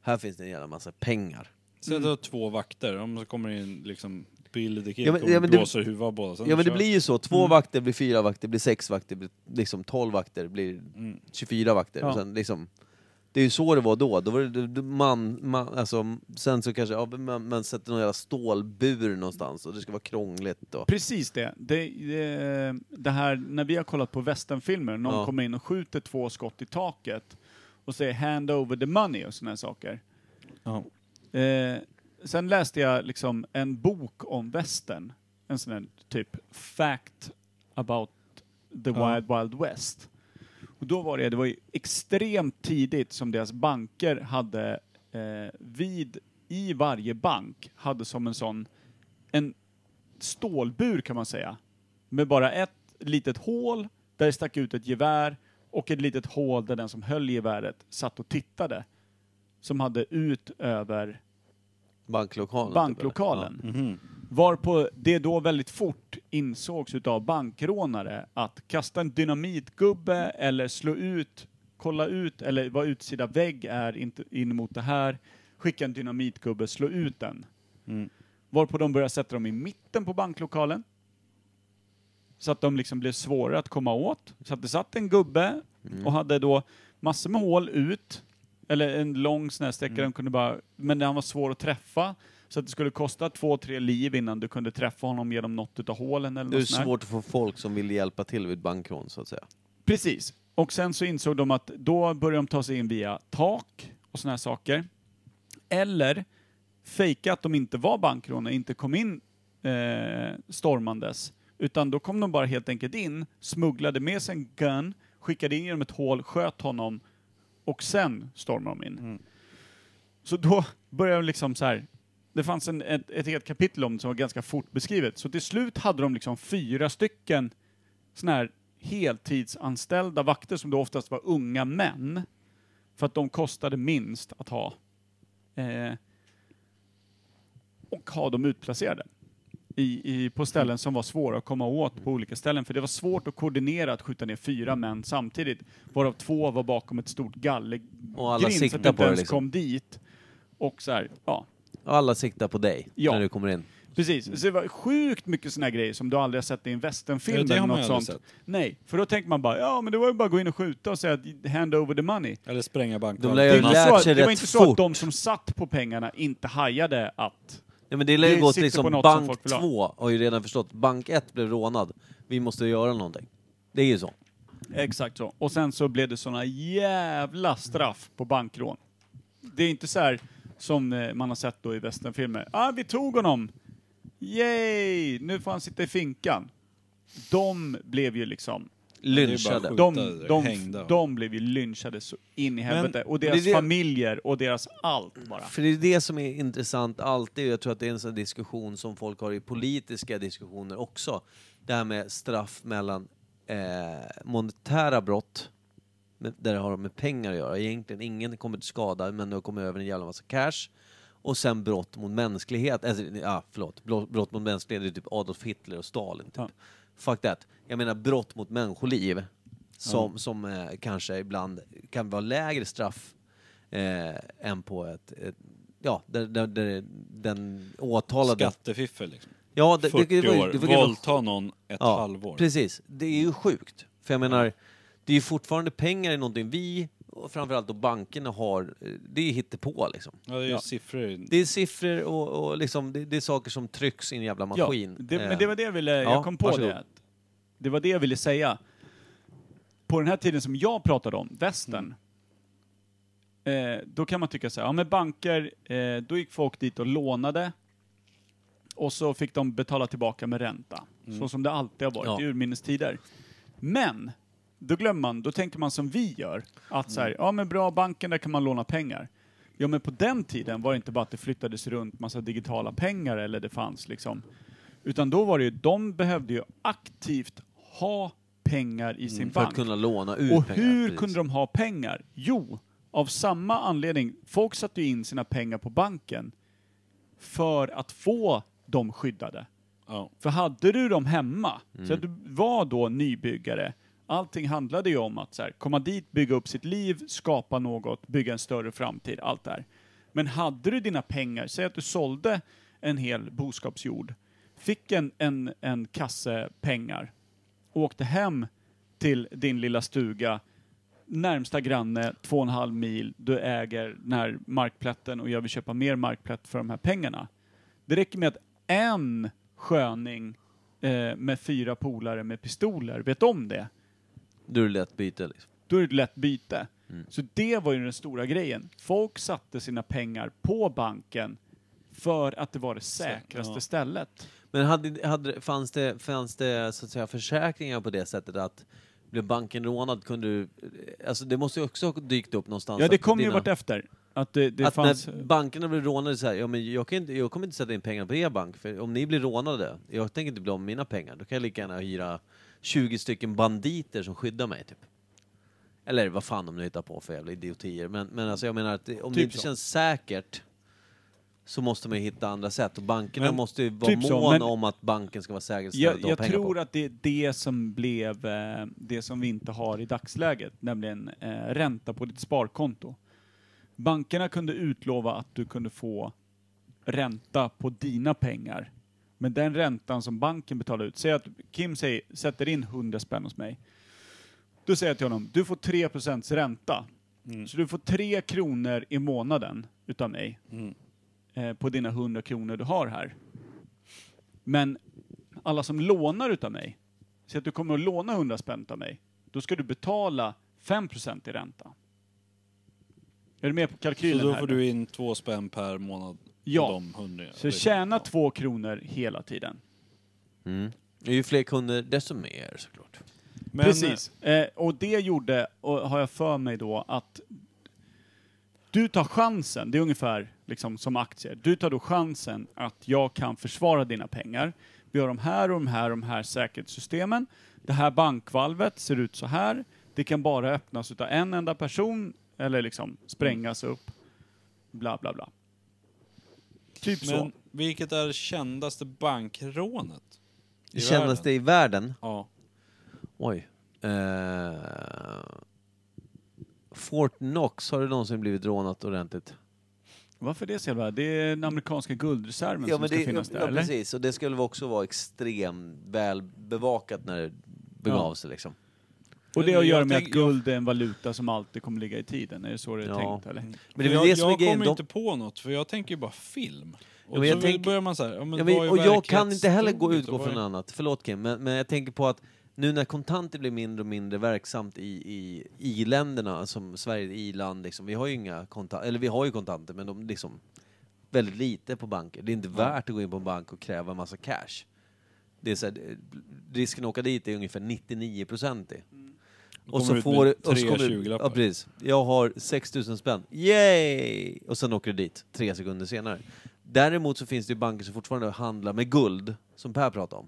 här finns det en jävla massa pengar.
Säg att du har två vakter, om så kommer det in liksom billig kille
Mm. Ja, men-
kommer
ja,
och
men det-
blåser huvudet av båda. Sen
Ja men det
kör-
blir ju så, två vakter blir fyra vakter, blir sex vakter, blir liksom tolv vakter, blir
Mm.
24 vakter.
Ja.
Och sen liksom, det är ju så det var då, då var det- det det- man, man alltså, sen så kanske, ja, man, man sätter någon jävla stålbur någonstans och det ska vara krångligt och...
Precis det. Det, det. det här när vi har kollat på westernfilmer, någon
Ja.
kommer in och skjuter två skott i taket och säger hand over the money och sådana saker.
Ja.
Eh, sen läste jag liksom en bok om västern, en sån här typ fact about the
Ja.
wild wild west. Och då var det, det var ju extremt tidigt som deras banker hade eh, vid, i varje bank hade som en sån, en stålbur kan man säga. Med bara ett litet hål där det stack ut ett gevär och ett litet hål där den som höll geväret satt och tittade. Som hade ut över
Banklokalen. typ,
banklokalen.
Mhm.
Varpå det då väldigt fort insågs utav bankrånare att kasta en dynamitgubbe eller slå ut, kolla ut eller vad utsida vägg är inte- in mot det här, skicka en dynamitgubbe, slå ut den.
Mm.
Varpå de började sätta dem i mitten på banklokalen. Så att de liksom blev svårare att komma åt. Så att det satt en gubbe
Mm.
och hade då massor med hål ut, eller en lång sån här sträcka,
Mm.
de kunde bara, men han var svår att träffa. Så att det skulle kosta två, tre liv innan du kunde träffa honom genom något utav hålen eller
Det är
något sånt här.
svårt att få folk som vill hjälpa till vid bankrån så att säga.
Precis. Och sen så insåg de att då började de ta sig in via tak och såna här saker. Eller fejka att de inte var bankrånare, inte kom in eh, stormandes. Utan då kom de bara helt enkelt in, smugglade med sig en gun, skickade in genom ett hål, sköt honom och sen stormade de in.
Mhm.
Så då började de liksom så här. Det fanns en, ett, ett helt kapitel om det som var ganska fort beskrivet. Så till slut hade de liksom fyra stycken såna här heltidsanställda vakter som då oftast var unga män. För att de kostade minst att ha. Eh, och ha dem utplacerade. I, i, på ställen som var svåra att komma åt på olika ställen. För det var svårt att koordinera att skjuta ner fyra män samtidigt. Varav två var bakom ett stort galler,
Och alla
grin, så att jag
siktar
inte
på det
ens
liksom.
kom dit. Och så här, ja.
Och alla siktar på dig
Ja.
när du kommer in.
Precis. Så det var sjukt mycket såna här grejer som du aldrig har sett i en
Mm. Ja,
westernfilm
det
eller
har man
något
ju aldrig
sånt. Nej, för då tänker man bara, ja men det var ju bara att gå in och skjuta och säga att hand over the money.
Eller spränga
De
bankvalv.
lär
Det,
ju ha
är inte så,
lärt
att-
sig
det var
rätt
inte så att
fort.
de som satt på pengarna inte hajade att
Nej, men det lär ju
Vi
gått
sitter på
liksom,
något som
bank
folk vill ha.
2 har ju redan förstått, bank 1 blev rånad. Vi måste göra någonting. Det är ju så.
Exakt så. Och sen så blev det såna jävla straff på bankrån. Det är inte så här som eh, man har sett då i westernfilmer. Ah, vi tog honom! Yay! Nu får han sitta i finkan. De blev ju liksom...
Lynchade.
sjukt.
De,
Skjutade,
de,
hängda.
de blev ju lynchade så in i helvete. Och deras
det är det-
familjer och deras allt bara.
För det är det som är intressant alltid, och jag tror att det är en sån diskussion som folk har i politiska diskussioner också. Det här med straff mellan eh, monetära brott, men där det har med pengar att göra. Egentligen ingen kommer till skada, men du kommer över en jävla massa cash. Och sen brott mot mänsklighet, alltså, ja förlåt, Bro- brott mot mänsklighet, det är typ Adolf Hitler och Stalin. Typ.
Ja.
Fuck that. Jag menar brott mot människoliv, som, som eh, kanske ibland kan vara lägre straff eh, än på ett, ett ja, där, där, där den åtalade...
Skattefiffel liksom.
ja, det- det- det
40
var ju-
år,
det var ju-
våldta någon ett
ja,
halvår.
Precis, det är
Mm.
ju sjukt. För jag menar, det är ju fortfarande pengar i någonting vi, och framförallt då bankerna har, eh, det är hittepå liksom.
Ja, det är ju siffror.
Det är siffror och, och liksom, det, det är saker som trycks i en jävla maskin.
Ja, det,
Eh,
men det var det jag ville,
ja,
jag kom på
varsågod.
det. att- Det var det jag ville säga. På den här tiden som jag pratade om, västern, eh, då kan man tycka så här, ja men banker, eh, då gick folk dit och lånade och så fick de betala tillbaka med ränta. Så som det alltid har varit
Mm. Ja.
i urminnes tider. Men, då glömmer man, då tänker man som vi gör, att
Mm.
så här, ja men bra, banken, där kan man låna pengar. Ja men på den tiden var det inte bara att det flyttades runt massa digitala pengar eller det fanns liksom utan då var det ju, de behövde ju aktivt ha pengar i sin
Mm, för att
bank.
kunna låna ut
och
pengar.
hur
precis.
kunde de ha pengar? Jo, av samma anledning. Folk satte ju in sina pengar på banken för att få dem skyddade.
Ja.
För hade du dem hemma, så att du var då nybyggare, allting handlade ju om att så här, komma dit, bygga upp sitt liv, skapa något, bygga en större framtid, allt det här. Men hade du dina pengar, säg att du sålde en hel boskapsjord, fick en, en, en kasse pengar, åkte hem till din lilla stuga, närmsta granne, två och en halv mil, du äger den här markplätten och jag vill köpa mer markplätt för de här pengarna. Det räcker med att en sköning eh, med fyra polare med pistoler vet om det.
Då är det lätt byte liksom.
Då är det ett lätt byte.
Mm.
Så det var ju den stora grejen. Folk satte sina pengar på banken för att det var det säkraste
ja.
stället.
Men hade, hade, fanns, det, fanns det så att säga, försäkringar på det sättet att blev banken rånad kunde du... Alltså det måste ju också ha dykt upp någonstans.
Ja, det
att
kom ju
Alltså, dina-
vartefter. Att det, det
att
fanns...
när bankerna blir rånade så här, ja men jag, kan inte, jag kommer inte sätta in pengar på er bank, för om ni blir rånade, jag tänker inte bli av med mina pengar, då kan jag lika gärna hyra 20 stycken banditer som skyddar mig typ. Eller vad fan de nu hittar på för jävla idiotier, men, men alltså jag menar att det- om det
Typ
inte
så.
känns säkert så måste man ju hitta andra sätt och bankerna
Men-
måste ju vara
typ så,
måna
men-
om att banken ska vara säker ställe
Jag,
att ha
jag
pengar
tror
på.
att det är det som blev eh, det som vi inte har i dagsläget, nämligen eh, ränta på ditt sparkonto. Bankerna kunde utlova att du kunde få ränta på dina pengar. Men den räntan som banken betalar ut, säg att Kim säger, sätter in 100 spänn hos mig. Då säger jag till honom, du får 3% ränta. Så du får 3 kronor i månaden utav mig
Mm.
eh, på dina 100 kronor du har här. Men alla som lånar utav mig, så att du kommer att låna 100 spänn utav mig, då ska du betala 5% i ränta. Är du med på
Så
kalkylen
då
här
får
nu?
du in två spänn per månad. på
Ja.
De liksom. hundringar.
Så tjäna två kronor hela tiden.
Och Ju fler kunder, desto mer såklart.
Men,
Precis. Eh, och det gjorde, och har jag för mig då, att du tar chansen, det är ungefär liksom som aktier, du tar då chansen att jag kan försvara dina pengar. Vi har de här och de här och de här säkerhetssystemen. Det här bankvalvet ser ut så här. Det kan bara öppnas utav en enda person eller liksom sprängas upp. Bla bla bla. Typ så.
Men vilket är det kändaste bankrånet? i
Kändes det
världen?
i världen?
Ja.
Oj. Eh, Fort Knox, har det någonsin blivit rånat ordentligt?
Varför det så jävla? Det är den amerikanska guldreserven som ska finnas där,
ja,
eller?
precis. Och det skulle väl också vara extremt väl bevakat när det begav sig liksom.
Och det har att
Jag
göra med att
tänker- jag-
guld är en valuta som alltid kommer ligga i tiden, är det så det är
Ja.
tänkt eller?
Men det är väl
jag
det som är
jag
grejen.
kommer
De,
inte på något, för jag tänker ju bara film. Och
men
så
jag tänker-
börjar man så här, ja, men
Ja, men,
vad är
och jag kan inte heller gå
verklighetstroget
utgå
och vad
från
är-
något annat. Förlåt Kim, men, men jag tänker på att nu när kontanter blir mindre och mindre verksamt i, i, i länderna, som Sverige är ett i-land, liksom, vi har ju inga kontanter, eller vi har ju kontanter men de liksom väldigt lite på banker. Det är inte värt att gå in på en bank och kräva en massa cash. Det är så här, eh, risken att åka dit är ungefär 99 procent Och
Kommer
så
ut
får
med
du- och så
tre
kommer du-
20-lappar.
Ja, precis. Jag har 6 000 spänn. Yay! Och sen åker du dit tre sekunder senare. Däremot så finns det ju banker som fortfarande handlar med guld, som Per pratade om.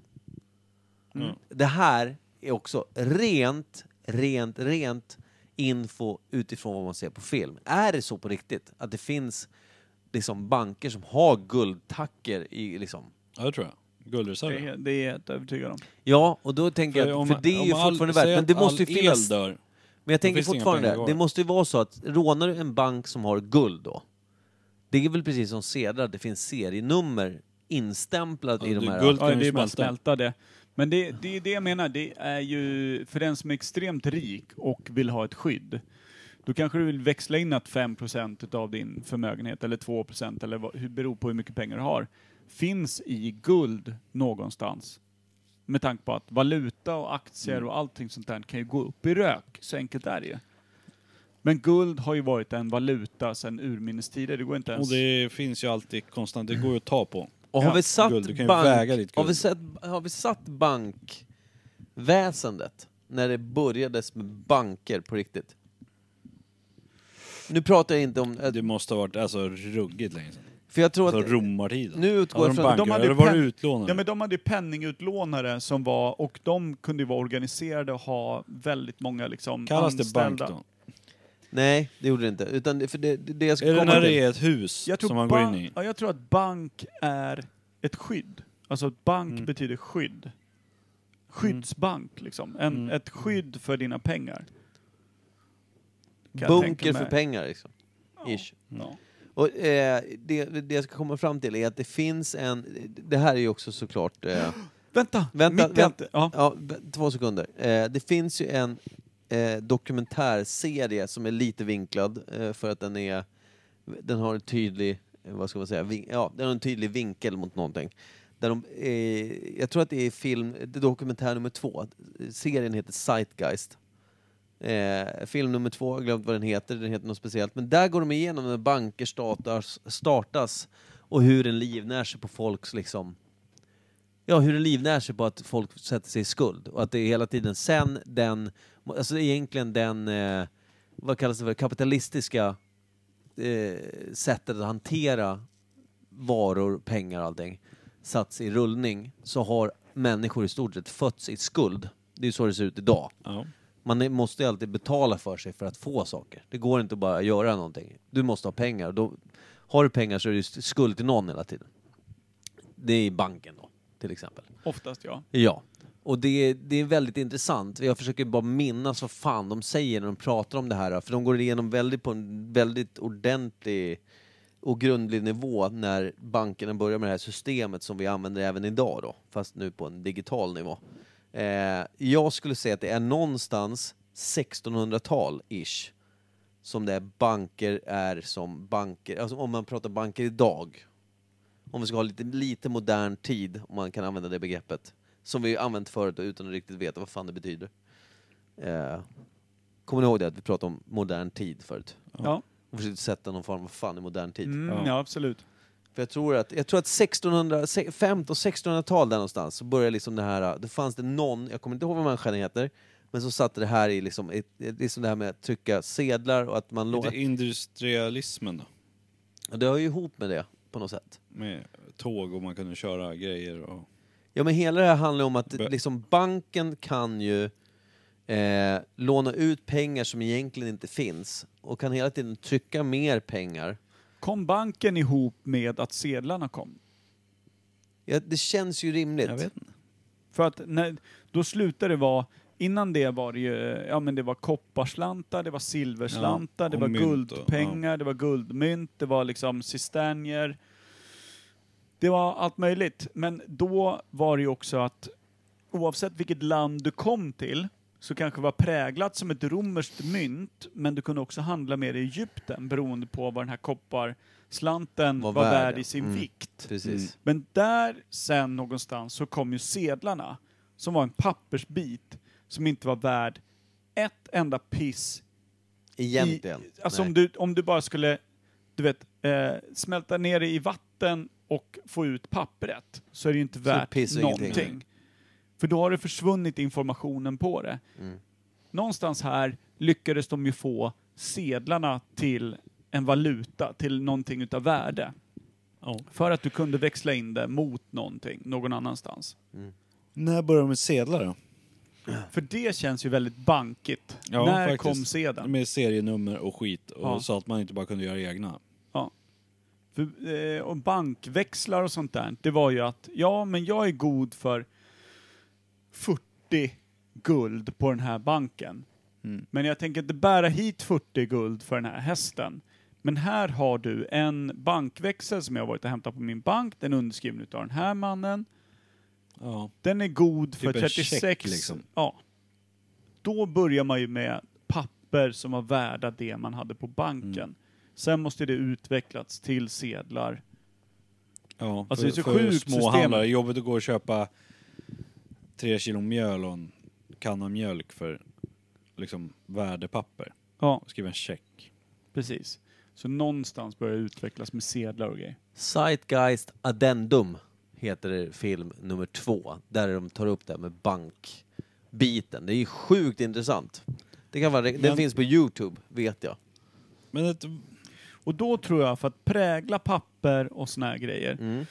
Mm.
Det här är också rent, rent, rent info utifrån vad man ser på film. Är det så på riktigt att det finns liksom banker som har guldtacker i liksom...
Ja, det tror jag.
Det
Guldreserven.
är, det är jag helt övertygad om.
Ja, och då tänker jag att, för det är ju
all-
fortfarande
säg
värt, men
att
det måste ju
all
finnas...
el dör.
Men jag tänker
finns det inga pengar
fortfarande,
kvar.
det måste ju vara så att rånar du en bank som har guld då, det är väl precis som sedlar, det finns serienummer instämplat i
Ja,
de
du-
här...
guld-
Ja,
kan ju
det är bara att
smälta.
smälta det. Men det, det är det jag menar, det är ju för den som är extremt rik och vill ha ett skydd. Då kanske du vill växla in att 5% utav din förmögenhet eller 2% eller vad, hur- beror på hur mycket pengar du har, finns i guld någonstans. Med tanke på att valuta och aktier
Mm.
och allting sånt där kan ju gå upp i rök, så enkelt är det ju. Men guld har ju varit en valuta sedan urminnes tider, det går inte ens...
Och det finns ju alltid konstant, det går ju att ta på.
Och har vi satt
guld, du kan ju
bank...
väga ditt
Har vi,
guld.
sett, har vi satt bankväsendet när det börjades med banker på riktigt? Nu pratar jag inte om...
Det måste ha varit alltså, ruggigt länge sedan.
För jag tror
Alltså
att...
romartiden.
Nu utgår jag
hade de
från...
banker,
de hade
eller var det
pen-
utlånare?
Ja, men de hade ju penningutlånare som var, och de kunde ju vara organiserade och ha väldigt många liksom
Kallas det bank
anställda.
då?
Nej, det gjorde det inte. Utan det, för det, det, det jag ska
Är det
komma
när
till...
det är ett hus
Jag tror,
som man går
ban-
in i?
Ja, jag tror att bank är ett skydd. Alltså att bank
Mm.
betyder skydd. Skyddsbank liksom. En,
Mm.
Ett skydd för dina pengar. Kan jag
Bunker
tänka mig.
för pengar liksom.
Ja.
Ish.
Ja.
Och eh, det, det jag ska komma fram till är att det finns en... Det här är ju också såklart... Eh,
Vänta,
Vänta,
mitt i allt-
vänta.
Ja.
ja, b- två sekunder. Eh, det finns ju en eh, dokumentärserie som är lite vinklad eh, för att den är... Den har en tydlig... eh, Vad ska man säga? Vin, ja, den har en tydlig vinkel mot någonting. Där de, eh, jag tror att det är film... det är Dokumentär nummer två. Serien heter Zeitgeist. Eh, film nummer två, jag har glömt vad den heter, den heter något speciellt. Men där går de igenom när banker startas, startas och hur den livnär sig på folks liksom... Ja, hur den livnär sig på att folk sätter sig i skuld. Och att det är hela tiden sen den, alltså egentligen den, eh, vad kallas det för, kapitalistiska eh, sättet att hantera varor, pengar och allting satts i rullning så har människor i stort sett fötts i skuld. Det är ju så det ser ut idag.
Ja.
Man är- måste ju alltid betala för sig för att få saker. Det går inte att bara göra någonting. Du måste ha pengar. Och Då, har du pengar så är du st- skuld till någon hela tiden. Det är i banken då, till exempel.
Oftast ja.
Ja. Och det, är- det är väldigt intressant. Jag försöker bara minnas vad fan de säger när de pratar om det här. För de går igenom väldigt på en väldigt ordentlig och grundlig nivå när bankerna börjar med det här systemet som vi använder även idag då, fast nu på en digital nivå. Eh, jag skulle säga att det är någonstans 1600-tal-ish som det är banker är som banker, alltså om man pratar banker idag, om vi ska ha lite, lite modern tid, om man kan använda det begreppet, som vi använt förut och utan att riktigt veta vad fan det betyder. Eh, kommer ni ihåg det att vi pratade om modern tid förut?
Ja.
Och försökte sätta någon form av fan i modern tid.
Mm, ja, absolut.
För jag tror att, jag tror att 1600, se- 1500 och 1600-tal där någonstans så började liksom det här, det fanns det någon, jag kommer inte ihåg vad människan heter, men så satte det här i liksom, i, i- liksom det här med att trycka sedlar och att man
Är
låg...
det industrialismen då?
Och det hör ju ihop med det på något sätt.
Med tåg och man kunde köra grejer och...
Ja men hela det här handlar om att
Bö-
liksom, banken kan ju eh, låna ut pengar som egentligen inte finns och kan hela tiden trycka mer pengar.
Kom banken ihop med att sedlarna kom?
Ja, det känns ju rimligt.
Jag vet inte.
För att när, då slutade det vara, innan det var det ju, ja men det var kopparslantar, det var silverslantar,
Ja,
det
och
var
mynt och-
guldpengar, det var guldmynt, det var liksom cisternier. Det var allt möjligt. Men då var det ju också att oavsett vilket land du kom till så kanske var präglat som ett romerskt mynt, men du kunde också handla med det i Egypten beroende på vad den här kopparslanten var,
Var
värd,
värd,
i
ja.
sin
Mm.
vikt.
Precis.
Men där sen någonstans så kom ju sedlarna, som var en pappersbit som inte var värd ett enda piss
Egentligen.
i, alltså
Nej.
om du, om du bara skulle, du vet, eh, smälta ner det i vatten och få ut pappret, så är det ju inte
det
värt
pissar
någonting.
ingenting.
För då har det försvunnit informationen på det.
Mm.
Någonstans här lyckades de ju få sedlarna till en valuta, till någonting utav värde. För att du kunde växla in det mot någonting, någon annanstans.
När börjar de med sedlar då?
För det känns ju väldigt bankigt.
Ja,
När
faktiskt.
kom sedeln?
Med serienummer och skit och
Ja.
så att man inte bara kunde göra egna.
För, eh, och bankväxlar och sånt där, det var ju att ja, men jag är god för 40 guld på den här banken.
Mm.
Men jag tänker inte bära hit 40 guld för den här hästen. Men här har du en bankväxel som jag har varit och hämtat på min bank. Den är underskriven av den här mannen.
Ja.
Den är god för
Typ en
36.
check, liksom.
Ja. Då börjar man ju med papper som var värda det man hade på banken.
Mm.
Sen måste det utvecklats till sedlar.
Ja,
Alltså,
för,
det är så
för
sjukt
små
system.
handlare. Jobbigt att gå och köpa tre kilo mjöl och en kanna mjölk för liksom värdepapper.
Ja,
Och skriva en check.
precis. Så någonstans börjar det utvecklas med sedlar och grejer.
Zeitgeist Addendum heter film nummer två. Där de tar upp det här med bankbiten. Det är ju sjukt intressant. Det kan vara, Den
Men-
finns på Youtube, vet jag.
Men ett,
Och då tror jag, för att prägla papper och såna här grejer.
Mm.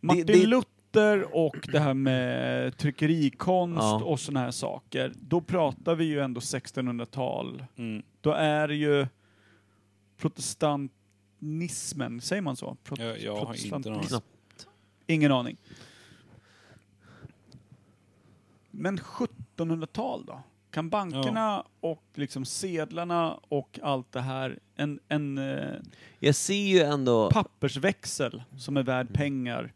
Martin
Det- det-
Luther och det här med tryckerikonst
Ja.
och såna här saker. Då pratar vi ju ändå 1600-tal.
mm,
Då är det ju protestantismen, säger man så? Prot-
jag, jag har inte någon
protestantism. Ingen aning. Men 1700-tal då? Kan bankerna och liksom sedlarna och allt det här, en, en eh,
Jag ser ju ändå...
pappersväxel som är värd pengar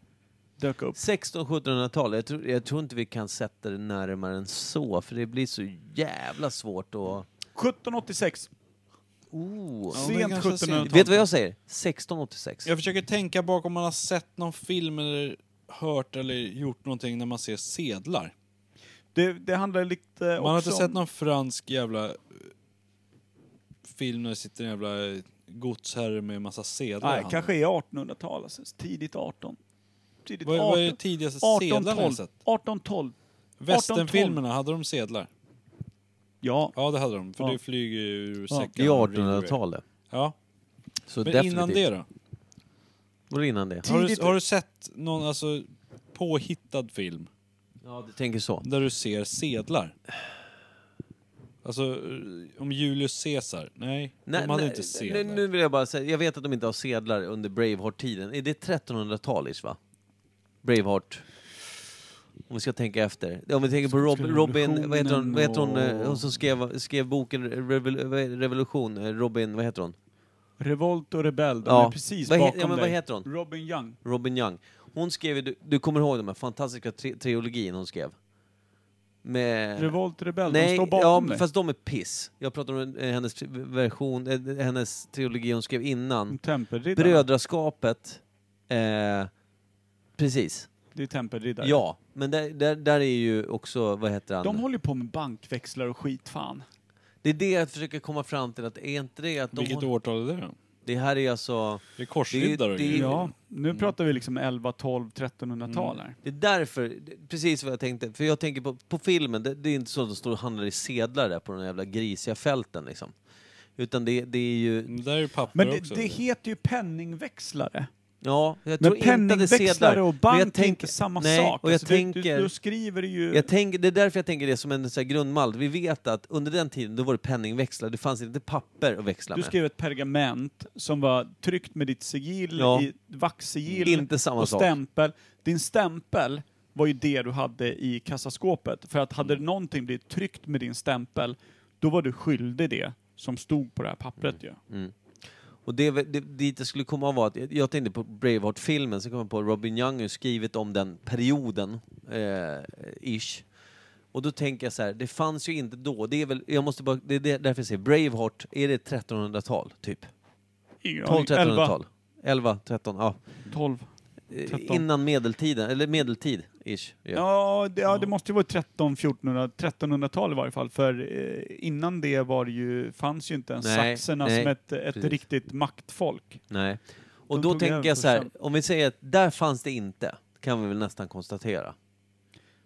dök upp?
1600-1700-tal, jag tror, jag tror inte vi kan sätta det närmare än så, för det blir så jävla svårt att...
1786,
Oh.
Ja, men
sent
ganska sent.
1700-tal.
Vet du vad jag säger? 1686.
jag försöker tänka bakom om man har sett någon film eller hört eller gjort någonting när man ser sedlar.
Det, det handlar lite
Man har
också
inte sett
om-
någon fransk jävla eh, film när det sitter en jävla eh, godsherre med en massa sedlar i
Nej,
handen.
kanske är 1800-tal, alltså, tidigt 18. Tidigt
Vad,
18.
vad är det tidigaste sedlarna jag har
1812.
sett?
1812.
Västernfilmerna, hade de sedlar?
Ja,
Ja, det hade de. För
Ja.
det flyger ju ur
Ja.
säcken.
I 1800-talet.
Ja.
Så
Men
definitivt.
innan det då?
Var det innan det?
Ti-
Har du,
Tidigt-
har du sett någon alltså, påhittad film
Ja, du tänker så.
där du ser sedlar? Alltså, eh, om Julius Caesar? Nej, de hade inte sedlar.
nu, nu vill jag bara säga, jag vet att de inte har sedlar under Braveheart-tiden. Är det 1300-tal ish va? Braveheart. Om vi ska tänka efter. Om vi tänker på Rob, Robin, vad heter hon, vad heter hon, eh, hon som skrev, skrev boken Revol- vad heter- Revolution, eh, Robin, vad heter hon?
Revolt och Rebell, de
Ja.
är precis
Vad he-
bakom
ja, men
dig.
vad heter hon?
Robin Young.
Robin Young. Hon skrev ju- du, du kommer ihåg den här fantastiska tri- trilogin hon skrev? Med...
Revolt och Rebell, de
Eh, Nej,
står
ja,
bakom dig.
fast de är piss. Jag pratar om eh, hennes tri- version, eh, hennes trilogi hon skrev innan.
Tempelriddarna.
Brödraskapet. Eh, precis.
Det är Tempelriddare.
Ja, men där, där, där är ju också, vad heter han?
De håller ju på med bankväxlar och skit, fan.
Det är det jag försöker komma fram till, att är inte det att de
Vilket
håller...
årtal är det då?
Det här är alltså...
Det är korsriddare och
Det är- det är- Mm.
grejer.
Ja, nu pratar vi liksom 11, 12, 1300-tal
Mm.
här.
Det är därför, det- precis vad jag tänkte, för jag tänker på, på filmen, det, det är inte så att de står och handlar i sedlar där på de jävla grisiga fälten liksom. Utan det, det är ju,
Men Där är ju papper
Men det,
också.
det heter ju penningväxlare.
ja, jag
Men
tror inte att det är sedlar.
penningväxlare och
Men
bank
jag
är
tänker-
inte samma
nej,
sak.
Och jag
Alltså, du, du,
tänker,
du skriver ju...
jag tänker, det är därför jag tänker det som en så här grundmall. Vi vet att under den tiden, då var det penningväxlar, det fanns inte papper att växla
Du
med.
skrev ett pergament som var tryckt med ditt sigill,
Ja.
i, vaxsigill
Inte samma
och
sak.
stämpel. Din stämpel var ju det du hade i kassaskåpet. För att hade
Mm.
någonting blivit tryckt med din stämpel, då var du skyldig det som stod på det här pappret
Mm.
ju.
Och det, är väl- det, dit jag skulle komma var att, jag- jag tänkte på Braveheart-filmen, så kom jag på att Robin Young har ju skrivit om den perioden, eh, ish. Och då tänker jag så här, det fanns ju inte då. Det är väl, jag måste bara, det är det- därför jag säger Braveheart, är det 1300-tal typ?
Ingen aning.
12-1300-tal? 11, 13, ja.
12.
Eh,
13.
Innan medeltiden, eller medeltid, ish. Ja.
Ja, det, ja, det måste ju vara 13, 1400, 1300-tal i varje fall. För eh, innan det var det ju, fanns ju inte ens
Nej,
saxerna
nej,
som ett, ett
precis.
riktigt maktfolk.
Nej. Och
De
då
tog över
tänker jag så här,
först
om vi säger att där fanns det inte, kan vi väl nästan konstatera.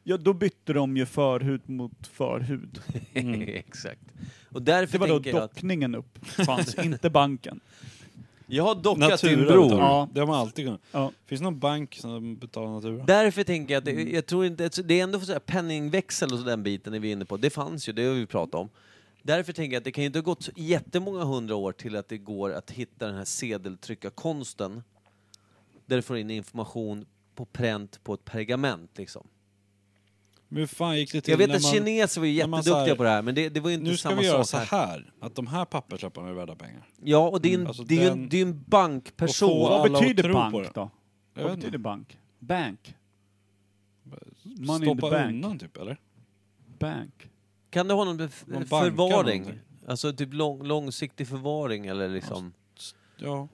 Ja, då bytte de ju förhud mot förhud.
Exakt. Och
Mm. Det
därför
var då
tänker jag att...
dockningen upp fanns, inte banken.
Jag har dockat din
Natura
bror.
betalar
Ja.
ja. Det har man alltid kunnat.
Ja.
Finns det någon bank som betalar Natura?
Därför tänker jag att det, jag tror inte, alltså, det är ändå för så här penningväxel och så den biten är vi inne på. Det fanns ju, det har vi pratat om. Därför tänker jag att det kan ju inte ha gått så jättemånga hundra år till att det går att hitta den här sedeltryckarkonsten. Där du får in information på pränt på ett pergament liksom.
Men hur fan gick det till
Jag vet
när
att
man...
kineser var ju
när man
jätteduktiga
så här-
på det här men det, det var ju inte
Nu ska
samma
vi göra
sak
så här, att de här papperslapparna är värda pengar.
Ja, och det är, en,
Mm, alltså
det är ju en,
den-
det är ju en bankperson.
Och få
Vad
alla att
betyder
tro
bank
på det.
då?
Jag
Vad
vet
betyder bank? Bank. Money in the
Stoppa
bank.
undan typ, eller?
Bank.
Kan du ha någon f-
Man bankar
förvaring?
någonting.
Alltså typ lång, långsiktig förvaring eller liksom...
Ja.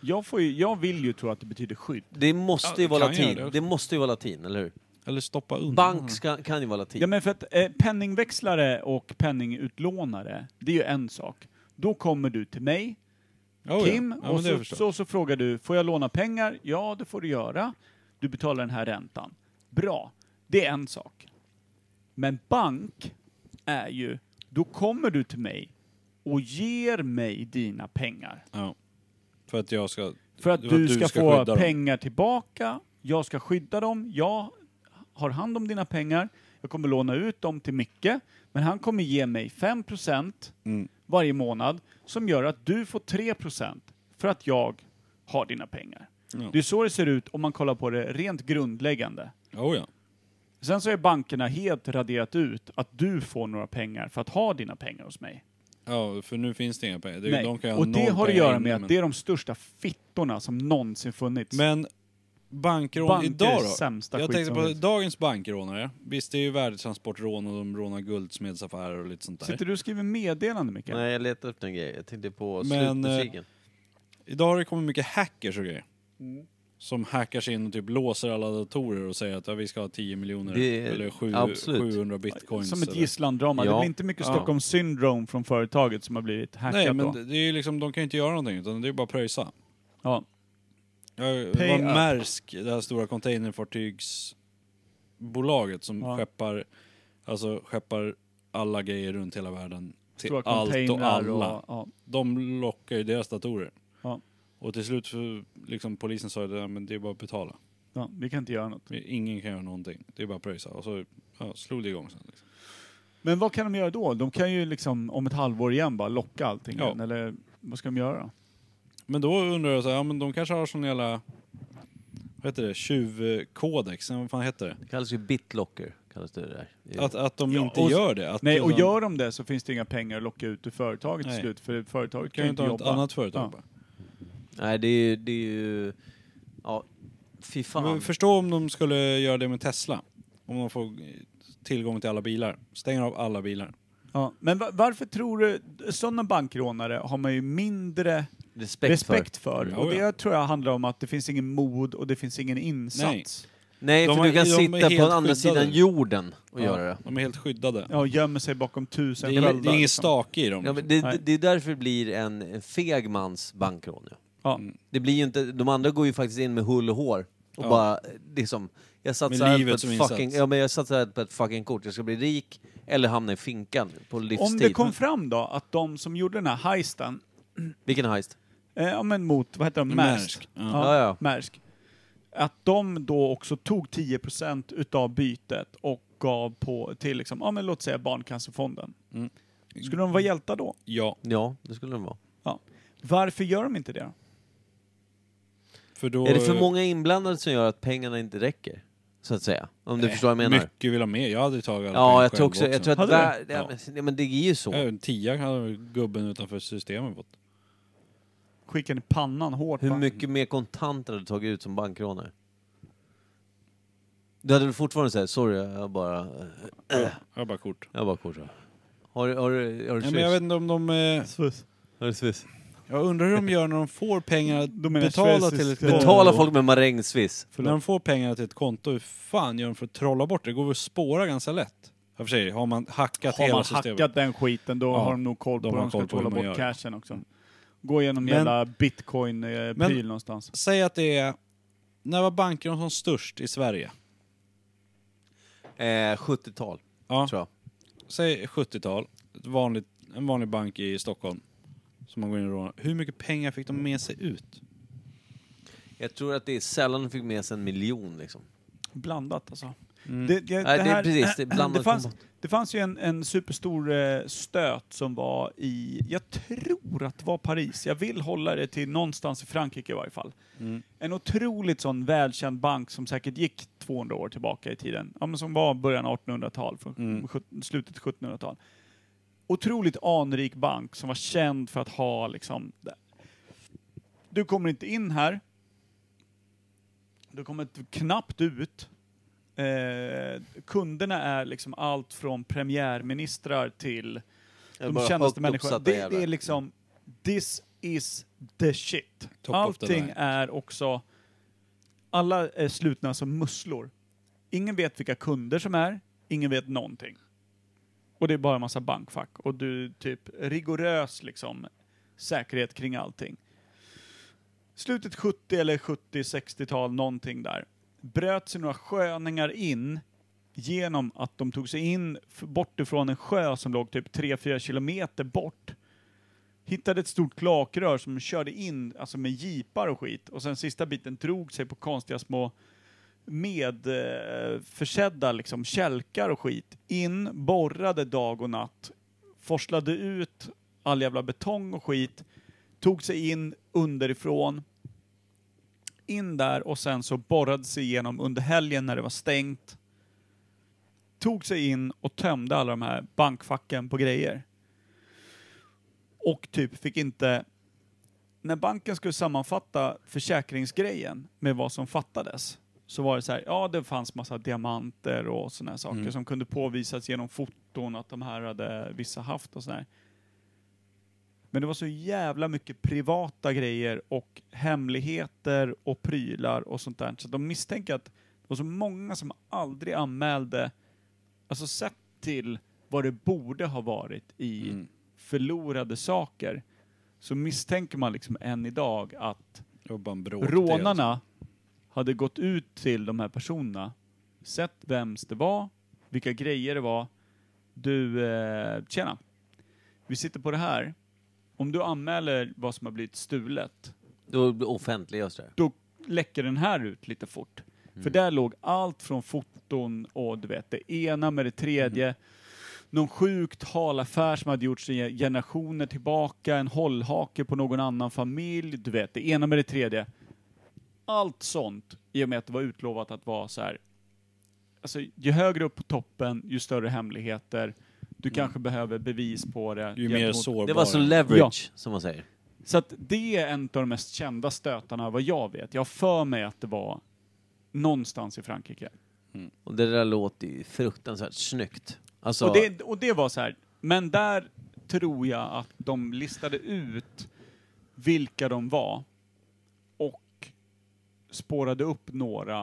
Jag, får ju, jag vill ju tro att det betyder skydd.
Det måste
Ja,
ju
det
vara
kan göra
latin.
det
Det.
också. Mm.
måste ju vara latin, eller hur?
Eller stoppa undan.
Bank ska, kan ju vara latin.
Ja, men för att eh, penningväxlare och penningutlånare, det är ju en sak. Då kommer du till mig,
Oh,
Kim,
ja. Ja,
och
men det
så,
förstår jag.
så, så frågar du, får jag låna pengar? Ja, det får du göra. Du betalar den här räntan. Bra, det är en sak. Men bank är ju, då kommer du till mig och ger mig dina pengar.
Ja. För att jag ska...
För att
För
du,
att du
ska,
ska
få
skydda dem.
pengar tillbaka, jag ska skydda dem, jag har hand om dina pengar, jag kommer låna ut dem till Micke, men han kommer ge mig 5%
Mm.
varje månad som gör att du får 3% för att jag har dina pengar.
Ja.
Det är så det ser ut om man kollar på det rent grundläggande.
Oh, ja.
Sen så är bankerna helt raderat ut att du får några pengar för att ha dina pengar hos mig.
ja, för nu finns det inga pengar. Det,
Nej.
de kan ju ha
Och det
noll
har att
pengar
göra
inne,
med att
men-
det är de största fittorna som någonsin funnits.
Men bankrån
Banker
idag
är
då?
sämsta
jag
skit
tänkte
som
på
finns.
dagens bankrånare. Visst, det är ju värdetransportrån och de rånar guldsmedsaffärer och lite sånt där.
Sitter du och skriver meddelande, Mikael?
Nej, jag letar upp den grejen. Jag tänkte på
Men, eh,
slutmusiken.
Idag har det kommit mycket hackers och grejer.
Mm.
Som hackar sig in och typ låser alla datorer och säger att ja, vi ska ha 10 miljoner
Det-
eller sju,
absolut.
700 bitcoins.
Som ett
eller-
gisslandrama. Det
Ja.
blir inte mycket
Ja.
Stockholm syndrome från företaget som har blivit hackat
Nej, men
då.
det det är ju liksom, de kan ju inte göra någonting utan det är ju bara att pröjsa.
Ja.
Jag
Pay
var
up.
Maersk, det här stora containerfartygsbolaget som
Ja.
skeppar, alltså skeppar alla grejer runt hela världen till
Stora
allt och
containrar
alla.
ja.
De lockar ju deras datorer.
Ja.
Och till slut så, liksom polisen sa ju att det är bara att betala.
ja, vi kan inte göra något.
Ingen kan göra någonting. Det är bara att pröjsa. Och så ja, slog det igång sen. Liksom.
Men vad kan de göra då? De kan ju liksom om ett halvår igen bara locka allting
Ja.
igen, eller vad ska de göra?
Men då undrar jag så här, ja men de kanske har sån jävla, vad heter det, tjuvkodex, eller vad fan heter
Det kallas ju bitlocker. Kallas det där.
det? Att, att de
Ja,
inte
och-
gör det. Att liksom-
Nej, och
utan-
gör de det så finns det inga pengar att locka ut ur företaget till
Nej.
slut, för företaget
kan ju inte ha ett
jobba.
annat företag
Ja.
bara.
Nej, det är ju... Det är ju ja, fy fan.
Men förstå om de skulle göra det med Tesla. Om de får tillgång till alla bilar. Stänger av alla bilar.
Ja. Men va- varför tror du, sådana bankrånare har man ju mindre
respekt,
respekt för.
Ja,
och det
ja.
tror jag handlar om att det finns ingen mod och det finns ingen insats.
för. Nej,
De
för
har-
du kan
de är
sitta
helt
på andra
skyddade.
sidan jorden och göra det.
De är helt skyddade.
Ja, gömmer sig bakom tusen
det, är,
sköldar,
det är ingen
liksom.
stake i dem.
Ja, men det,
Nej.
det, det är därför det blir en en feg mans bankrån. Ja.
Ja.
Det blir ju inte, de andra går ju faktiskt in med hull och hår och
Ja.
bara eh, liksom, jag satsar här
livet
på ett
som
fucking,
insats.
ja, men jag satsar här på ett fucking kort, jag ska bli rik eller hamna i finkan på livstid.
Om det kom fram då att de som gjorde den här heisten,
Vilken heist?
eh, ja, men mot, vad heter de, Maersk.
Maersk. Ja.
Ja, ja.
Maersk. Att de då också tog 10% utav bytet och gav på till liksom, ja men låt säga Barncancerfonden.
Mm.
Skulle de vara hjältar då?
Ja,
Ja, det skulle den vara.
Ja. Varför gör de inte det?
för då...
Är det för många inblandade som gör att pengarna inte räcker? Så att säga. Om du
Nej,
förstår vad jag menar.
Mycket vill ha med. Jag hade tagit alla pengar
Ja, jag tror
själv
också, jag tror att...
Hade du?
vär- Ja, men, nej, men det är ju så.
Ja, en tia hade gubben utanför systemet fått.
Skickar ni pannan hårt
Hur
va?
mycket mer kontanter hade du tagit ut som bankrånare? Du hade väl fortfarande såhär, sorry jag bara... Äh.
Jag har bara kort.
Jag bara korsar. Har, du- har, du- har du
Nej, men jag
swish?
vet inte om de... Eh,
Har du swish?
jag undrar hur de gör när de får pengar att
De menar
betala
schweiziska-
till ett konto.
Betala folk med marängsviss.
När de får pengarna till ett konto, hur fan gör de för att trolla bort det? Det går väl att spåra ganska lätt. Jag för sig, har man hackat
Har
hela
man
systemet.
hackat den skiten då
Ja,
har de nog koll på
de
hur
har
de ska
koll på hur
trolla
man
bort
gör.
cashen också. Gå igenom
Men-
jävla bitcoin-pryl någonstans.
Säg att det är... När var bankerna som störst i Sverige?
Eh, 70-tal,
Ja,
tror jag.
säg 70-tal. Ett vanligt, en vanlig bank i Stockholm. Som man går in och rånar. Hur mycket pengar fick de med sig ut?
Jag tror att det är sällan de fick med sig en miljon liksom.
Blandat alltså. Det, det,
Mm. Nej, det är precis, det är blandat
det, fanns,
kombat.
det fanns ju en, en superstor eh, stöt som var i, jag tror att det var Paris, jag vill hålla det till någonstans i Frankrike i varje fall.
Mm.
En otroligt sån välkänd bank som säkert gick 200 år tillbaka i tiden, ja, men som var början av 1800-tal, från
Mm.
sjut- slutet 1700-tal. Otroligt anrik bank som var känd för att ha liksom, det- du kommer inte in här, du kommer t- knappt ut. Eh, kunderna är liksom allt från premiärministrar till
Jag
de
bara
kändaste
högt
människorna.
uppsatta
Det,
jävlar.
det är liksom, this is the shit.
Top of the
Allting
line.
är också, alla är slutna som musslor. Ingen vet vilka kunder som är, ingen vet någonting. Och det är bara en massa bankfack och du typ rigorös liksom säkerhet kring allting. Slutet 70 eller 70-60-tal, någonting där, bröt sig några sköningar in genom att de tog sig in f- bort ifrån en sjö som låg typ 3-4 kilometer bort. Hittade ett stort klakrör som de körde in alltså med jeepar och skit och sen sista biten drog sig på konstiga små medförsedda eh, försedda liksom kälkar och skit in, borrade dag och natt, forslade ut all jävla betong och skit, tog sig in underifrån, in där och sen så borrade sig igenom under helgen när det var stängt tog sig in och tömde alla de här bankfacken på grejer. Och typ fick inte... När banken skulle sammanfatta försäkringsgrejen med vad som fattades så var det så här, ja det fanns massa diamanter och sådana här saker som kunde påvisas genom foton att de här hade vissa haft och sådär. Men det var så jävla mycket privata grejer och hemligheter och prylar och sånt där. Så de misstänker att det var så många som aldrig anmälde, alltså sett till vad det borde ha varit i förlorade saker, så misstänker man liksom än idag att
Det var bara en bråkdel.
rånarna hade gått ut till de här personerna, sett vems det var, vilka grejer det var. Du, eh, tjena. Vi sitter på det här. Om du anmäler vad som har blivit stulet,
Då offentliggörs det.
då läcker den här ut lite fort.
Mm.
För där låg allt från foton och du vet, det ena med det tredje.
Mm.
Någon sjukt hal affär som hade gjorts i generationer tillbaka, en hållhake på någon annan familj, du vet, det ena med det tredje. Allt sånt, i och med att det var utlovat att vara så här. Alltså, ju högre upp på toppen, ju större hemligheter. Du kanske behöver bevis på det.
Mm. Ju mer
gentemot-
sårbara.
Det var så leverage, som man säger.
så att det är en av de mest kända stötarna vad jag vet. Jag har för mig att det var någonstans i Frankrike.
Och det där låter ju fruktansvärt snyggt. Alltså,
Och det, och det var så här. Men där tror jag att de listade ut vilka de var och spårade upp några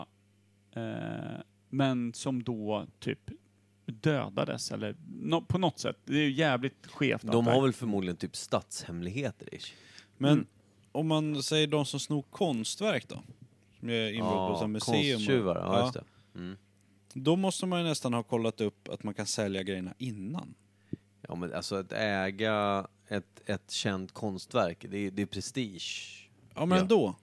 eh, men som då typ dödades eller nå- på något sätt. Det är ju jävligt skevt. allt
de
det
har
här.
väl förmodligen typ statshemligheter ish.
Men
Mm.
om man säger de som snor konstverk då? Som är inbrott på ett museum.
Konsttjuvar, ja, just det.
Då måste man ju nästan ha kollat upp att man kan sälja grejerna innan.
Ja, men alltså att äga ett, ett känt konstverk, det är, det är prestige.
Ja men
Ja.
ändå.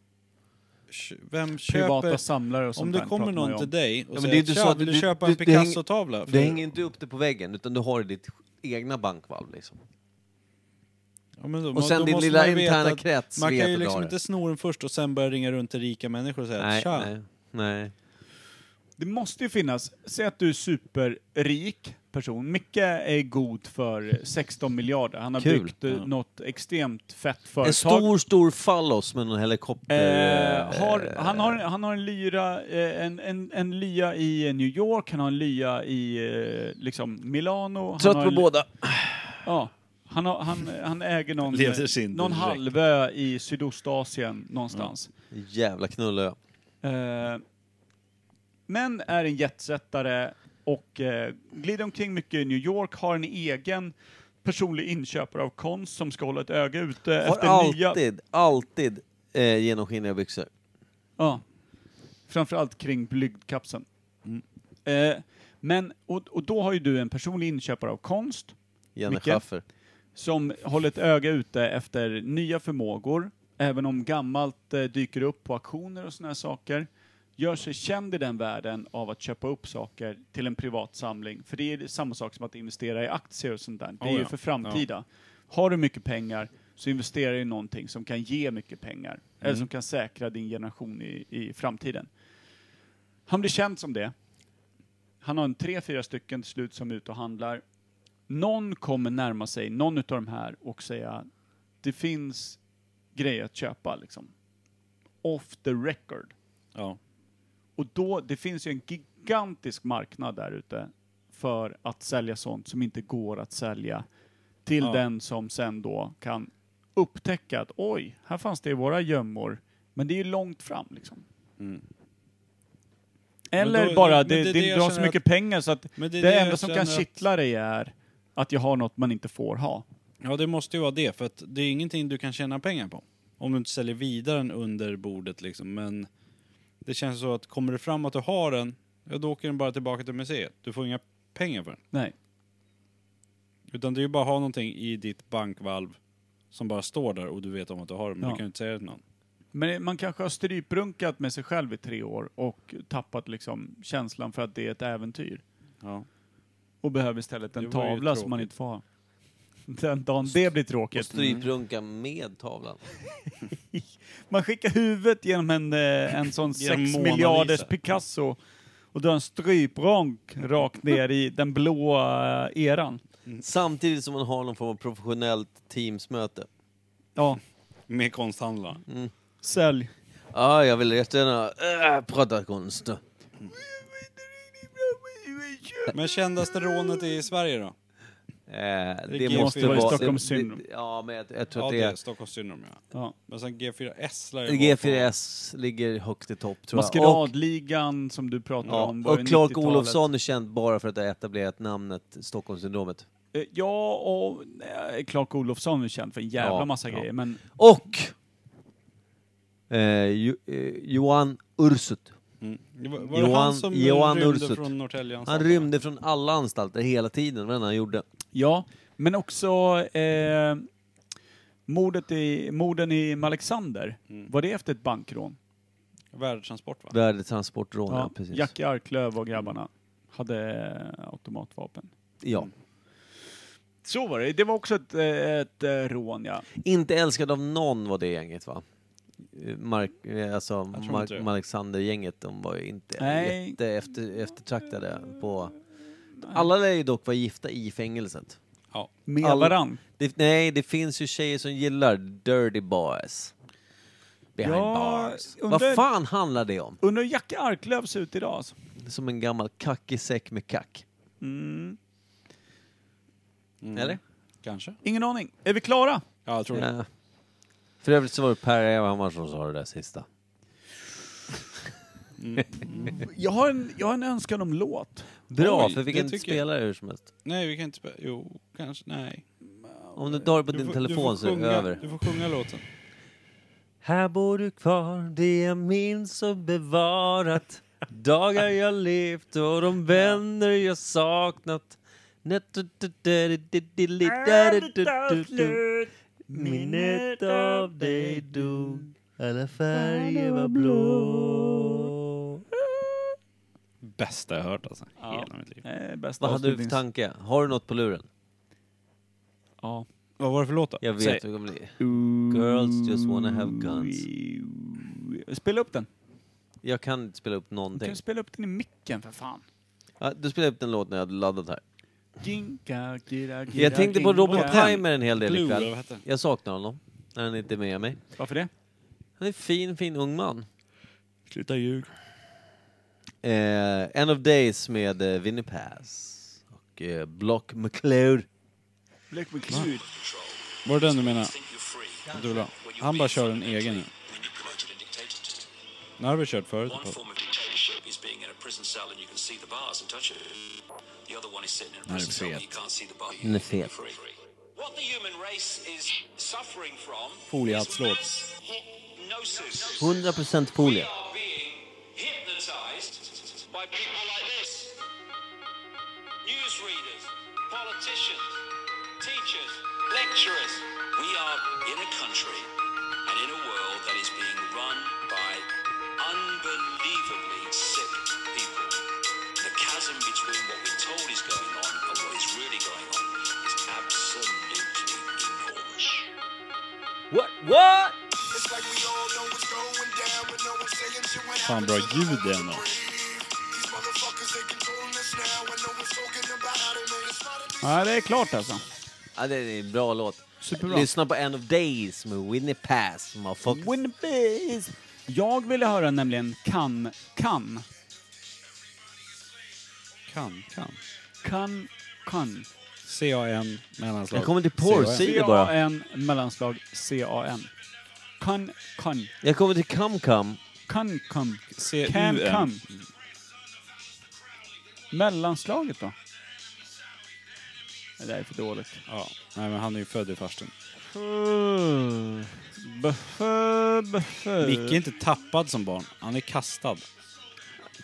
Kö- Vem
Privata
köper...
samlare och sånt
Om det
där
kommer
pratar man ju
någon
om.
till dig och
men det är
säger
inte
att
så
"Tja,
att
vill du
du-
köpa
du-
en
det hänger-
Picasso-tavla?
Det hänger inte upp det på väggen, utan du har ditt egna bankvalv liksom.
Ja, men då,
Och sen
då
din
måste
lilla
man ju veta
interna
att
krets
Man
vet
kan ju
att du
liksom
har
inte
det.
sno den först och sen börja ringa runt till rika människor och säga
Nej,
tja.
nej, nej.
Det måste ju finnas, säg att du är superrik, person. Micke är god för 16 miljarder. Han har
Kul.
byggt eh, något extremt fett företag.
En stor, stor fallos med någon helikopter...
Eh, har, han, har, han har en lyra, eh, en, en, en lya i New York, han har en lya i eh, liksom Milano. Han
Trött
har
på
en-
båda.
Ja. Han, har, han, han äger någon,
Lever sin direkt.
någon halvö i Sydostasien någonstans.
Jävla knullö.
Eh, men är en jetsättare och eh, glider omkring mycket i New York, har en egen personlig inköpare av konst som ska hålla ett öga ute
Har
efter nya...
alltid, alltid eh, genomskinliga byxor.
Ja. Framförallt kring blygdkapseln.
Mm.
Eh, men, och, och då har ju du en personlig inköpare av konst
Janne
Micke?
Schaffer.
Mm.
som håller ett öga ute efter nya förmågor, även om gammalt eh, dyker upp på auktioner och såna här saker. Gör sig känd i den världen av att köpa upp saker till en privat samling. För det är samma sak som att investera i aktier och sånt där. Det är
Oh,
ju
ja.
för framtida. Har du mycket pengar så investera i någonting som kan ge mycket pengar.
Mm.
Eller som kan säkra din generation i, i framtiden. Han blir känd som det. Han har en tre, fyra stycken till slut som är ute och handlar. Någon kommer närma sig någon av de här och säga det finns grejer att köpa liksom. Off the record.
Ja.
Och då, det finns ju en gigantisk marknad där ute för att sälja sånt som inte går att sälja till
Ja.
den som sen då kan upptäcka att oj, här fanns det i våra gömmor, men det är ju långt fram liksom.
Mm.
Eller
Men då-
bara,
men
det,
det
det,
är det jag
drar så
känner
mycket pengar så att
Men
det,
är jag
enda som kan
känner att-
kittla dig är att jag har något man inte får ha.
Ja, det måste ju vara det, för att det är ingenting du kan tjäna pengar på. Om du inte säljer vidare den under bordet liksom, men det känns så att kommer det fram att du har den, ja då åker den bara tillbaka till museet. Du får inga pengar för den.
Nej.
Utan det är ju bara att ha någonting i ditt bankvalv som bara står där och du vet om att du har den, men
Ja.
du kan ju inte säga det till någon.
Men man kanske har stryprunkat med sig själv i tre år och tappat liksom känslan för att det är ett äventyr.
Ja.
och behöver istället en
Det var ju
tavla som man
tråkigt.
inte får ha. Den dagen det blir
Och
tråkigt.
stryprunka med tavlan.
Man skickar huvudet genom en, eh, en sån
Genom
6
Mona Lisa.
miljarders Picasso och drar en strypronk rakt ner i den blåa eran.
Samtidigt som man har någon form av professionellt teamsmöte.
Ja,
Med konsthandlarna.
sälj.
Ja, jag vill jättegärna äh, prata konst.
Men kändaste rånet i Sverige då?
Eh, det,
G4.
måste
Det var
vara...
ju
Stockholms syndrom.
det- Ja, men jag, jag tror
Ja,
att
det är
det
Stockholms syndrom ja.
Ja.
Men sen G4S lär
är...
ju vara på-
G4S ligger högt i topp, tror jag. Och-
Maskeradligan som du pratade
Ja,
om var ju
och Clark
90-talet.
Olofsson är känd bara för att ha etablerat namnet Stockholmssyndromet.
Eh, Ja, och nej, Clark Olofsson är känd för en jävla
Ja,
massa
ja.
grejer. Men
Och eh, jo, eh, Johan Ursut.
Mm. Det Var, var det
Johan-
han som
Johan
rymde
Ursut.
från Norrtälje
Han
anstalten?
rymde från alla anstalter hela tiden, vad än han gjorde.
Ja, men också eh, mordet i, morden i Malexander. Var det efter ett bankrån?
Värdetransport va?
Mm. Värdetransportrån, ja, precis.
Jackie Arklöv och grabbarna hade eh, automatvapen.
Ja.
Så var det. Det var också ett, eh, ett eh, rån, ja.
Inte älskad av någon var det gänget va? Eh, Mark, eh, alltså
tror inte
Mark,
det.
Alexander-gänget, de var ju inte
Nej.
jätte efter, eftertraktade på... Alla lär ju dock vara gifta i fängelset.
Ja.
Med
All-
varann.
Det, nej, det finns ju tjejer som gillar dirty boys. Behind
Ja,
bars.
undrar-
Vad fan handlar det om?
Undrar hur Jackie Arklöv ser ut idag alltså.
Som en gammal kackig säck med kack.
mm.
Mm.
Eller?
Kanske.
Ingen aning. Är vi klara?
Ja, jag tror det.
Ja. För övrigt så var det Per Evhammar som sa det där sista.
Jag har en, jag har en önskan om låt.
Bra,
Oj,
för vi
det
kan inte
tycker jag.
spela det hur som helst.
Nej, vi kan inte spela. Jo, kanske. Nej.
Om du drar på din
får-
telefon
får
så är det
sjunga,
över.
Du får sjunga låten.
Här bor du kvar, det jag minns och bevarat Dagar jag levt och de vänner jag saknat Minnet av dig dog Alla färger var blå
Bästa jag hört alltså. Hela mitt liv.
Eh, bästa
Vad hade du för
avslutnings-
tanke? Har du något på luren?
Ja.
Vad var det för låt då?
Jag
Säg.
vet hur det kommer bli. Girls just wanna have guns.
Spela upp den.
Jag kan inte spela upp
Du kan
någonting.
ju spela upp den i micken för fan.
Ja, Du spelade upp den låten jag hade laddat här.
Ginka, gira, gira,
Jag tänkte på
ginka.
Robin Timer en hel del
Blue, eller
ikväll.
vad heter han?
Jag saknar honom när han inte är med mig.
Varför det?
Han är en fin, fin ung man.
Sluta ljug.
Eh, End of Days med eh, Vinnie Pass och eh, Block McClure.
Lek med klur.
Var det den du menar? Du vill ha? Han bara kör en egen nu. Den har vi kört förut.
One
på-
form of dictatorship is being in a prison cell and you can see the bars and touch it. The other one is sitting in a prison cell and you can't see the bars.
Den är fet.
Free. What the human race is suffering from is
Foliehattslåt.
mass hypnosis.
100%
We
folie.
are being hypnotized by people like this. Newsreaders, politicians, teachers, lecturers. We are in a country and in a world that is being run by unbelievably sick people. The chasm between what we're told is going on and what is really going on is absolutely enormous.
Fan bra ljud det är ändå.
Ja, det är klart alltså.
Ja, det är en bra låt.
Superbra.
Lyssna på End of Days med Winnie Pass. motherfuckers.
Winnebays. Jag ville höra nämligen kan, kan.
Kan, kan.
Kan, kan.
C-A-N, mellanslag.
Jag kommer inte på
C-A-N.
det. Säg det bara.
C-A-N, mellanslag C-A-N. Kan, kan.
Jag kommer till Come Come.
Kan, kan. Can,
C-U-N.
kan. Mellanslaget då? Det där är för dåligt.
Ja. Nej, men han är ju född i farstun.
Behö, behö.
Micke är inte tappad som barn. Han är kastad.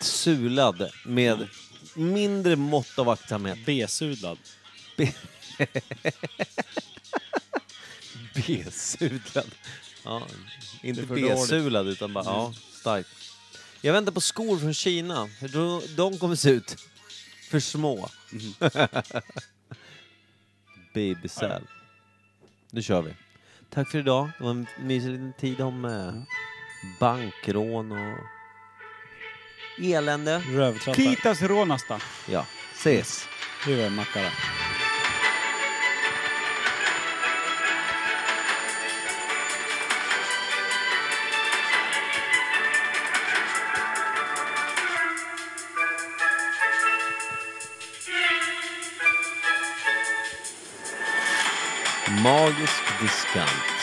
Sulad med mindre mått av aktsamhet.
Besudlad.
B-sulad. Ja, inte
är för dåligt.
B-sulad utan bara, ja, starkt. Jag väntar på skor från Kina. Hur då- De kommer se ut. För små.
Mm-hmm.
Babysäl. Nu kör vi. Tack för idag. Det var en mysig liten tid om eh, bankrån och elände.
Rövtrattar.
Kitas rånasta.
Ja, ses.
Du är mackare.
Magisk diskant.